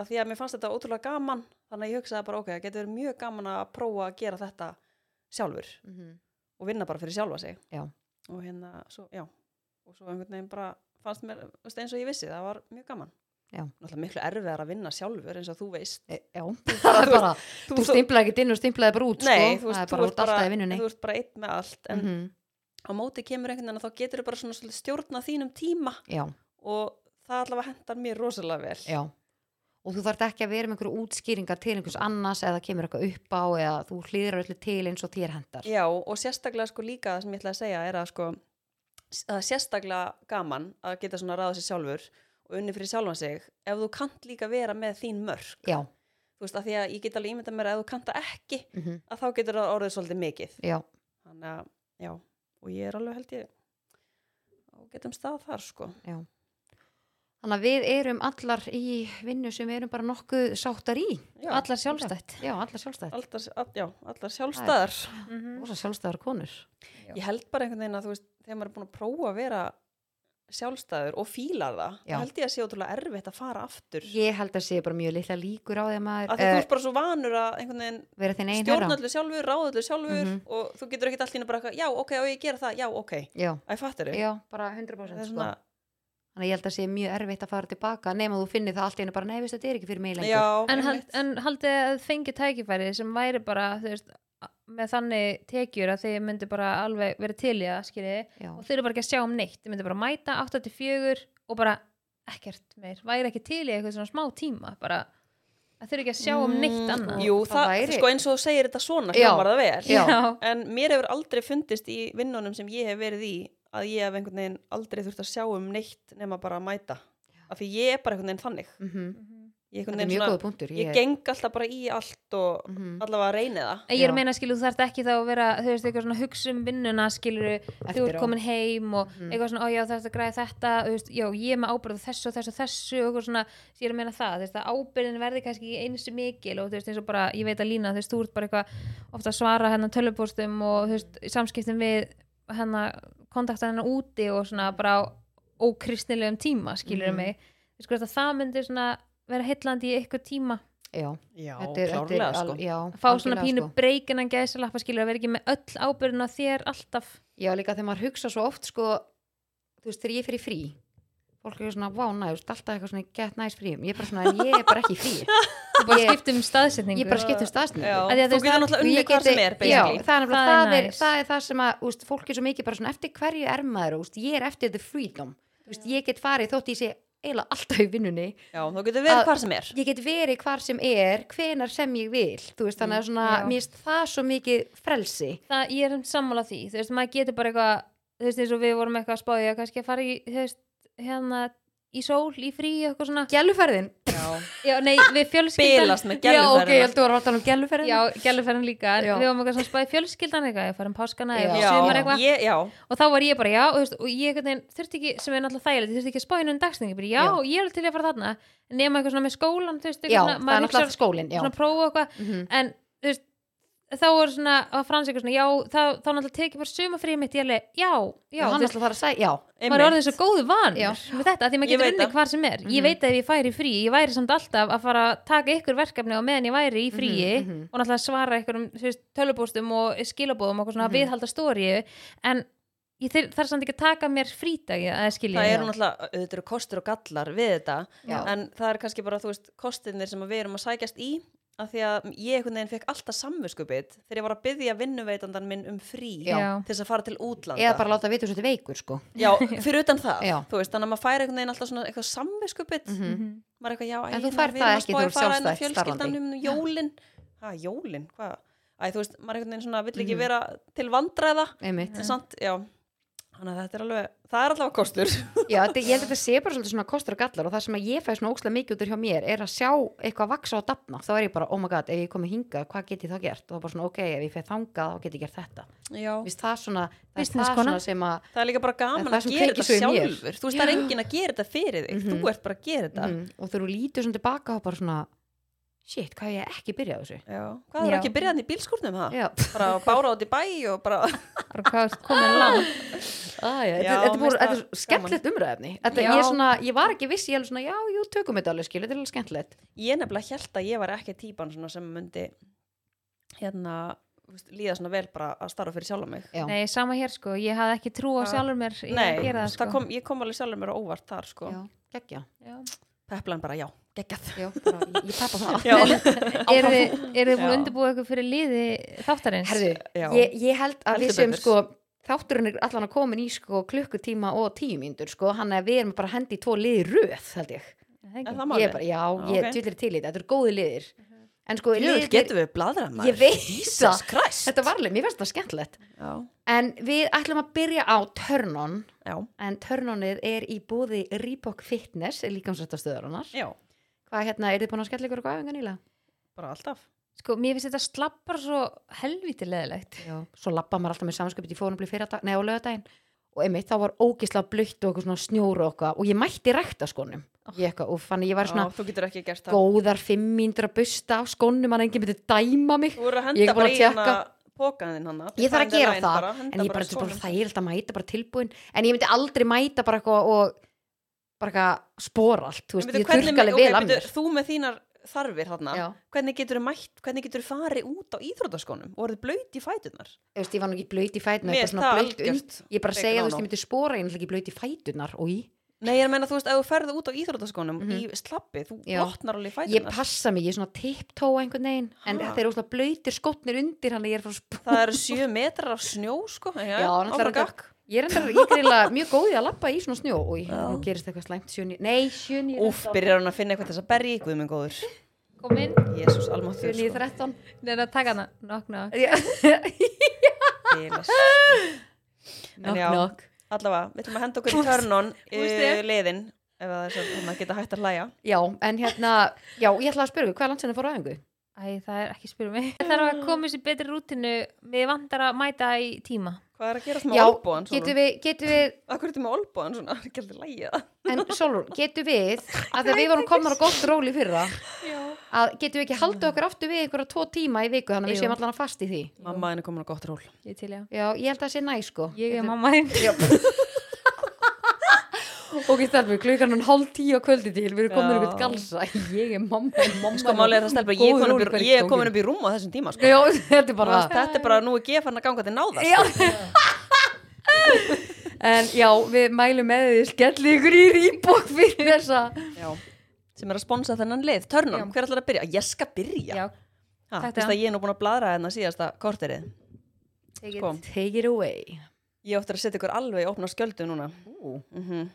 B: að því að mér fannst þetta ótrúlega gaman þannig að ég hugsaði bara, ok, það getur verið mjög gaman að prófa að gera þetta sjálfur
A: Mm -hmm.
B: og vinna bara fyrir sjálfa sig
A: Já.
B: og hérna, svo, já og svo einhvern veginn bara fannst mér þú veist, eins og ég vissi, það var mjög gaman
A: Já.
B: Náttúrulega miklu erfiðar að vinna sjálfur eins og þú veist
A: Eh, Já, það [LAUGHS] er bara,
B: Þú,
A: þú stimplaði ekkert inn og stimplaði bara út,
B: Nei,
A: sko,
B: þú
A: það
B: veist,
A: er bara
B: þú,
A: út
B: ert
A: alltaf í
B: bara,
A: vinnunni.
B: þú ert bara einn með allt en
A: Mhm.
B: á móti kemur einhvern veginn að þá getur bara svona svolítið stjórna þínum tíma
A: Já,
B: og það allavega hendar mér rosalega vel
A: já. Og þú þarft ekki að vera með einhverju útskýringar til einhvers annars eða kemur eitthvað upp á eða þú hlýðir öllu til eins og þér hendar.
B: Já, og sérstaklega sko líka það sem ég ætla að segja er að sko s- að það er sérstaklega gaman að geta svona ráða sér sjálfur og og unni fyrir sjálfan sig ef þú kant líka vera með þín mörg
A: já,
B: þú veist, af því að ég get alveg ímynda mér að ef þú kanta ekki
A: mm
B: að þá getur það orðið svolítið mikið
A: já,
B: þannig að, já, og ég er alveg held ég á getum stað þar sko
A: já þannig að við erum allar í vinnu sem við erum bara nokkuð sáttar í
B: já,
C: allar sjálfstætt
A: já, allar sjálfstætt
B: allar, all, já, allar sjálfstæðar
A: og svo sjálfstæðar konur
C: Já.
B: ég held bara einhvern veginn að þú veist þegar maður er búin að prófa að vera sjálfstæður og fíla það,
A: Já.
B: þá held ég að sé ótrúlega erfitt að fara aftur
A: ég held að sé bara mjög litla líkur á því að
B: af
A: maður
B: því að þú
A: uh,
B: ert bara svo vanur að einhvern veginn
A: vera þinn einn herra
B: stjórnallu sjálfur, ráðallu sjálfur
A: Mhm.
B: og þú getur ekkert allt hérna bara eitthvað, já, ok, og ég gera það, já, ok
A: já,
B: að ég fattir þig
A: já, bara
B: það
A: 100%
B: er
A: sko.
B: svona,
A: þannig að ég held að sé mjög erfitt að fara tilbaka nema þú finnir það allt í einu bara, nei, veist, þetta er ekki fyrir mig lengur
B: já,
C: en, hald,
B: einmitt.
C: en haldið þið að þið fengi tækifæri sem væri bara þú veist, með þannig tekjur að þið myndi bara alveg verið til í það skilji,
A: Já.
C: og þið eru bara ekki að sjá um neitt þið myndi bara mæta 8-4 og bara ekkert meir, væri ekki til í eitthvað svona smá tíma bara að þið eru ekki að sjá um neitt annað
B: Mm. Jú,
A: Mm, Það
B: það,
A: væri-
B: sko eins og þú segir þetta svona
A: Já.
B: hljómar það vel
A: Já.
B: en mér hefur aldrei fundist í vinnunum sem ég hef verið í að ég hef einhvern veginn aldrei þurft að sjá um neitt nema bara að mæta af því ég er bara einhvern veginn þannig
A: Mhm.
B: ég, einhvern
A: þetta er
B: veginn
A: mjög
B: svona,
A: góða punktur
B: ég geng alltaf bara í allt og
A: Mhm.
B: allavega að reyna það
C: En ég er
A: Já.
C: að meina skilur, þú þarft ekki þá að vera, þú veist, eitthvað svona hugsa um vinnuna, skilur, þú
A: Eftir Mhm.
C: ert
A: á.
C: komin heim og eitthvað svona, ó já, þarft að græða þetta, þú veist, já, ég er með ábyrðu þessu og þessu og þessu og eitthvað svona, ég er að meina það, þú veist, að ábyrðin verði kannski ekki eins mikil og þú veist, eins og bara, ég veit að lína, þú veist, þú ert bara eitthvað ofta að svara hennar tölvupóstum og þú veist, samskiptum við hennar, kontakta hennar úti og svona bara á ókristilegum tíma, skilur
A: Mhm.
C: mig, þú veist, hvort að það myndi svona vera heillandi í eitthvað tíma
A: já,
B: já,
A: þetta er, þetta er
B: klárlega
A: al,
B: sko
A: já,
C: fá svona
A: algjörlega,
C: pínu
A: sko.
C: sko. breykinan gæðsalappa skilur að vera ekki með öll ábyrðin á þér alltaf
A: Já, líka þegar maður hugsa svo oft sko, þú veist, þegar ég fyrir frí fólk eru svona, vá, næst, alltaf eitthvað svona get nice fríum, ég er bara svona, en ég er bara ekki í
B: [LAUGHS]
A: frí
C: þú bara
A: Ég-
C: skiptum um staðsetningu
A: ég bara um skiptum staðsningu
B: Já,
C: Af því að
B: þú
C: þú veist,
B: getur
C: það-
B: náttúrulega
A: Ég
B: unnið hvað
A: geti-
B: sem er
A: já,
B: basically.
A: það, er nefnilega-
C: Það er
A: það, er,
C: nice.
A: það er það sem að úst, fólk er svo mikið bara svona eftir hverju er maður úst, ég er eftir the freedom úst, ég get farið þótt ég sé eiginlega alltaf í vinnunni
B: já, þú getur verið
A: Að-
B: hvað sem er
A: ég get verið hvar sem er hvenar sem ég vil þú veist, þannig að
C: já.
A: svona, mér finnst það svo mikið frelsi
C: það, ég er um sammála því, þú veist, maður getur bara eitthvað þú veist, eins og við vorum eitthvað að spája kannski að fara í, þú veist, hérna í sól, í frí, eitthvað svona
A: gæluferðin,
C: já, nei, við fjölskyldan
B: bilast með
A: já ok, ég
B: gæluferðina
A: held að þú var að tala um gæluferðin
C: já, gæluferðin líka, en
A: Já.
C: við varum eitthvað svona að spája í fjölskyldan eitthvað, ég farið um páskana,
A: Já.
C: ég
B: já,
C: sumar eitthvað
B: ég, já,
C: og þá var ég bara já og, þú veist, og ég einhvern veginn þurfti ekki, sem er náttúrulega þægilegt ég þurfti ekki að spá henni um dagsningi, bara já,
A: Já.
C: ég er til í að fara þarna nema eitthvað svona með skólan þú veist, eitthvað
A: Já,
C: svona,
A: það
C: maður
A: er
C: hugsar-
A: náttúrulega skólinn já.
C: svona prófa eitthvað
A: Mhm.
C: en þú veist, þá voru svona að frans eitthvað svona, já, þá, þá náttúrulega tekið bara sumafríð mitt, ég alveg, já, já,
A: Já,
C: þú
A: hann
C: veist,
A: ætla að fara að segja, já,
C: maður er
B: einmitt.
C: orðið svo góðu van
A: Já.
C: með þetta, af því
B: Ég
C: maður getur
B: veit
C: unnið
B: það. Mhm.
C: hvar sem er ég veit að ef ég færi í frí, ég væri samt alltaf að fara að taka ykkur verkefni og meðan ég væri í fríi
A: Mhm, mhm.
C: og náttúrulega svara ykkur um tölubóstum og skilabóðum og eitthvað
B: Mhm.
C: svona viðhalda stóri en ég þyr- þarf samt ekki að taka mér frítagi að skilja
B: það eru náttúrulega, auðvitað eru kostur og gallar við þetta,
A: Já.
B: en það er kannski bara, þú veist, kostinir sem við erum að sækjast í af því að ég einhvern veginn fekk alltaf samvöskupið þegar ég var að byggja vinnuveitandan minn um frí
A: Já.
B: til þess að fara til útlanda
A: eða bara láta vita þessu veikur sko
B: já, fyrir utan það,
A: Já.
B: þú veist, þannig að maður fær einhvern veginn alltaf svona eitthvað samvöskupið
C: Mhm.
B: maður er eitthvað, já, æ,
A: En þú
B: hérna,
A: færð það
B: við erum að
A: ekki,
B: spá
A: þú
B: í
A: ert
B: fara hérna
A: sjálfstætt
B: fjölskyldan
A: starfandi.
B: um jólin ha, jólin, hvað? Æ, þú veist, maður er einhvern veginn svona, vill ekki vera til vandræða
A: einmitt,
B: en samt, já þannig að þetta er alveg, það er allavega kostur
A: [LAUGHS] já, þetta, ég held að þetta sé bara svolítið svona kostur og gallar og það sem að ég fæði svona ókslega mikið út úr hjá mér er að sjá eitthvað vaksa og dafna þá er ég bara, oh my god, ef ég komi hingað, hvað get ég þá gert og það er bara svona, ok, ef ég fæði þangað, þá get ég gert þetta
B: já,
A: Vist það svona, það er það
C: Businesskona.
A: svona sem að
B: það er líka bara gaman
A: Það
B: að
A: sem
B: gera þetta
A: kveikir svo í mér.
B: sjálfur þú veist, það er enginn að gera þetta fyrir þig
A: Mhm.
B: þú ert bara að gera þetta
A: mm, og þegar þú lítur svona tilbaka og bara svona shit, hvað hef ég ekki byrjað á þessu
B: já. hvað er
C: Já.
B: ekki að byrja hann í bílskúrnum það? [LAUGHS]
A: já,
B: bara að bára út í bæ og bara [LAUGHS]
C: bara hvað ert komin langt
A: Ah, já,
B: Já,
A: þetta, þetta,
B: mér
A: voru,
B: finnst
A: þetta er
B: það
A: skemmtilegt umræðefni þetta,
C: Já.
A: ég, er svona, ég var ekki viss, ég er alveg svona, já, jú, tökum þetta alveg skil, þetta er alveg skemmtilegt
B: ég nefnilega held að ég var ekki típan svona sem myndi hérna, þú veist, líða svona vel bara að starfa fyrir sjálf mig
A: Já.
C: Nei, sama hér sko, ég hafði ekki trú á
B: Það-
C: sjálfur mér í
B: Nei,
C: að gera það
B: það
C: sko
B: kom, ég kom alveg sjálfur mér á óvart þar sko.
A: já, geggja
C: Já.
B: Peplan bara,
A: [LAUGHS]
B: já, geggjað
A: Já, bara, ég- ég tappa það
B: Já.
C: Eru þið eru þið búin að
B: Já.
C: undirbúa eitthvað fyrir liði þáttarins?
A: Herðu,
B: [LAUGHS] Já.
A: ég, ég held að
B: Heldur
A: við sem
B: betur.
A: sko þátturinn er allan að komin í sko klukkutíma og tíu mínútur sko, hann er að við erum bara að hendi í tvo liði í röð, held ég
C: Er
B: En
C: það ekki?
B: það
A: ég
B: máli
A: er bara, já,
B: Já,
A: ég
B: ok.
A: okay. til í þetta, þetta eru góði liðir en sko
B: Jú, getum við bladra maður
A: ég veit
B: Jesus
A: það,
B: Christ
A: þetta var alveg, mér finnst það skemmtilegt
B: Já,
A: en við ætlum að byrja á törnón
B: já,
A: en törnónið er í bóði Reebok Fitness, líkamsrættastöðarunar
B: já,
A: hvað hérna, er þið búin að skella ykkur á æfingar nýlega?
B: bara alltaf
C: sko, mér finnst þetta slappar svo helvítið leðilegt
A: Já, svo lappa maður alltaf með samskupið í fórnabli fyrir dag, nei á lögadaginn og einmitt þá var ógislega blutt og eitthvað svona snjóru og eitthvað og ég mætti rækta skónum ég eitthvað, og fann ég var svona
B: Ah. Já, Þú getur ekki gert það
A: góðar fimm mínútur að busta af skónum að enginn myndi dæma mig
B: Þú voru
A: Ég er
B: að henda
A: bara að
B: bara í hérna
A: tékka.
B: pókan þinn hann
A: ég þarf að gera það, en ég bara, þetta er bara þægild að mæta bara tilbúin, en ég myndi aldrei mæta bara eitthvað og bara eitthvað spora allt, þú veist, ég þurrka alveg vel af mér
B: Þú með þínar þarfir þarna
A: Já,
B: hvernig getur þú mætt, hvernig getur þú farið út á íþrótaskónum og orðið blöyt í fætunar
A: ég veist, ég var nú ekki blöyt í fætunar
B: Mér
A: ég
B: er
A: bara svona
B: það
A: blöyt
B: algjört
A: und, ég bara
B: frekar
A: segja, þú
B: ónóg.
A: veist, ég myndi spora ég er náttúrulega ekki blöyt í fætunar, og
B: Nei, ég meina, þú veist, ef þú ferði út á íþrótaskónum
A: Mhm.
B: í slappi, þú
A: Já.
B: blotnar alveg í
A: ég
B: fætunar
A: passa mig, ég er svona tiptóa einhvern veginn, en
B: Ha?
A: þetta er óslega blöytir skotnir undir, hann ég er frá spora
B: Það eru sjö metrar af snjó, sko
A: Já,
B: Já,
A: náttúrulega
B: áfram
A: reyndar-
B: gakk.
A: ég er enda, ég er eiginlega mjög góð í að lappa í svona snjó, og
B: Já.
A: nú gerist eitthvað slæmt sjöni, nei, sjöni
B: Úff, byrjar hann að finna eitthvað til þess að berja ykkur minn góður
C: kom inn,
B: Jésús, almáttur,
A: sjöni í
B: sko
A: þrettan
C: neina að taka hana nokna,
A: [LAUGHS]
B: Bilas. En
A: nokk,
B: já,
A: nokk
B: allavega, við ætlum að henda okkur í törnun eh,
C: Úff, ég.
B: liðin, ef það er sem maður geta hægt að hlæja
A: Já, en hérna, já, ég ætla að spyrja, hvað er lansinni fór á æfingu?
C: æ, það er ekki spyrum mig það þarf að koma sér betri rútinu við vantar að mæta í tíma
B: Hvað er að gerast
A: Já,
B: með olbóðan
A: Getum
B: svona?
A: við, getum við,
B: Akkur ertu með olbóðan svona? Ekki heldur lægja það.
A: en Solrún, getum
B: [LAUGHS]
A: við, að þegar við vorum komnar á gott róli fyrra,
C: já
A: að getum við ekki haldið okkur aftur við einhverja tvo tíma í viku, þannig að
C: Jú.
A: við séum allan að fast í því.
B: Mamma henni komin á gott ról.
C: Ég til, já.
A: Já, ég held að það sé næ, sko.
C: Ég er mamma þín.
A: Ok, stelpur, klukkan hann hálf tíu á kvöldi til, við erum komin
B: Já.
A: um eitthvað galsa. Ég er mamma, mamma.
B: Sko máli er það stelpa, ég er komin upp í- ég er komin upp í rúm á þessum tíma, sko.
A: Já, þetta er bara það.
B: Þetta er bara nú ekki ég fann að ganga til náða,
A: Já.
B: sko.
A: En já, við mælum með því, skelli ykkur í rýbók fyrir þessa.
B: Já. Sem er að sponsa þennan lið. Törnum,
C: Já.
B: hver ætlar að byrja? Ég skal byrja.
C: Já,
B: Ha,
C: þetta.
B: Fyrst að ég er nú búin að bladra hérna síðasta korterið.
C: tekið.
B: Sko,
A: Take it away.
B: ég áttur að setja ykkur alveg í opna skjöldu núna.
A: Ú.
B: Mm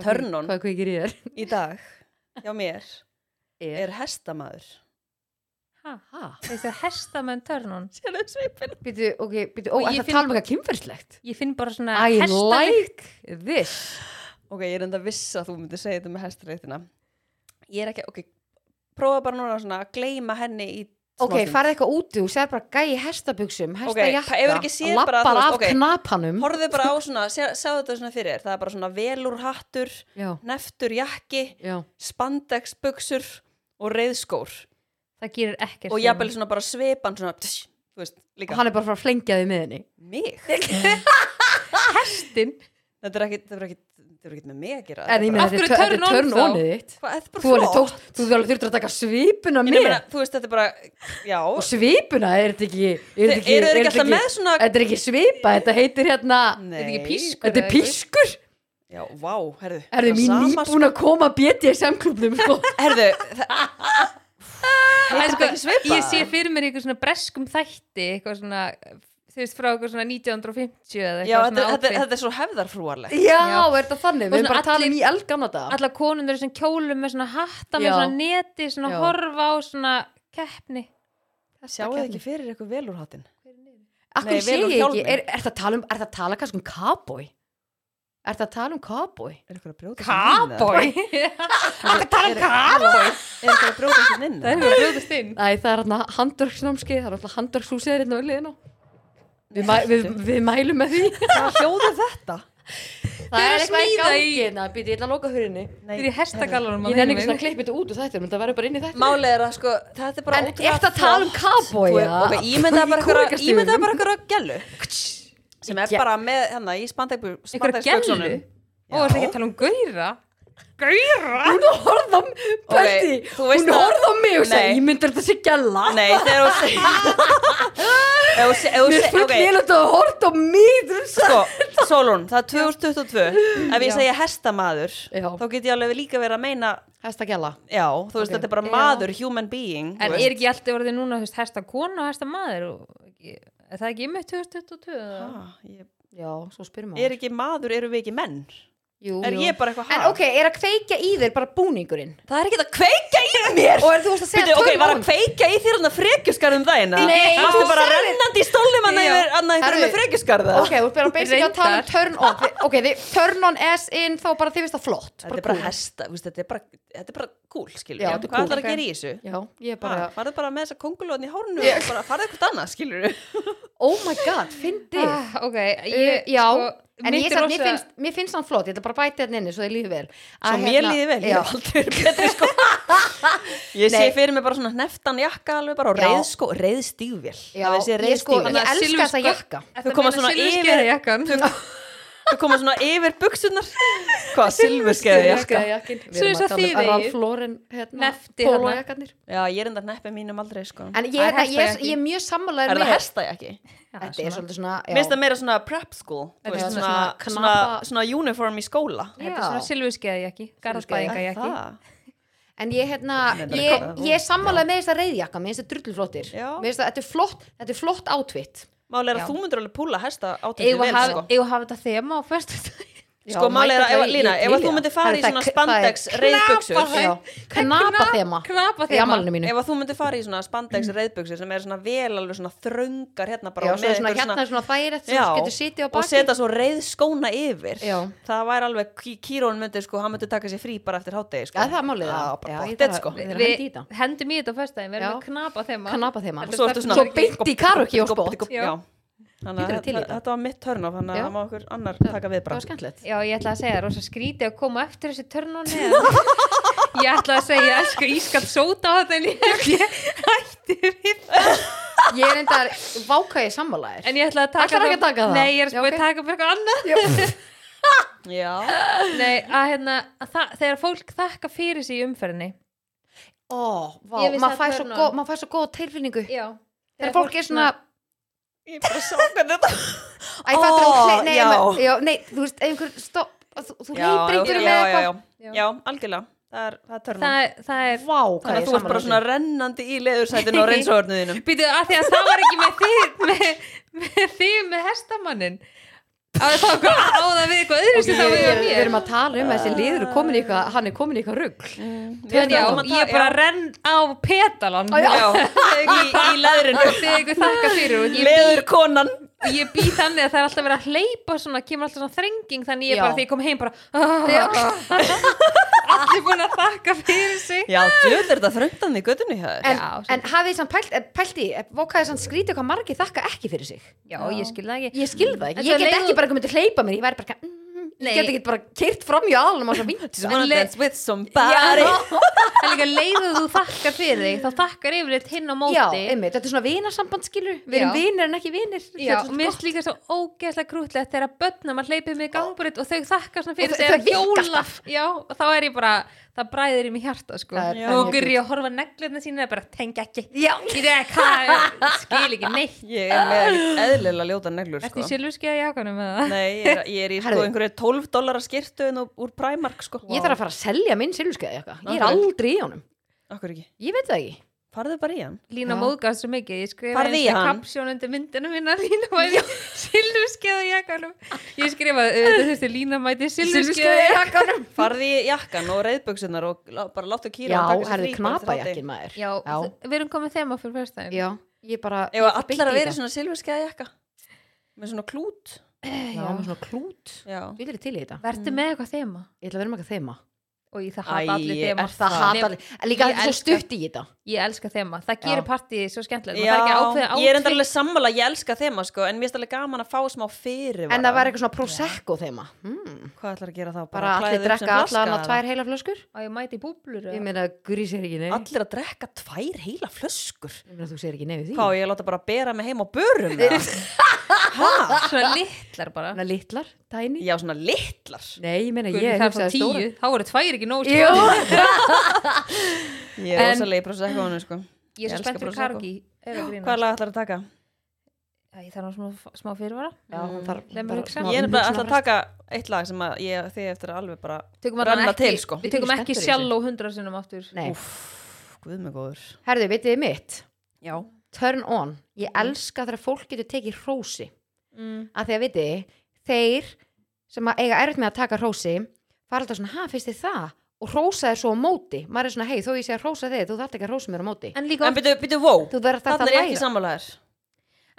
B: Törnun.
A: Hvað kveikir í þér?
B: Í dag, hjá mér,
A: Er.
B: er hestamaður.
C: Ha,
A: Ha?
C: Veistu að hestamenn törnun?
B: Sérðu svipin?
A: Býtu, ok, býtu, ó,
C: Og
A: er
C: ég
A: það
C: finn-
A: tala um eitthvað kynferðslegt?
C: Ég finn bara svona
A: I
C: hestalykt.
A: like this.
B: Ok, ég er enda viss að þú myndir segja þetta með hestareittina. Ég er ekki, ok, prófa bara núna svona að gleyma henni í
A: Ok,
B: smástund.
A: farið eitthvað úti og sér bara gæi hestabuxum, hestajakka,
B: það hefur ekki séð
A: lappar
B: bara, þú veist,
A: af
B: ok.
A: knapanum.
B: Horfðu bara á svona, sjá- sjáðu þetta svona fyrir þér. Það er bara svona velur hattur,
A: Já,
B: neftur jakki,
A: já.
B: spandex buksur og reyðskór.
C: Það gerir ekkert.
B: Og
C: fyrir
B: jafnvel
C: mig.
B: svona bara svepan svona, tss, þú veist,
A: Og
B: líka.
A: hann er bara frá að flengja því með henni.
B: Mig?
C: Hestinn?
B: Þetta er ekkit, þetta er ekkit, þetta er ekkit með mig að gera.
A: En ég meina,
C: Af hverju
A: þetta er
C: turn on
A: törn
C: þá?
A: onið þitt.
B: Hvað, þetta er bara
A: Þú alveg
B: flott.
A: tókst, þú alveg þurftur að taka svipuna
B: En ég
A: með.
B: meina, þú veist, þetta er bara, já.
A: Og svipuna, er þetta ekki, er
B: Þeir
A: þetta ekki,
B: eru
A: er
B: þeir ekki
A: þetta
B: alltaf með
A: ekki,
B: svona...
A: þetta er ekki svipa, þetta heitir hérna,
C: Þetta er ekki pískur.
A: þetta er
C: eða eitthvað?
A: pískur.
B: Já, vá, herðu.
A: Er þið mín
B: sama
A: nýbúin að koma
B: [LAUGHS]
A: BDSM-klubnum, sko.
B: Herðu, það
C: En
B: heitir þetta
C: sko,
B: ekki svipað?
C: Ég sé fyrir mér eitthvað svona breskum þætti, eitthvað svona, þú veist, frá eitthvað svona 1950 eða
B: Já, þetta,
C: eitthvað svona
B: þetta,
C: átvið.
B: þetta er svo hefðarfrúarlegt
A: Já, er þetta þannig,
C: Og
A: við erum
C: svona
A: bara að tala
C: allir-
A: um í elgamna dag.
C: Alla konundur sem kjólum með svona hatta, með
A: Já.
C: svona neti, svona
A: Já.
C: horfa á svona keppni.
B: Sjáu þið ekki fyrir eitthvað vel úr hattin?
A: Akkur
B: Nei,
A: sé
B: vel úr
A: ég ekki,
B: hjálmi.
A: er, er það að tala um, er það að tala kannski um cowboy? Er það að tala um cowboy?
B: Er eitthvað að brjóta
C: [LAUGHS] Cowboy?
A: Er það að tala um cowboy?
B: Er eitthvað að brjóta sér inn?
C: Það er að brjóðast inn.
A: Æ, það er hérna handverksnámski, það er alltaf handverkshúsið er hérna á liðinu. Við, mæ, við, við mælum með
B: [LAUGHS]
A: því.
B: Hvað hljóðu þetta?
A: Það
C: er
A: er
C: eitthvað í
A: eitthvað í
C: gangi
A: gangi hérna, býti, ég ætla að loka hurinni.
C: Fyrir hestagallanum.
A: Ég nefnir ekki svona að klippa þetta út úr þetta, menn það verður bara inn í þetta.
B: Málið er að sko, þetta er bara
A: En ertu að tala um cowboy,
B: Þú-
A: eða?
B: ok, Ímyndaðu
A: Í
B: bara eitthvað
A: kúrekastígvélum.
B: Ímyndaðu bara eitthvað gælu Sem
A: Í
B: er
A: ge-
B: bara með, hérna, í
C: Einhverja gellu?
B: spandæksböksunum
C: Ó, er ekki að tala um gauðra? Gauðra?
A: Hún horfði á, Böndi,
B: þú veist
A: hún
B: að-
A: horfði á mig og segi,
B: Nei.
A: ég myndir þetta sé gæla.
B: Nei, þegar þú segir
A: [LAUGHS]
B: Ef þú se- ef þú
A: Mér
B: se-
A: finnst
B: ok,
A: vel að það horfði á mig, þú veist það.
B: Sko, Solon, það er 2022 Ef ég
C: Já.
B: segja hestamaður
A: Já.
B: Þá get ég alveg líka verið að meina
A: Hæsta gæla.
B: Já, þú veist,
A: Ok.
B: þetta er bara
C: Já.
B: maður, human being
C: En
B: þú
C: er
B: veist.
C: ekki alltaf orðið núna þú veist, hesta kona og hesta maður og er það ekki ymmið 2022? eða?
B: Ah, ég-
A: Já, svo spyrum
B: Er ekki maður, eru við ekki menn?
A: Jú,
B: er
A: jú.
B: ég bara eitthvað
A: En ok, er að kveikja í þér bara búningurinn
B: það er ekki að kveika í mér
A: Og er þú veist að segja
B: Bíddu, ok,
A: tölum
B: var að
A: án?
B: kveika í þér hann að frekjuskarðum dagina
A: Nei,
B: varstu
A: þú
B: bara
A: sagðir-
B: rennandi í stólnum hann
A: Já.
B: yfir hann yfir
A: Herðu,
B: með frekjuskarða
A: Ok, þú ert bara basically að tala um
C: Reyndar.
A: turn on Þi- Ok, þið, turn on as in þá bara þið finnst það flott
B: þetta er bara
A: cool.
B: hesta, víst, þetta er bara þetta er bara cool,
A: Já,
B: skilur við,
A: þetta er
B: hvað
A: cool.
B: ætlar að
A: Ok.
B: gera í þessu
A: Já, ég er bara
B: bara,
C: Ah.
B: farðu bara með þessa kongulóðin í hárnu og bara farðu eitthvað annað, skilur við
A: Oh my god, fyndið
C: ah, ok,
A: Uh,
C: ég,
A: já,
C: sko,
A: en
C: mitt
A: ég
C: er
A: samt, mér,
C: rosa-
A: finnst, mér finnst hann flott, ég ætla bara að bæta hérna inni svo ég líði vel
B: svo
A: Að
B: mér
A: hérna-
B: líði vel, ég
A: já.
B: hef aldrei verið
A: [LAUGHS]
B: betri sko ég sé
A: Nei.
B: fyrir mig bara svona hneftan jakka alveg bara og
A: Já.
B: reið sko, reið stígvél
A: Já,
B: það veist ég reið
A: ég sko-
B: stígvél
A: Þannig að elska þessa
C: silfurskot-
A: jakka.
C: Ertu
B: Þau
C: að
B: koma
C: meina
B: svona yfir-
C: silfurskeiða jakkan?
B: það koma svona yfir buksunar hvað, silfurskeiði jakka
A: jakkin
C: Svo er svo þýðið.
A: Ralf um Lauren hérna,
C: Nefti þarna.
A: pólójakkarnir
B: já, ég er enda hneppi mínum aldrei sko
A: En ég,
C: Það er
A: er, ég, er,
C: hestajakki.
A: ég er mjög sammálaður
B: er það
A: með-
B: hestajakki?
C: Já,
A: Þetta er
C: svona.
A: svolítið svona já.
B: Mér finnst það meira svona prep school þú
C: Þetta
B: veist,
C: er
B: svona,
A: svona
B: svona, svona,
A: knappa-
B: uniform í skóla
C: Þetta er svona
A: Já.
C: silfurskeiði jakki, garðbæðinga
B: Er
C: jakki
B: það?
A: En ég, hérna,
B: Þetta er
A: ég,
B: kom-
A: ég er sammálaður með þess að reyðjakka Mér finnst það drullflottir
B: Já.
A: Mér finnst það, þetta er flott, þetta er flott átvitt
B: Máli er
C: Já.
B: að þú myndur alveg púla hesta átöktu
C: Eigum
B: vel
C: að hafa-
B: sko.
C: eigum að hafa þetta þema á föstudaginn
B: Sko máli er að, ef- Lína, ef að þú myndir fara í svona spandex reyðbuksur
C: Knapa-
A: Knapa þema
C: Knapa
A: Í
C: þema
A: amalinu mínu Mhm.
B: Ef að þú myndir fara í svona spandex reyðbuksur sem er svona vel alveg svona þröngar hérna bara
A: Já,
B: og
A: svo
B: með
A: svona
B: einhver
A: hérna er svona þægilegt sem
B: Já,
A: þú getur sitið á
B: og
A: baki
B: setja svo reyðskóna yfir
A: Já.
B: það væri alveg, Kí- Kírón myndi sko hann myndi taka sér frí bara eftir hátegi sko.
A: Já, það er málið
B: Já,
A: það. Já,
B: bara
A: ég
B: bóttið
A: þarf
B: sko
A: að- Við erum að hendi í
C: Við
A: þetta.
C: hendum í þetta á föstudaginn, við erum
A: Já.
C: að knapa þema
A: Knapa þema
C: Þetta
B: Svo ertu svona-
A: Svo beint í karaoke á
B: Gopp,
A: spott
B: gopp, gopp,
C: Já.
B: já. Þannig
A: Ég
B: að
A: er til í
B: þetta
A: þetta.
B: þetta var mitt törn á þannig að
A: Já.
B: það má okkur annar
A: Það-
B: taka við
A: Það var
B: bara
A: skemmtilegt
C: Já, ég ætla að segja, rosa skrítið að koma eftir þessi törnóni
A: [LAUGHS]
C: Ég ætla að segja, ég elska ískalt sóta á þetta en ég held ég hætti við
A: Ég
C: það.
A: er enda vákaði sammálaðir
C: En ég ætla að taka
A: Ætlarðu ekki að taka það?
C: Nei, ég er
A: Já,
C: að
A: ok.
C: taka bara eitthvað annað
B: Já,
C: [LAUGHS] Nei, að hérna, að það, þegar fólk þakka fyrir sig í umferðinni
A: Ó, vá,
C: Ég vissi
A: maður
C: að
A: fær svo
C: turn on.
A: góð- maður fær svo góða tilfinningu
C: Já
A: Þegar fólk er svona
B: ég er bara sjá hvernig þetta
A: Æ, fattur
B: Ó,
A: hún nei,
B: já.
A: nei, já, nei, þú veist, ef einhver stopp að Þú, þú hleypir einhverju með
B: já, já,
A: eitthvað
B: já. já, algjörlega Það er, það er törnum
C: Það, er- það er
A: Vá, hvað
B: Þannig
A: ég
B: að þú ert bara
A: sammála
B: svona
A: þessu.
B: rennandi í
A: [LAUGHS]
B: leðursætinu og reynsóðurnuðinu
C: Býtu, að því að það var ekki með þig [LAUGHS] með, með þig með hestamannin að það var hvað að áða við eitthvað öðru sem það var ég
A: Við
C: að
A: við
C: mér
A: erum að tala um að þessi liður er komin í eitthvað Hann er komin í eitthvað rugg
C: En já, ég bara renn á petalan
A: já.
B: Já, í, í
A: [LAUGHS]
B: leðurinu
C: þegar ykkur þakka fyrir og ég bý,
B: Leðurkonan
C: ég bý þannig að það er alltaf verið að hleypa svona, kemur alltaf svona þrenging þannig ég
A: Já.
C: bara þegar ég kom heim bara [LAUGHS] allir búin að þakka fyrir sig
B: Já, djöð er þetta þröndan í göttunni
A: En,
B: hér
C: Já,
A: en hafið þið samt pælt, eh, pælt í eh, Vákaði samt skrítið hvað margir þakka ekki fyrir sig
C: Já, ég skil það ekki
A: Ég skil það ekki,
C: En
A: ég
C: svo
A: get
C: leið-
A: ekki bara komið til að hleypa mér Ég væri bara, eitthvað, mm,
C: Nei.
A: ég get ekki bara keirt fram í aðlunum á svo vingt
B: Just wanna
C: le-
B: dance with somebody
C: Það er líka leiðu þú þakkar fyrir þig þá þakkar yfirleitt hinn á móti
A: Já, einmitt, þetta er svona vinasamband skilur Við erum
C: Já.
A: vinir en ekki vinir Þetta er
C: Já, og
A: svolítið
C: mér
A: gott.
C: finnst líka svo ógeðslega krútlegt þegar börnum að hleypið mig í gangbrut og þau þakka svona
A: Og
C: fyrir
A: þau-
C: sig
A: þau vinka
C: hjóla-
A: alltaf.
C: Já, og þá er ég bara, það bræðir í mig hjarta sko.
A: Það er-
B: Já.
A: það
C: og
A: er mjög
C: okkur ég að horfa neglutna sína og bara tengja ekki
A: Já,
C: Ég veit hvað, ég skil ekki neitt
B: Ég er með eðlilega ljóta neglur
C: Ertu
B: sko.
C: í silfurskeiða jakanum eða?
B: Nei, ég er, ég er í sko
A: Herðu.
B: einhverju 12 dólarar skirtu en úr Primark sko
A: Ég þarf að fara að selja minn silfurskeiði eitthvað. Ég er
B: Af hverju?
A: aldrei í honum.
B: Akkur ekki,
A: Ég veit það ekki.
B: farðu bara í hann
C: Lína
A: Já.
C: móðgast svo mikið, ég
B: Farðu
C: skrifaði
B: í
C: einsta
B: hann.
C: kapsjón undir myndinu minna Lína mæti silfurskeiða jakanum Ég skrifaði, þetta þurfti Lína mæti silfurskeiða jakanum
A: jakkanum.
B: Farði í jakkan og reyðbuksunar og lá- bara láttu kýra
A: Já,
B: og taka sér
A: herði
B: frí bara eftir
A: knapa
B: hádegi.
A: jakkin maður.
C: Já, við erum komið þema fyrir fyrstæðin
A: Já, ég bara...
B: Ef
A: ég beint í
B: allar að vera
A: það.
B: svona silfurskeiða jakka með svona klút
A: Já, með svona klút.
B: Já,
A: Við erum til í þetta.
C: Vertu með eitthvað þema?
A: Ég ætla að vera með eitthvað þeima.
C: og ég það
B: Æ,
C: hata allir þema
B: er
A: Það
B: Það-
A: hata allir. En Líka
C: Ég
A: þetta er svo
C: elska-
A: stutt í þetta.
C: ég elska þema, það
A: Já.
C: gerir partíið svo skemmtilegt
B: Já
C: maður þarf ekki að ákveða
B: ég er enda
C: outfit.
B: alveg sammála, ég elska þema sko en mér er alveg gaman að fá smá fyrir
A: En það var eitthvað svona prosecco þeima. Hmm.
B: Hvað ætlar að gera þá?
A: Bara
B: að
A: allir
B: klæða upp sem
A: drekka
B: flaska
A: allan að
B: eða?
A: tvær heila flöskur.
C: á ég mæti í búblur
A: Ég
C: eða?
A: meina, guri sér ekki nei.
B: Allir að drekka tvær heila flöskur
A: Ég meina, þú sér ekki nei við því.
B: Hvað, á ég að láta bara bera mig heim á börum eða?
A: [LAUGHS]
B: Ha?
C: svona litlar bara
A: Svona litlar, tiny.
B: Já, svona litlar
A: Nei, ég meina,
C: Guð,
A: ég
C: það er frá
A: hugsaði
C: tíu,
A: stóra.
C: þá eru tvær ekki nóg
A: Jú.
C: sko.
B: Ég er
C: En-
B: rosalega í prosecco honu sko
C: ég er
B: Ég
C: svo
B: elska
C: spennt fyrir
B: Prosecco.
C: kargi
B: Hvað lag ætlar að taka?
C: ég þarf nú smá, smá fyrirvara
A: Já,
B: Mm.
A: hún þarf
C: Leið mér
A: bara
C: hugsa.
A: smá
B: Ég er bara ætla
A: umhugsunarfrest.
B: að taka eitt lag sem að ég þið eftir að alveg bara
C: tökum
B: Renna
C: allan
B: til, sko.
C: við
A: Ég
C: tökum
A: er
C: ekki
A: spennt fyrir
C: sjálf og hundra sinum aftur
A: Nei.
B: Úff, guð mig góður
A: Herðu, vitið þið mitt?
B: Já
A: Turn on. Ég elska þegar fólk getur tekið hrósi.
C: Mm.
A: Af því að vitið þið, þeir sem að eiga erfitt með að taka hrósi fara alltaf svona, ha, finnst þið það? og hrósa þér svo á móti, maður er svona, hei, þó ég sé að hrósa þig þú þarft ekki að hrósa mér á móti
C: en líka
B: En byrju, byrju, wow,
A: þú verður þetta
B: þannig
A: að
B: er ég ekki
A: læra
B: sammálaður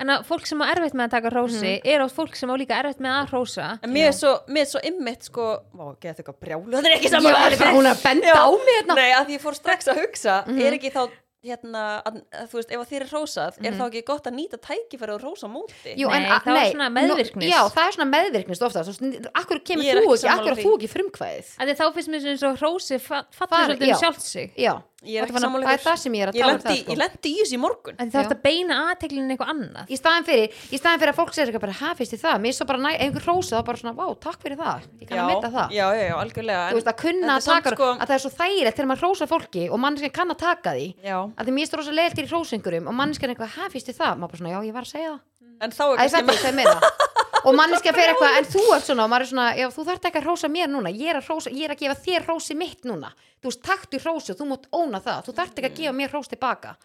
C: en að fólk sem á erfitt með að taka hrósi er oft fólk sem á líka erfitt með að hrósa
B: En mér er svo, mér er svo ymmit sko Vá, geða þetta eitthvað brjálu, þannig er ég ekki
A: Ég var
B: sammálaður
A: bara- hún er að benda
B: Já.
A: á mig hérna
B: Nei, að því ég fór strax að hugsa
A: Mhm.
B: Er ekki þá, hérna, að, að, þú veist, ef að þér er hrósað Er þá ekki gott að nýta tækifæri og hrósa á móti?
A: Mhm. Jú,
C: Nei,
A: en, a-
C: það var
A: nei,
C: svona
A: nú-
C: meðvirknis.
A: Já, það er svona meðvirknist ofta Akkur kemur
B: Ég er
A: þú ekki, akkur
B: ekki sammála
A: að
B: því.
A: þú ekki frumkvæðið
C: að þá finnst mér eins og hrósi fa- falla
A: Fari-
C: svolítið
A: já.
C: um sjálft sig
A: Já,
B: Ég er
A: það
B: ekki sammálaður
A: er það sem ég er að
B: Ég
A: tala um
B: lendi,
A: það sko.
B: ég lendi í þessu í morgun
C: að það er að beina aðteklinu eitthvað annað
A: í staðan fyrir, í staðan fyrir að fólk segir eitthvað bara, ha, finnst þið það, mér er svo bara næ, ef einhver hrósa þá bara svona, vá, takk fyrir það, ég kann að metta það
B: já, já, já, algjörlega
A: þú veist, að kunna
B: þetta
A: að
B: er samt
A: taka,
B: sko-
A: að það er svo þægilegt þegar maður hrósa fólki og manneskinn kann að taka því
B: Já,
A: að því mér er svo rosa leilt í hrósingurum og manneskinn eitthvað, ha, finnst þið það, maður bara svona, já, ég var að segja það
B: en þá
A: að ég
B: er kannski
A: fætti það meira og manneskinn fer eitthvað, en þú ert svona og maður er svona, já, þú þarft ekki að hrósa mér núna ég er að, hrósa, ég er að gefa þér hrósi mitt núna þú veist, taktu hrósi og þú mátt óna það þú þarft ekki að gefa mér hrós tilbaka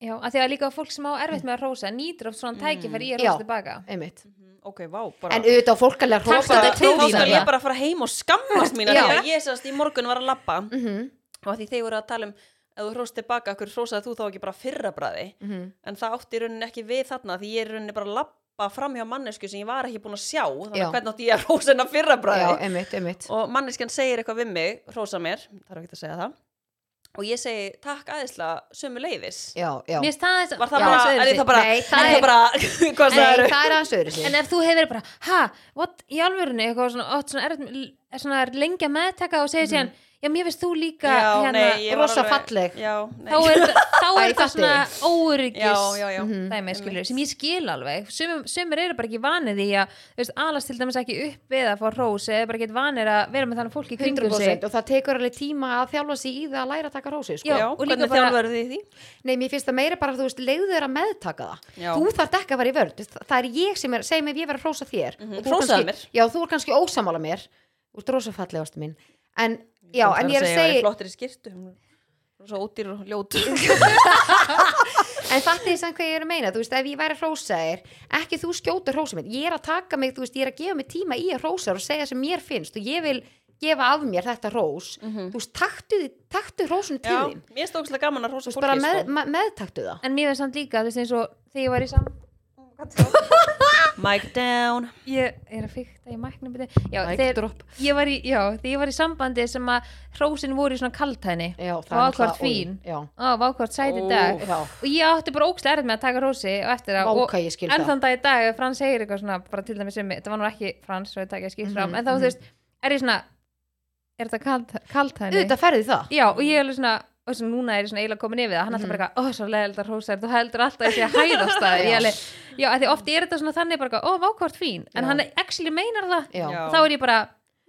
C: já, að því að líka fólk sem á erfitt með að hrósa nýtur oft svona tækifæri í að
A: Mm. Já.
C: hrósa tilbaka
A: einmitt,
B: Mhm, Ok, vá, bara
A: en auðvitað á fólk alveg að
B: Þá
A: hrósa
B: skal-
A: þetta til
B: Þá
A: þín
B: skal
A: alveg.
B: ég bara fara heim og skammast mín
A: Já.
B: Þegar ég sérst í morgun var að labba
A: Mhm,
B: Og að því þeir voru að tala um Ef þú hróst tilbaka, hver hrósaði þú þá ekki bara fyrra bræði
A: mhm.
B: En það átti í rauninni ekki við þarna Því ég er í rauninni bara að labba fram hjá mannesku Sem ég var ekki búin að sjá Þannig
A: Já.
B: að hvernig átti ég að hrósa hennar fyrra bræði
A: Já, einmitt, einmitt
B: og manneskjan segir eitthvað við mig, hrósa mér, þarf ekki að segja það og ég segi takk aðeinslega sömu leiðis
A: Já, já
C: mér staðis
B: var það
A: Já.
B: bara, er
C: aðeins öðruvísi.
B: það bara,
A: Nei, það
B: er
A: er-
B: það bara [LAUGHS] hvað það
A: Nei,
B: eru
A: það er aðeins öðru sig
C: en ef þú hefur verið bara, ha, what, í alvörunni eitthvað svona, oft svona, er, er svona er lengi að meðtaka og
A: Mm.
C: segja síðan já, mér veist þú líka hérna,
B: ég
A: rosa
B: alveg-
A: falleg.
B: já, nei.
C: þá
A: [LAUGHS]
C: er, þá
A: Æ, Mhm.
C: er
A: ég
C: það
A: fatti
C: svona
B: já,
C: óöryggis
B: já, já
C: dæmi, skilur, sem ég skil alveg sumir, sumir eru bara ekki vanið í að þú veist, alast til dæmis ekki upp við að fá hrós eða bara ekki vanir að vera með þannig fólk í kringum sig
A: 100% og það tekur alveg tíma að þjálfa sig í það að læra að taka rósi sko.
C: Já.
B: já,
C: og líka
B: hvernig
C: bara-
B: þjálfur þið í því
A: Nei, mér finnst það meira bara að þú veist, leiðu þér að meðtaka það
B: Já.
A: Þú þarft ekki að fara í vörð Þú- Það er ég sem er, segjum ef ég verið að rósa þér mm
B: Mhm.
A: -hmm.
B: Hrósaðu mér.
A: Já, þú er kannski ósamála mér Þú ert rosa falleg ástu mín En, já,
B: Það
A: en ég er að
B: ég væri
A: segja
B: flottir í skirtu hún er svo ódýr og
A: [LAUGHS]
B: ljót
A: En þetta er samt hvað ég er að meina, þú veist, ef ég væri að hrósa þér, ekki þú skjótur hrósa mitt, ég er að taka mig, þú veist, ég er að gefa mig tíma í að hrósa þér og segja sem mér finnst og ég vil gefa af mér þetta hrós, þú veist, taktu, þið- taktu hrósun til
B: Mhm. já,
A: þín,
B: mér stókslega gaman að
A: þú
B: hrósa
A: veist, bara
B: fólki
A: með,
B: sko.
A: me, meðtaktu það.
C: en mér veist samt líka, þú veist, eins og þegar ég var í sam
B: sko. mic down
C: ég er að fykta í mæknum byrju. já,
A: Mic
C: þegar
A: drop.
C: ég, var í, já, þegar ég var í sambandi sem að hrósin voru í svona kaltæðni
A: Já,
C: og
A: það er
C: ákvart
A: náttúrulega-
C: fín
A: Ó, Já,
C: og ákvart sæti
B: Ó.
C: dag
A: já,
C: og ég átti bara ókslega erfitt með að taka rósi og eftir
A: Vá,
C: það og
A: hvað ég skil
C: enn
A: það.
C: þann dag í dag ef Frans segir eitthvað svona bara til dæmis um mig, þetta var nú ekki Frans svo ég takk ég skýt fram, en þá
A: Mhm.
C: þú veist, er ég svona er þetta kalt, kalt henni?
A: auðvitað ferði það.
C: Já, og ég er alveg svona og sem núna er ég svona eiginlega komin yfir það hann alltaf bara eitthvað, ó, svo leiðilegt að hrósa þér, þú heldur alltaf þessi að hæðast það, ég
A: Mhm. [LAUGHS] Já.
C: alveg já, af því oft er þetta svona þannig bara, eitthvað, ó, vákvart fín en
A: Já.
C: hann actually meinar það
A: Já,
B: Já.
A: já.
C: og þá er ég bara,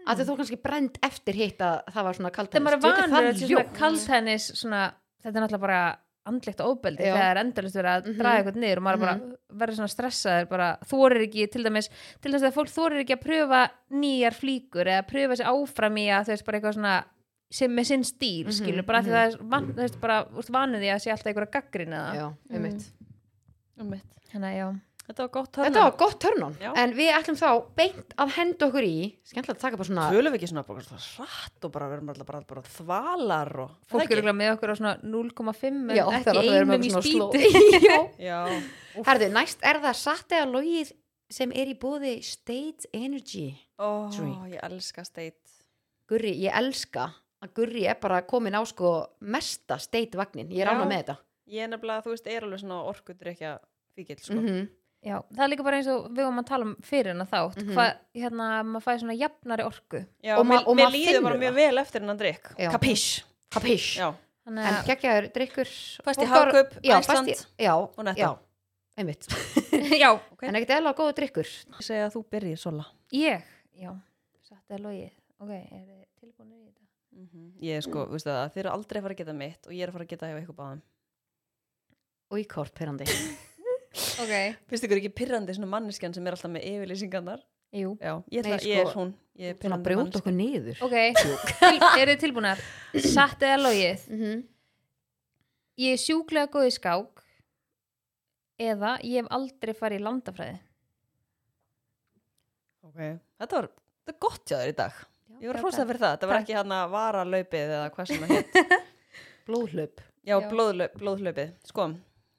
A: að þú kannski brend eftir hitt að það var svona kallt
C: þegar maður er vanur að þetta sé svona
A: ljótt.
C: kaltennis svona, þetta er náttúrulega bara andlegt ofbeldi
A: Já.
C: þegar endalist verið að
A: Mhm.
C: draga eitthvað niður og maður bara verður svona stressaður bara þorir ekki til dæmis til dæmis að fólk þorir ekki að pröfa nýjar flíkur eða pröfa sér áfram í að þú veist bara eitthvað svona sem með sinn stíl
A: Mhm,
C: skilur bara af því
A: mhm.
C: það er van, þú veist bara úst, vanuð því að sé alltaf einhverja gaggrin eða
A: Já, einmitt.
C: þannig að já
B: þetta var gott
A: Þetta var gott törnun,
B: Já.
A: en við ætlum þá beint að henda okkur í, skemmtilegt að taka bara svona
B: Tölum við ekki svona bara svona hratt og bara verðum alltaf bara, bara þvalar og
C: fólk
B: Það
C: eru
B: ekki?
C: glæð með okkur á svona 0,5
A: Já,
C: en
A: það er
C: ekki
A: alltaf verið með
C: einum í
A: svona sló-
C: [LAUGHS] spýti Já.
B: Já,
A: Herðu, næst er það satt eða logið sem er í bóði State Energy.
B: Ó,
A: Drink.
B: ég elska state
A: Gurri, ég elska að Gurri er bara komin á sko mesta state vagnin. Ég er
B: Já.
A: ánað með þetta.
B: Ég er nefnilega, þú veist, er alveg svona orkudrykja fíkil, sko
A: Mm -hmm.
C: Já, það er líka bara eins og við varum að tala um fyrir hennar þátt
A: Mhm.
C: hvað, hérna, maður fæði svona jafnari orku
B: Já,
A: Og ma-
B: mér,
A: og
B: mér
A: maður
B: líður bara
A: finnur
B: mjög vel eftir hennan drykk
A: Já.
B: Kapís
A: Kapish.
B: Já,
C: Þannig
A: En
C: að,
A: geggjaður drikkur.
B: fæst í
A: Bókar-
B: hagkaup,
A: Já,
B: Æsland
A: fæst í, já,
B: og netta
A: já, einmitt.
C: [LAUGHS] já,
A: En ekkert eða góðu drikkur.
B: Ég segi að þú byrjir sola
C: ég já, satt er logið ok, er þið tilbúinu í þetta?
B: Ég er sko, mm. veistu það, þið eru aldrei að fara að geta mitt og ég er að fara að geta hjá ykkur báðum
A: Og í kort perandi.
C: Ok,
B: Finnst ykkur ekki pyrrandi svona manneskjan sem er alltaf með yfirlýsingarnar?
C: jú
B: Já, ég,
A: Nei,
B: ætla, ég er
A: sko,
B: hún Ég er
A: Svona að
B: pirrandi
A: brjóta
B: manneskja.
A: okkur niður.
C: Ok, til- eru þið tilbúinar? Satt eða logið
A: Mm
B: Mhm.
A: -hmm.
C: Ég er sjúklega góð í skák eða ég hef aldrei farið í landafræði
B: Ok, þetta var þetta er gott hjá þér í dag ég var hrósað fyrir það, þetta var
C: Takk.
B: ekki hann að vara laupið eða hvað sem það
A: [LAUGHS]
B: hétt
A: blóðhlaup
B: já,
C: Já.
B: blóðlaup, blóðlaupið, sko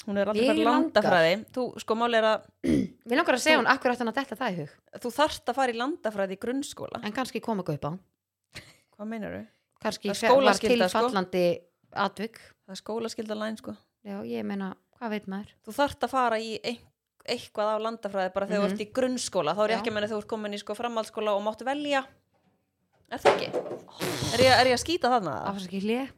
B: hún er aldrei
A: Mig
B: færi
A: langar.
B: landafræði þú, sko, máli er að
A: Mér langar að segja hún akkur átt hann að detta það í hug
B: þú þarft að fara í landafræði í grunnskóla
A: en kannski kom ekki upp á
B: hvað meinar þau?
A: kannski
B: Það er
A: fer- var
B: skólaskylda, sko.
A: tilfallandi atvik
B: það er skólaskylda læn, sko
A: já, ég meina, hvað veit maður
B: þú þarft að fara í ein, eitthvað af landafræði bara þegar
A: Mhm.
B: þú ert í grunnskóla þá er
A: Já.
B: ég ekki að menna þú ert komin í sko framhaldsskóla og máttu velja er það ekki? er ég, er ég að skýta þarna? eða?
A: afsakið hlið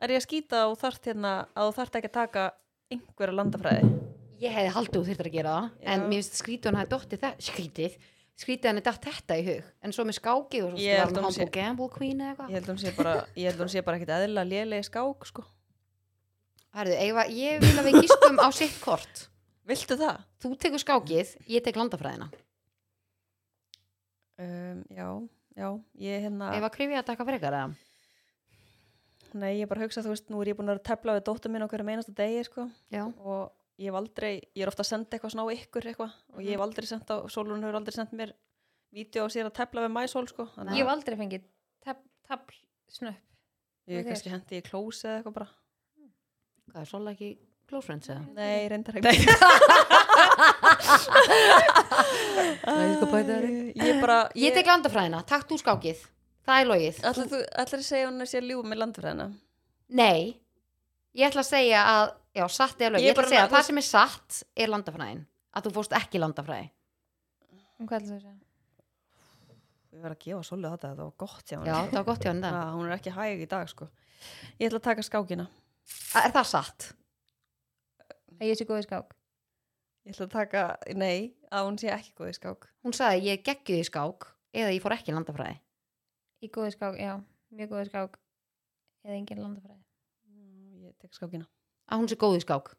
B: er ég að skýta að þú þarft hérna að þú þarft ekki að taka einhverja landafræði
A: Ég hefði haldið þú þyrftir að gera það
B: Já.
A: en mér finnst skrítið hann að dotti það skrítið, skrítið hann að datt þetta í hug en svo með skákið og svo
B: Ég
A: var
B: held
A: hann
B: að hún sé-
A: Humble Gamble Queen eða
B: ég
A: eitthvað
B: held hún sé bara, ég held hún sé bara ekkit eðla lélegi skák sko
A: Herðu, Eyva, ég vil að við gískum á sitt kort
B: viltu það?
A: Þú tekur skákið, ég tek landafræðina
B: Um, já, já, ég hérna
A: Eyva, krifja að taka frekar eða
B: nei, ég bara hugsa þú veist, nú er ég búin að vera að tefla við dóttur minn okkur um einasta degi sko
A: Já,
B: og ég hef aldrei, ég er ofta að senda eitthvað svona á ykkur eitthvað og
A: Mhm.
B: ég hef aldrei sendt á, Solun hefur aldrei sendt mér vídeo og sér að tefla við MySol sko þannig að
C: Ég hef aldrei fengið tab, tabl snöpp.
B: ég
C: ok.
B: kannski hendi í klósi eða eitthvað bara
A: hvað er svolítið ekki close friends eða
B: Nei, reyndar [LAUGHS] ekki
A: Nei, ég skal bæta þær upp.
B: Ég bara
A: Ég tek landafræðina, takk þú skákið Það er logið
B: Ætlar þú, ætlar að segja að hún að sé að ljúga með landfræðina?
A: Nei, ég ætla að segja að Já, satt er logið,
B: Ég
A: ég ætla
B: bara-
A: að segja að það sem er satt er landafræðin, að þú fórst ekki landafræði
C: Um hvað ætlar þú að segja?
B: Ég var að gefa Solu þetta, það var gott hjá hún
A: Já, það var gott hjá hann það.
B: ah, Hún er ekki hæg í dag sko Ég ætla að taka skákina
A: Er það satt?
C: Að ég sé góð í skák.
B: Ég ætla að taka, nei, að hún sé ekki góð í skák
A: hún sagði ég geggjuð í skák eða ég fór ekki í landafræði
C: Í góð í skák, já. Mjög góð í skák. Eða engin landafræði.
B: Mm, Ég tek skákina
A: að hún sé góð í skák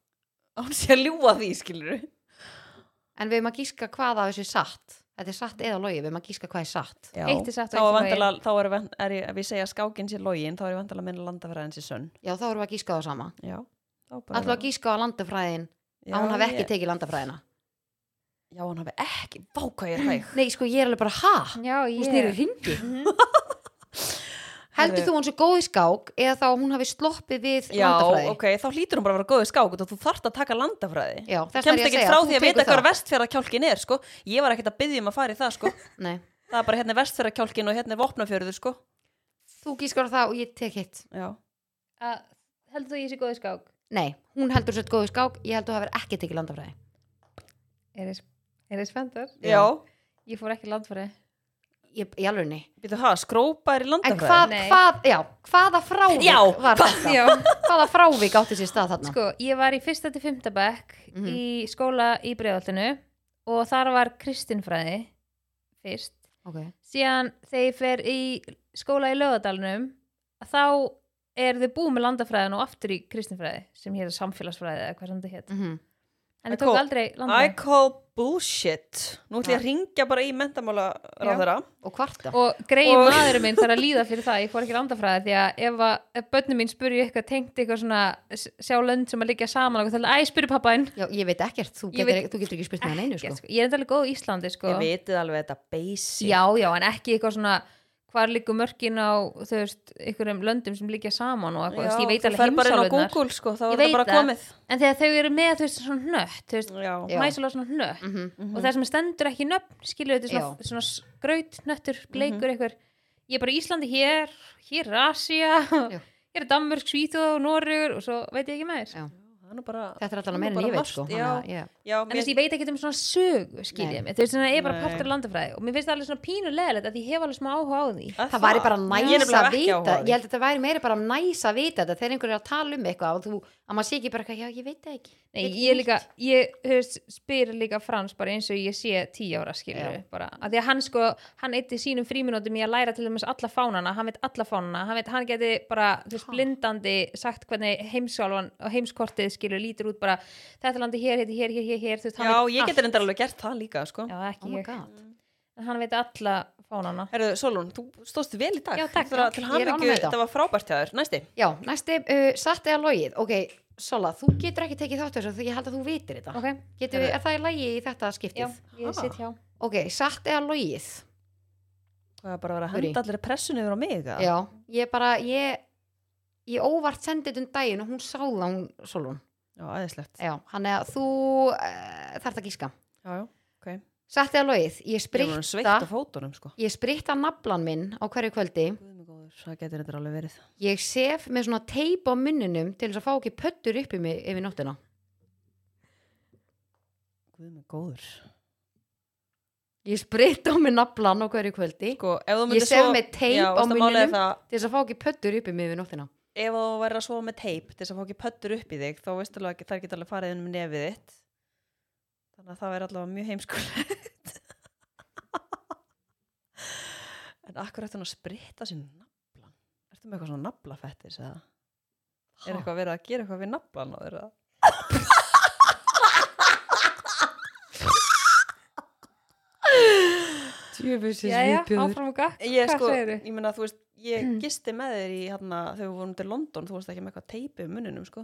B: Að [LAUGHS] hún sé að ljúga því, skilur
A: en við erum að gíska hvað af þessu er satt þetta er satt eða logi, við erum að gíska hvað er satt
B: Já.
C: Eitt er satt og
B: þá, er
C: eitt er
B: vandala, þá er, van- er ég, ef ég segja skákinn sér login þá er ég vandala að minna landafræðin sér sönn
A: já þá erum við að gíska það sama
B: já, þá bara
A: alltaf að gíska á landafræðin
B: já,
A: að hún hafi ekki
B: ég-
A: tekið landafræðina
B: já, hún hafi ekki, vá
A: [CLEARS THROAT]
B: hvað ég er hæg
A: nei sko ég er alveg bara ha,
C: Já, ég.
A: hún snýri hringi
C: Mhm.
A: [LAUGHS] heldur
B: Herðu.
A: þú hún sé góð í skák eða þá hún hafi sloppið við
B: já,
A: landafræði
B: ok, þá hlýtur hún bara að vera góð í skák og þú þarft að taka landafræði
A: já,
B: þú
A: þess vegna er
B: kemst
A: ég að
B: ekki
A: segja
B: frá
A: þú
B: því að
A: tekur
B: vita
A: það.
B: hver vestfjörðakjálkin er sko. ég var ekkert að byggja um að fara í
A: [LAUGHS]
B: það sko.
A: Nei,
B: það er bara hérna er vestfjörðakjálkin og hérna er vopnafjörður sko.
A: þú gískar á það og ég tek hitt
B: já,
C: Að- Heldur þú að ég sé góð í skák?
A: nei, hún heldur sér góð í skák ég heldur þú hafi ekki tekið landafræði
C: Er þið- er þið spenntar?
B: já.
C: Ég fór ekki í landafræði.
A: ég, í alveg
B: Býtu, ha, skrópa er í
A: En
B: landafræði
A: hvað,
C: Nei.
A: hvað, já, hvaða frávik
B: Já,
A: var þetta?
C: Já.
A: Hvaða frávik átti sér stað þarna?
C: Sko, ég var í fyrsta til fymta bekk
A: Mhm.
C: í skóla í Breiðoltinu og þar var kristinfræði fyrst.
A: Ok,
C: Síðan þegar ég fer í skóla í lögadalunum þá er þau búið með landafræðin og aftur í kristinfræði sem hér er samfélagsfræði eða hvað sem þetta hétt.
A: mm
C: En þau
B: Cool.
C: tók aldrei
B: I
C: landafræði.
B: call bullshit nú ætlum ég að ringja bara í mentamála ráðara
A: og hvarta?
C: Og greið
B: Og-
C: maðurinn minn þarf að líða fyrir það, ég fór ekki í landafræði því að ef, að, ef börnum mín spurði eitthvað tengt eitthvað svona s- sjá lönd sem að liggja saman og eitthvað, æ, spurði pappaðinn.
A: já, ég veit ekkert, þú
C: Ég
A: getur,
C: veit
A: þú getur ekki spurt með hann einu, sko.
C: Ekkert, sko. Ég er þetta alveg góð í Íslandi sko.
B: Ég vitið alveg þetta basic
C: já, já, en ekki eitthvað svona hvar liggur mörkin á þú veist, einhverjum löndum sem liggja saman og eitthvað, þú veist, ég veit
B: þú
C: alveg
B: ferð bara inn á
C: heimsálfurnar
B: Google sko, þá er
C: Ég
B: þetta
C: veit
B: bara
C: það.
B: komið
C: en þegar þau eru með þú veist, svona hnött þú veist,
B: já.
A: Já.
C: mæsulega svona hnött
A: Mm
C: og það sem stendur ekki nöfn skilur þetta er svona, svona skraut, hnöttur,
A: Mhm.
C: bleikur einhver, ég er bara í Íslandi hér hér er Asia [LAUGHS]
A: Já.
C: hér er Danmörk, Svíþjóð, Noregur og svo veit ég ekki meir
A: Já.
B: það er nú bara
A: Þetta er alltaf
B: Nú
A: meira en
B: bara
A: ég veit,
B: margt,
A: sko.
B: já.
A: hana- já.
B: já,
C: en þú veist, ég veit ekki um svona sögu skilur ég mig, þú veist, þannig að ég er bara
B: Nei.
C: partur af landafræði og mér finnst það alveg svona pínulegilegt að ég hef alveg smá áhuga á því
A: Það væri bara næs
B: Ég er nefnilega
A: að
B: ekki
A: vita,
B: áhugaður.
A: ég held að þetta væri meira bara næs að vita þetta þegar einhverju er að tala um eitthvað og þú, að maður sé ekki bara eitthvað, já, ég veit það ekki.
C: Nei,
A: Veit ekki
C: ég er líka,
A: neitt.
C: ég þú veist, spyr líka Frans bara eins og ég sé tíu ára skilur bara, að því að hann sko, hann eitti sínum fríminútum í að læra til þess alla fánana hann veit alla fánana, hann veit, hann geti bara þú veist,
A: Ha.
C: blindandi sagt hvernig heimsálfan og heimskortið skilur lítur út bara, þetta landi hér, hér, hér, hér, hér, hér þú veist, hann
B: já,
C: veit
B: ég
C: allt.
B: getur enda alveg gert það líka sko.
C: Já,
A: Oh
C: ekki
A: my
C: ég,
A: god.
C: en hann veit alla fánana
B: Herðu, Solon, þú stóðst vel í dag
C: Já, takk.
B: Þetta var-
A: Ég
B: Til
A: er ánægð
B: hamingju,
A: með þetta.
B: þetta var frábært hjá þér Næsti,
A: Já, næsti, uh, satt eða logið, ok, Sola, þú getur ekki tekið þátt þessu, því ég held að þú vitir þetta.
C: ok,
A: Getur, er það í lagi í þetta skiptið?
C: já, ég sitt hjá
A: Ok, satt eða logið
B: Það er bara að vera að
A: Sorry.
B: henda allir pressun yfir á mig eða?
A: Já, ég bara, ég ég óvart sendið um daginn og hún sá það hún, Solon,
B: Já, aðeinslegt.
A: já, hann er að þú uh, þarf að gíska
B: Já, já.
A: Satti að logið, ég
B: Ég var nú sveitt
A: spritta
B: á fótunum, sko.
A: ég spritta naflan minn á hverju kvöldi
B: Guð mig góður, það getur þetta alveg verið.
A: ég sef með svona teip á munninum til þess að fá ekki pöttur upp í mig yfir nóttina
B: Guð mig góður.
A: ég spritta á mig naflan á hverju kvöldi
B: Sko, ef þú
A: ég
B: myndir
A: sef
B: svo...
A: með teip
B: Já,
A: á
B: veistu, málið er
A: munninum
B: það,
A: til þess að fá ekki pöttur upp í mig yfir nóttina
B: ef þú verður að sofa með teip til þess að fá ekki pöttur upp í þig þá veistu alveg að þær geta alveg farið inn með nefið þitt þannig að það er allavega mjög heimskulegt [LAUGHS] en akkur eftir hann að spritta sér naflan ertu með eitthvað svona naflafettis eða er eitthvað verið að gera eitthvað við naflan á þér eða?
A: Djöfisins
C: Jæja, áfram og gakk,
B: ég
C: hvað
B: sko,
C: segirðu?
B: ég meina þú veist
A: [CLEARS THROAT]
B: ég gisti með þér í hérna þegar við vorum til London, þú veist ekki með eitthvað teipi um muninum sko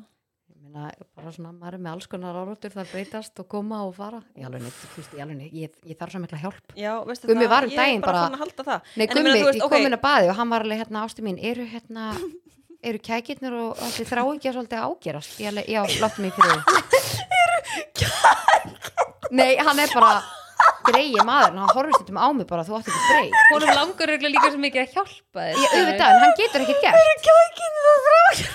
A: Ég meina, bara svona, maður er með alls konar áróttur þar breytast og koma og fara ég alveg neitt, þú veist, ég alveg neitt, ég, ég þarf svo mikla hjálp
B: Já, veistu
A: Gummi
B: það,
A: var um
B: ég er
A: daginn bara-
B: farin að halda það
A: Nei,
B: En ég
A: Gummi,
B: meina, þú veist,
A: ég
B: ok.
A: kom inn á baði og hann var alveg hérna, ástu mín, eru hérna eru kækirnir og allir þráingja svolítið að ágerast, ég alveg, já, láttu mig fyrir því Nei, hann er bara greið maður, hann horfist þetta á mig bara þú átti ekki greið
C: Honum langar örugglega líka svo mikið að hjálpa þér
A: Ég auðvitað, en hann getur ekkert gert
B: Kækinir og þrákir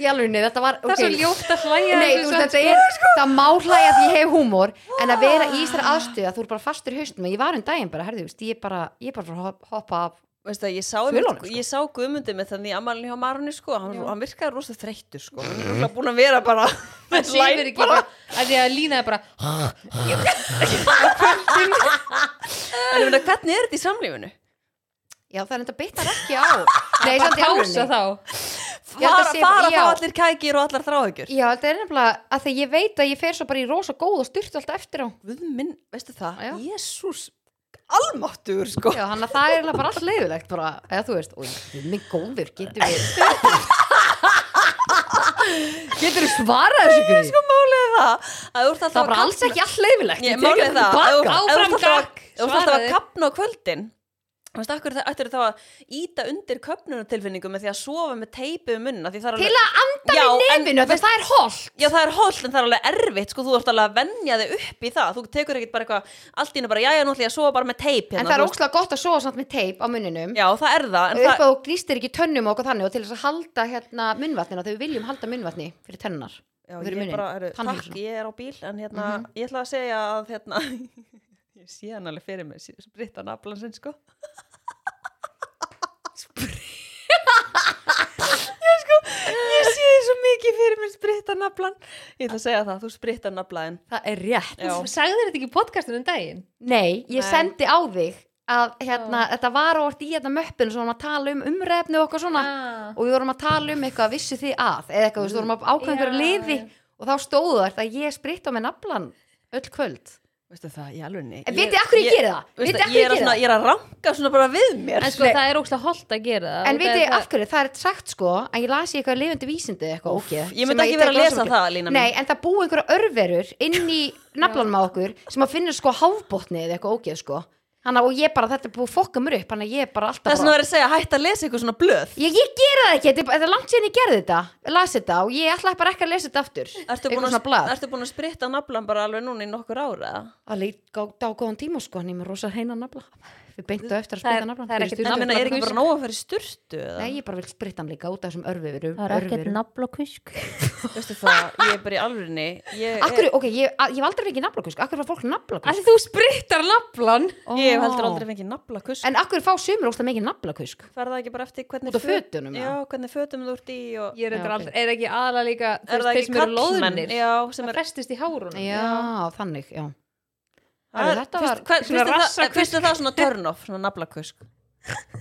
A: Ég alveg, nei, þetta var
C: Það er svo
A: ok.
C: ljótt að hlæja
A: Nei,
C: þessu
A: þú
C: samt,
A: veist, þetta er, það má hlæja að ég hef húmor en að vera í þessari aðstöðu að þú er bara fastur í haustum ég var um daginn bara, herðu, veist, ég er bara ég er bara frá að hoppa af
B: Veistu að ég sá,
A: Svölunum,
B: einmitt-
A: sko.
B: ég sá guðmundi með þannig amalinn hjá Marunni sko, hann, hann virkaði rosa þreyttur sko, hann er rúkla búin að vera
A: [LAUGHS]
B: bara
C: hann sýfir ekki bara, að því að lína er bara
B: en ég meina, hvernig er þetta í samlífinu?
A: já, það er enda bitnar ekki á Nei,
C: bara
A: samt í
C: pása
A: alvörunni.
C: þá
A: Ég held að
B: Fara,
A: sé-
B: fara
A: já.
B: þá allir kækir og allar þráhyggjur
A: Já, þetta er nefnilega að því ég veit að ég fer svo bara í rosa góð og styrt alltaf eftir á
B: Guðminn, veistu það,
A: Já.
B: jésús almáttur sko
A: Já, hann að það er nefnilega bara alls leiðilegt bara, eða þú veist, og mig góður, getur við [LAUGHS] Getur við svarað þessu grín?
B: Málið er [LAUGHS] það, að þú ert alltaf
A: Það er bara alls ekki alls leiðilegt
B: Ég, málið er það, að þú-
A: það
B: að þú ert
C: Áfram
B: alltaf- að
C: gakk,
B: þú ert alltaf að
C: svaraði.
B: kapna á kvöldin Þú veist, akkur það ættir þá að íta undir köpnunatilfinningum með því að sofa með teipi um munna
A: Til að anda
B: Já,
A: við
B: en-
A: nefinu, það er holt
B: Já það er holt en það er alveg erfitt sko, þú ert alveg að venja þig upp í það þú tekur ekkert bara eitthvað, allt í hennu bara jæja nú ætla ég að sofa bara með teip
A: En
B: hérna,
A: það er
B: þú veist.
A: ókslega gott að sofa samt með teip á munninum
B: Já það er það, en
A: upp
B: það
A: að þú glýstir ekki tönnum og okkur þannig og til þess að halda hérna munnvatnina þegar við viljum halda munnvatni fyrir tönnunar
B: Já,
A: fyrir
B: ég,
A: munnin,
B: bara, er, takk,
A: tannhjúsuna.
B: ég er á bíl en hérna,
A: Mhm.
B: ég ætla að segja að hérna, [LAUGHS] ég sé hann alveg fyrir mig spritta naflan sinn
A: [LAUGHS]
B: sko ég sko, ég sé þið svo mikið fyrir mig spritta naflan ég ætla að segja það, þú spritta naflaðin
A: Það er rétt
B: Já.
C: Sagði þér þetta ekki í podcastinu um daginn?
A: Nei, ég
B: Nei.
A: sendi á þig að hérna, þetta var orðið í hérna möppinu svo vorum að tala um umrefni og okkur svona
C: Ah.
A: og við vorum að tala um eitthvað vissu því að eða eitthvað, þú veist, við vorum
B: Mm.
A: að ákveða
C: Já,
A: einhverju liði
C: já.
A: og þá stóðu þetta að ég spritta með naflan öll kvöld
B: veistu það, ég alveg nei
A: En vitið af hverju ég geri það?
B: Veistu,
A: Vitið af hverju ég
B: ég, er að
A: geri
B: svona,
A: það?
B: ég er að ranka svona bara við mér
C: En sko það er ókslega holt að gera það
A: En
C: út af
A: vitið
C: það-
A: af hverju, það er sagt sko að ég las í eitthvað lifandi vísindi eitthvað
B: Úff,
A: ógeð,
B: ég
A: sem
B: myndi
A: að
B: ekki
A: tek
B: vera að lesa
A: rosa mikið.
B: það, Lína mín.
A: Nei, en það búi einhverja örverur inn
B: [LAUGHS]
A: í naflanum á okkur sem að finna sko háfbotni eða eitthvað ógeð sko Hanna, og ég bara, þetta er búið að fokka mér upp hann að ég er bara alltaf
B: Það er svona
A: bara
B: verið að segja, hætt að lesa eitthvað svona blöð
A: Ég, ég gera það ekki, þetta er bara- þetta er langt síðan ég gerði þetta las þetta og ég ætlaði bara ekki að lesa þetta aftur
B: Ertu
A: Eitthvað
B: búin,
A: svona
B: að,
A: blað.
B: ertu búin að spritta naflan bara alveg núna í nokkur ára?
A: að leita á góðan tíma sko hann er með rosa hreina nafla við beintu eftir að
C: Það er-
A: spritta naflan
C: það er
A: fyrir
C: ekkert
A: stuttu.
B: Það meina, er ekki
C: naflakusi.
B: bara nóg að fara í sturtu? eða?
A: nei ég bara vil spritta hann líka út af þessum örviru
C: nafla kusk
B: Veistu það, ég er bara í alvörinni ég,
A: akkur, ok, ég, að, ég hef aldrei fengið naflakusk akkur var fólk naflakusk
C: Þú sprittar naflan
A: Ó.
B: ég hef heldur aldrei fengið naflakusk
A: en akkur fá sömur óslega mikið naflakusk
B: Fer það ekki bara eftir hvernig
A: út af
B: föt-
A: fötunum
B: Já,
A: eða?
B: hvernig fötum þú ert í og...
C: Ég
A: Já,
C: er, reyndar
A: ok.
C: aldrei, er ekki aðalega líka
B: Er
C: þú veist,
B: það
C: þeir
B: ekki
C: sem eru
B: kallmenn?
C: loðunir
B: Já, sem
C: það
B: er
C: festist í hárunum
A: já, þannig, já
B: Það er-
A: Þetta var-
B: Fyrst hvað-
C: svona
B: fyrst er það-
C: rassakusk.
B: fyrst er það svona turn off, svona naflakusk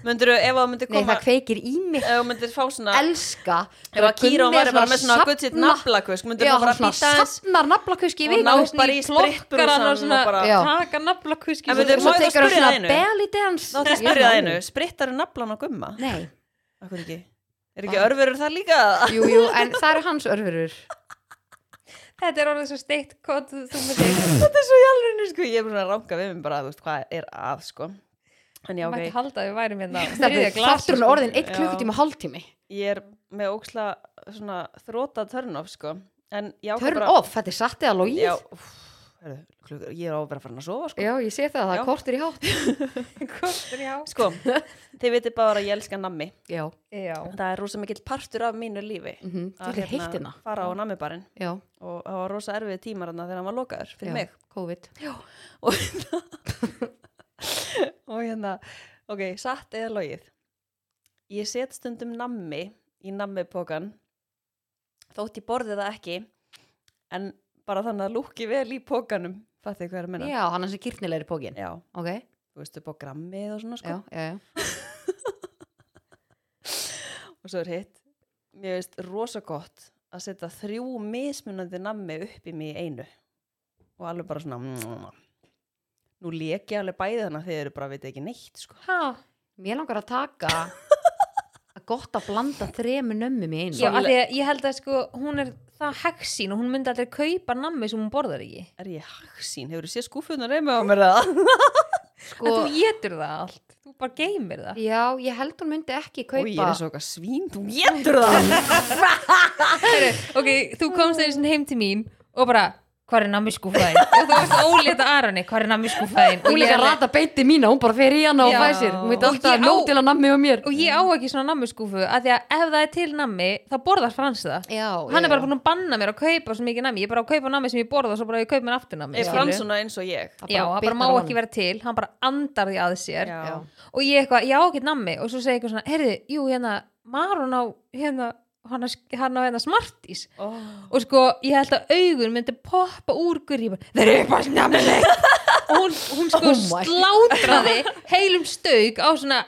B: Myndirðu, ef það myndir
A: nei,
B: koma
A: það kveikir í mig
B: Ef það myndir fá svona
A: elska
B: Ef að Kíra
A: Gummi er
B: væri bara með svona gutt sitt
A: safna-
B: naflakusk Myndir
A: já,
B: það bara
A: hann
B: að
A: svona
B: býta aðeins
A: sapnar naflakuski í
B: Og
A: vik
B: ná
C: Þú veist,
B: bara
C: ný
B: í sprittbrúsann
C: klokkar hann og svona
B: og bara-
A: Já.
C: taka nafla kusk
B: En veitu,
A: og svo
B: má ég þá
A: tekur hann
B: spyrja
A: svona
B: þig einu?
A: belly dance
B: Náttu að spyrja það einu, sprittar naflan á gumma?
A: nei
B: Akkur
A: Ah.
B: ekki? Er ekki örverur það líka? [LAUGHS]
A: Jú, jú, en það eru hans örfurur
C: þetta er orðið svo steikt hvað þú, þú með þig
B: þetta er svo í alveg sko, ég er bara svona að ránka við mér bara, þú veist, hvað er að sko en já,
C: okay. mætti
B: ok,
C: halda að við værum hérna á
A: Stefán,
C: þriðja glasi,
A: þátturinn er
C: sko.
A: orðin 1
B: Já.
A: klukkutíma og hálftími
B: ég er með óksla svona þróta turn off sko en já,
A: Turn
B: bara,
A: off, þetta er satt eða logið
B: já,
A: já.
B: úff, heyrðu, klukkur, ég er á að vera farin að sofa sko
A: ég sé það, það
B: Já.
A: er kortur í hátt
C: Kortur í há.
B: sko, þið veitir bara að ég elska nammi
A: Já,
C: já,
B: það er rosa mikill partur af mínu lífi
A: mm -hmm.
B: að
A: það er heitt hérna
B: fara á nammibarinn
A: Já,
B: og það var rosa erfið tímar þarna þegar hann var lokaður fyrir
A: já,
B: mig
A: COVID
B: og hérna og hérna ok, satt eða logið ég set stundum nammi í nammipokan þótt ég borði það ekki en bara þannig að lúki vel í pokanum fattu hvað er að menna
A: Já, hann er sem kýrnilegri pókin
B: já,
A: Ok,
B: þú veist upp á grammið og svona sko
A: já, já, já
B: og svo er hitt mér veist rosa gott að setja þrjú mismunandi nammi upp í mig í einu og alveg bara svona "Mm, nú leki alveg bæði þannig að þið eru bara veit ekki neitt sko
C: ha,
A: Mér langar að taka að gott að blanda þremu nömmum í einu
C: já að því að ég held að sko hún er það heggsín og hún myndi aldrei kaupa nammi sem hún borðar ekki
B: er ég haksín, hefur þú séð skúfunar reyma á mér það?
C: [LAUGHS]
A: sko,
C: en þú getur það allt, þú bara geymir það
A: Já, ég held hún myndi ekki
B: og ég
A: kaupa
B: er svo okkar svín, þú getur það
C: Heru, ok, þú komst einu sinni heim til mín og bara, hvað er nammi skúfaðin og þú varst ólétt að Arani, hvað er nammi skúfaðin
A: Hún líka rata beinti mína, hún bara fer í hana og
C: Já.
A: fæ sér Hún veit
C: Og
A: alltaf
C: ég
A: að nóg
C: á-
A: til að nammi og mér
C: og ég á ekki svona nammi skúfu af því að ef það er til nammi, þá borðar Frans það
A: Já,
C: hann
A: já,
C: er bara
A: já.
C: búin að banna mér að kaupa svo mikið nammi ég er bara að kaupa nammi sem ég borða og svo bara að ég kaupa mér aftur nammi
B: er
C: skilurðu?
B: fram svona eins og ég
A: Það
C: já, hann bara
A: bitnar á
C: má
A: honum.
C: ekki vera til, hann bara andar því að sér
B: Já.
C: og ég eitthvað, já, ekki nammi og svo segi eitthvað svona, heyrðu, jú, hérna Marun á, hérna, hann á, hann á hérna Smarties
B: Oh.
C: og sko, ég held að augun myndi poppa úr gurri, ég bara, þeir eru bara nammi og hún,
B: [LAUGHS]
C: hún sko
A: Oh my.
C: slátraði heilum stauk á svona,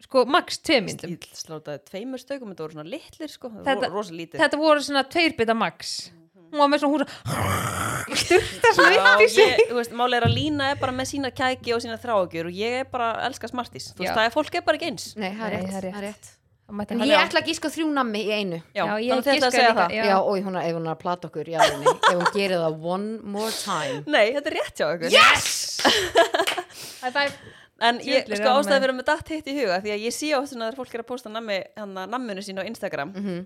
C: sko, max tveimindum,
B: ég slátaði tveimur stökum, þetta voru svona litlir sko,
C: Þetta-
B: þetta, rosa lítið
C: þetta voru svona tveirbita max,
B: Mhm.
C: hún var með svona hún svona, styrta svona
B: Já,
C: upp í sig
B: ég, þú veist, máli er að Lína er bara með sína kæki og sína þráagjur og ég er bara að elska smartís þú veist,
C: Já.
B: það er fólk er bara ekki eins
A: Nei, það er
C: Nei,
A: rétt,
C: það er
A: það er rétt.
C: Það mætti
A: En
C: hann
A: ég
C: á.
A: ætla að gíska á þrjú nammi í einu
B: já,
C: Já, ég
B: þannig þetta að
C: giskaði
B: segja
C: líka,
B: það
C: já.
A: Já, og hún er, ef hún er að plata okkur já, henni, Ef hún gerir það one more
B: [LAUGHS]
A: time
B: nei, þetta er rétt hjá ykkur yes!
C: [LAUGHS] High five.
B: en ég,
C: Djöfull er
B: sko,
C: hann
B: ástæði
C: með.
B: verið með datt hitt í huga því að ég sé á þessum að þegar fólk er að posta nammi, hana, namminu sín á Instagram
A: mm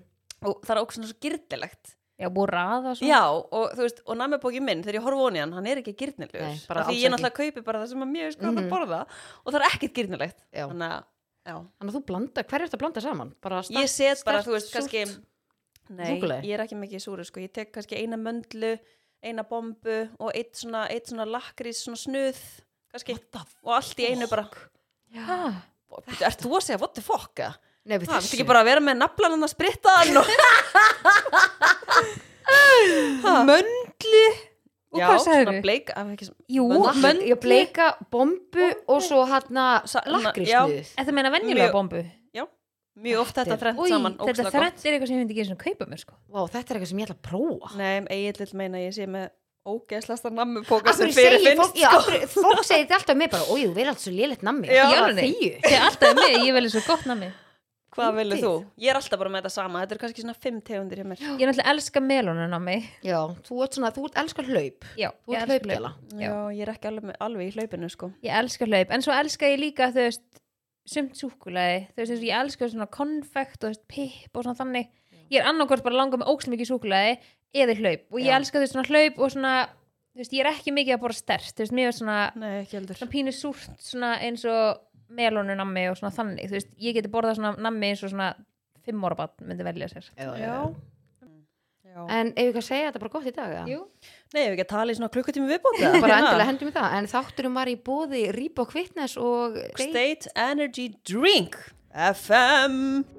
B: og það er okkur svona svo gyrdilegt
C: Já, búið að raða svona
B: Já, og þú veist, og namibóki minn, þegar ég horfa onni hann, hann er ekki gyrnilegur.
A: Nei,
B: Af
A: bara
B: Því
A: alls
B: ég náttúrulega kaupi bara það sem að mér er skoðan
A: Mhm.
B: að borða og það er ekkert gyrnilegt.
A: Já.
B: Þannig að, já.
A: Þannig að þú blanda, hver er þetta að blanda saman? Bara stað,
B: Ég set bara,
A: sterkt,
B: þú veist,
A: súrt
B: kannski, nei,
A: súkkulaði?
B: ég er ekki mikið súru, sko. Ég tek kannski eina möndlu, eina bombu og eitt svona, eitt svona lakrís, svona snuð, kannski, og allt í einu bara,
C: Já.
B: er þú að segja, what the fuck, eða?
A: Nei, við
B: Það er
A: þessu
B: ekki bara að vera með naflan að spritta hann og...
C: Möndli Og
B: Já,
C: hvað
B: svona
C: sagðirðu?
B: bleik, af ekki svona...
C: Jú,
B: Möndlu.
C: mönd
A: Ég bleika bombu og svo hérna hann að
B: Sa- já.
A: lakrisnuð
C: Þetta meina venjulega
B: Mjög-
C: bombu
B: Mjög oft þetta
A: Þetta
B: þrennt
C: Új,
B: saman,
C: þetta
B: ógeðslega gott.
C: þrætt er eitthvað sem ég myndi ekki einu sinni kaupa mér sko
A: Vá, þetta er eitthvað sem ég ætla að prófa
B: Nei, Egil vill meina að ég sé með ógeðslasta nammupóka sem
A: Akkur
B: fyrir
A: segir fólk,
B: finnst sko.
A: já, akkur, fólk segir þetta alltaf með bara, oi, þú verður alltaf svo lélitt nammi
B: Já.
A: Ég
C: Í
A: bara
C: alvörunni?
A: þegju.
C: Þegar alltaf er mig, ég veli svo gott nami
B: Hvað vilju
A: fyndið.
B: þú? Ég er alltaf bara með þetta sama, þetta er kannski svona fimm tegundir hjá mér
C: Ég er náttúrulega elska melónun á mig
A: Já, þú ert svona, þú ert elskar hlaup
C: Já,
A: Þú
C: ég
A: ert
C: elska
A: hlaupgæla
C: Já.
B: Já, ég er ekki alveg, með, alveg í hlaupinu sko
C: Ég elska hlaup, en svo elska ég líka þú veist sumt súkulaði, þú veist, eins og ég elska svona konfekt og þú veist, pipp og svona þannig ég er annarkvort bara langa með ókslega mikið súkulaði eða hlaup og ég
B: Já.
C: elska þú veist svona hlaup og svona, þú veist, ég er ekki mikið að bora stert, þú veist, mér er svona
B: Nei, ekki heldur
C: svona pínu súrt svona eins og melónunammi og svona þannig þú veist, ég geti borðað svona nammi eins og svona fimm ára bann myndi velja sér
A: Já, já,
B: Já.
A: já.
B: Já.
A: En ef ég kann segja þetta er bara gott í dag eða?
C: Jú.
B: Nei, ef við ekki að tala í svona klukkutími viðbóta
A: [LAUGHS] Bara
B: [LAUGHS]
A: endilega hendum við það En þátturum var í bóði Rýpa og Kvitnes og
B: State Energy Drink FM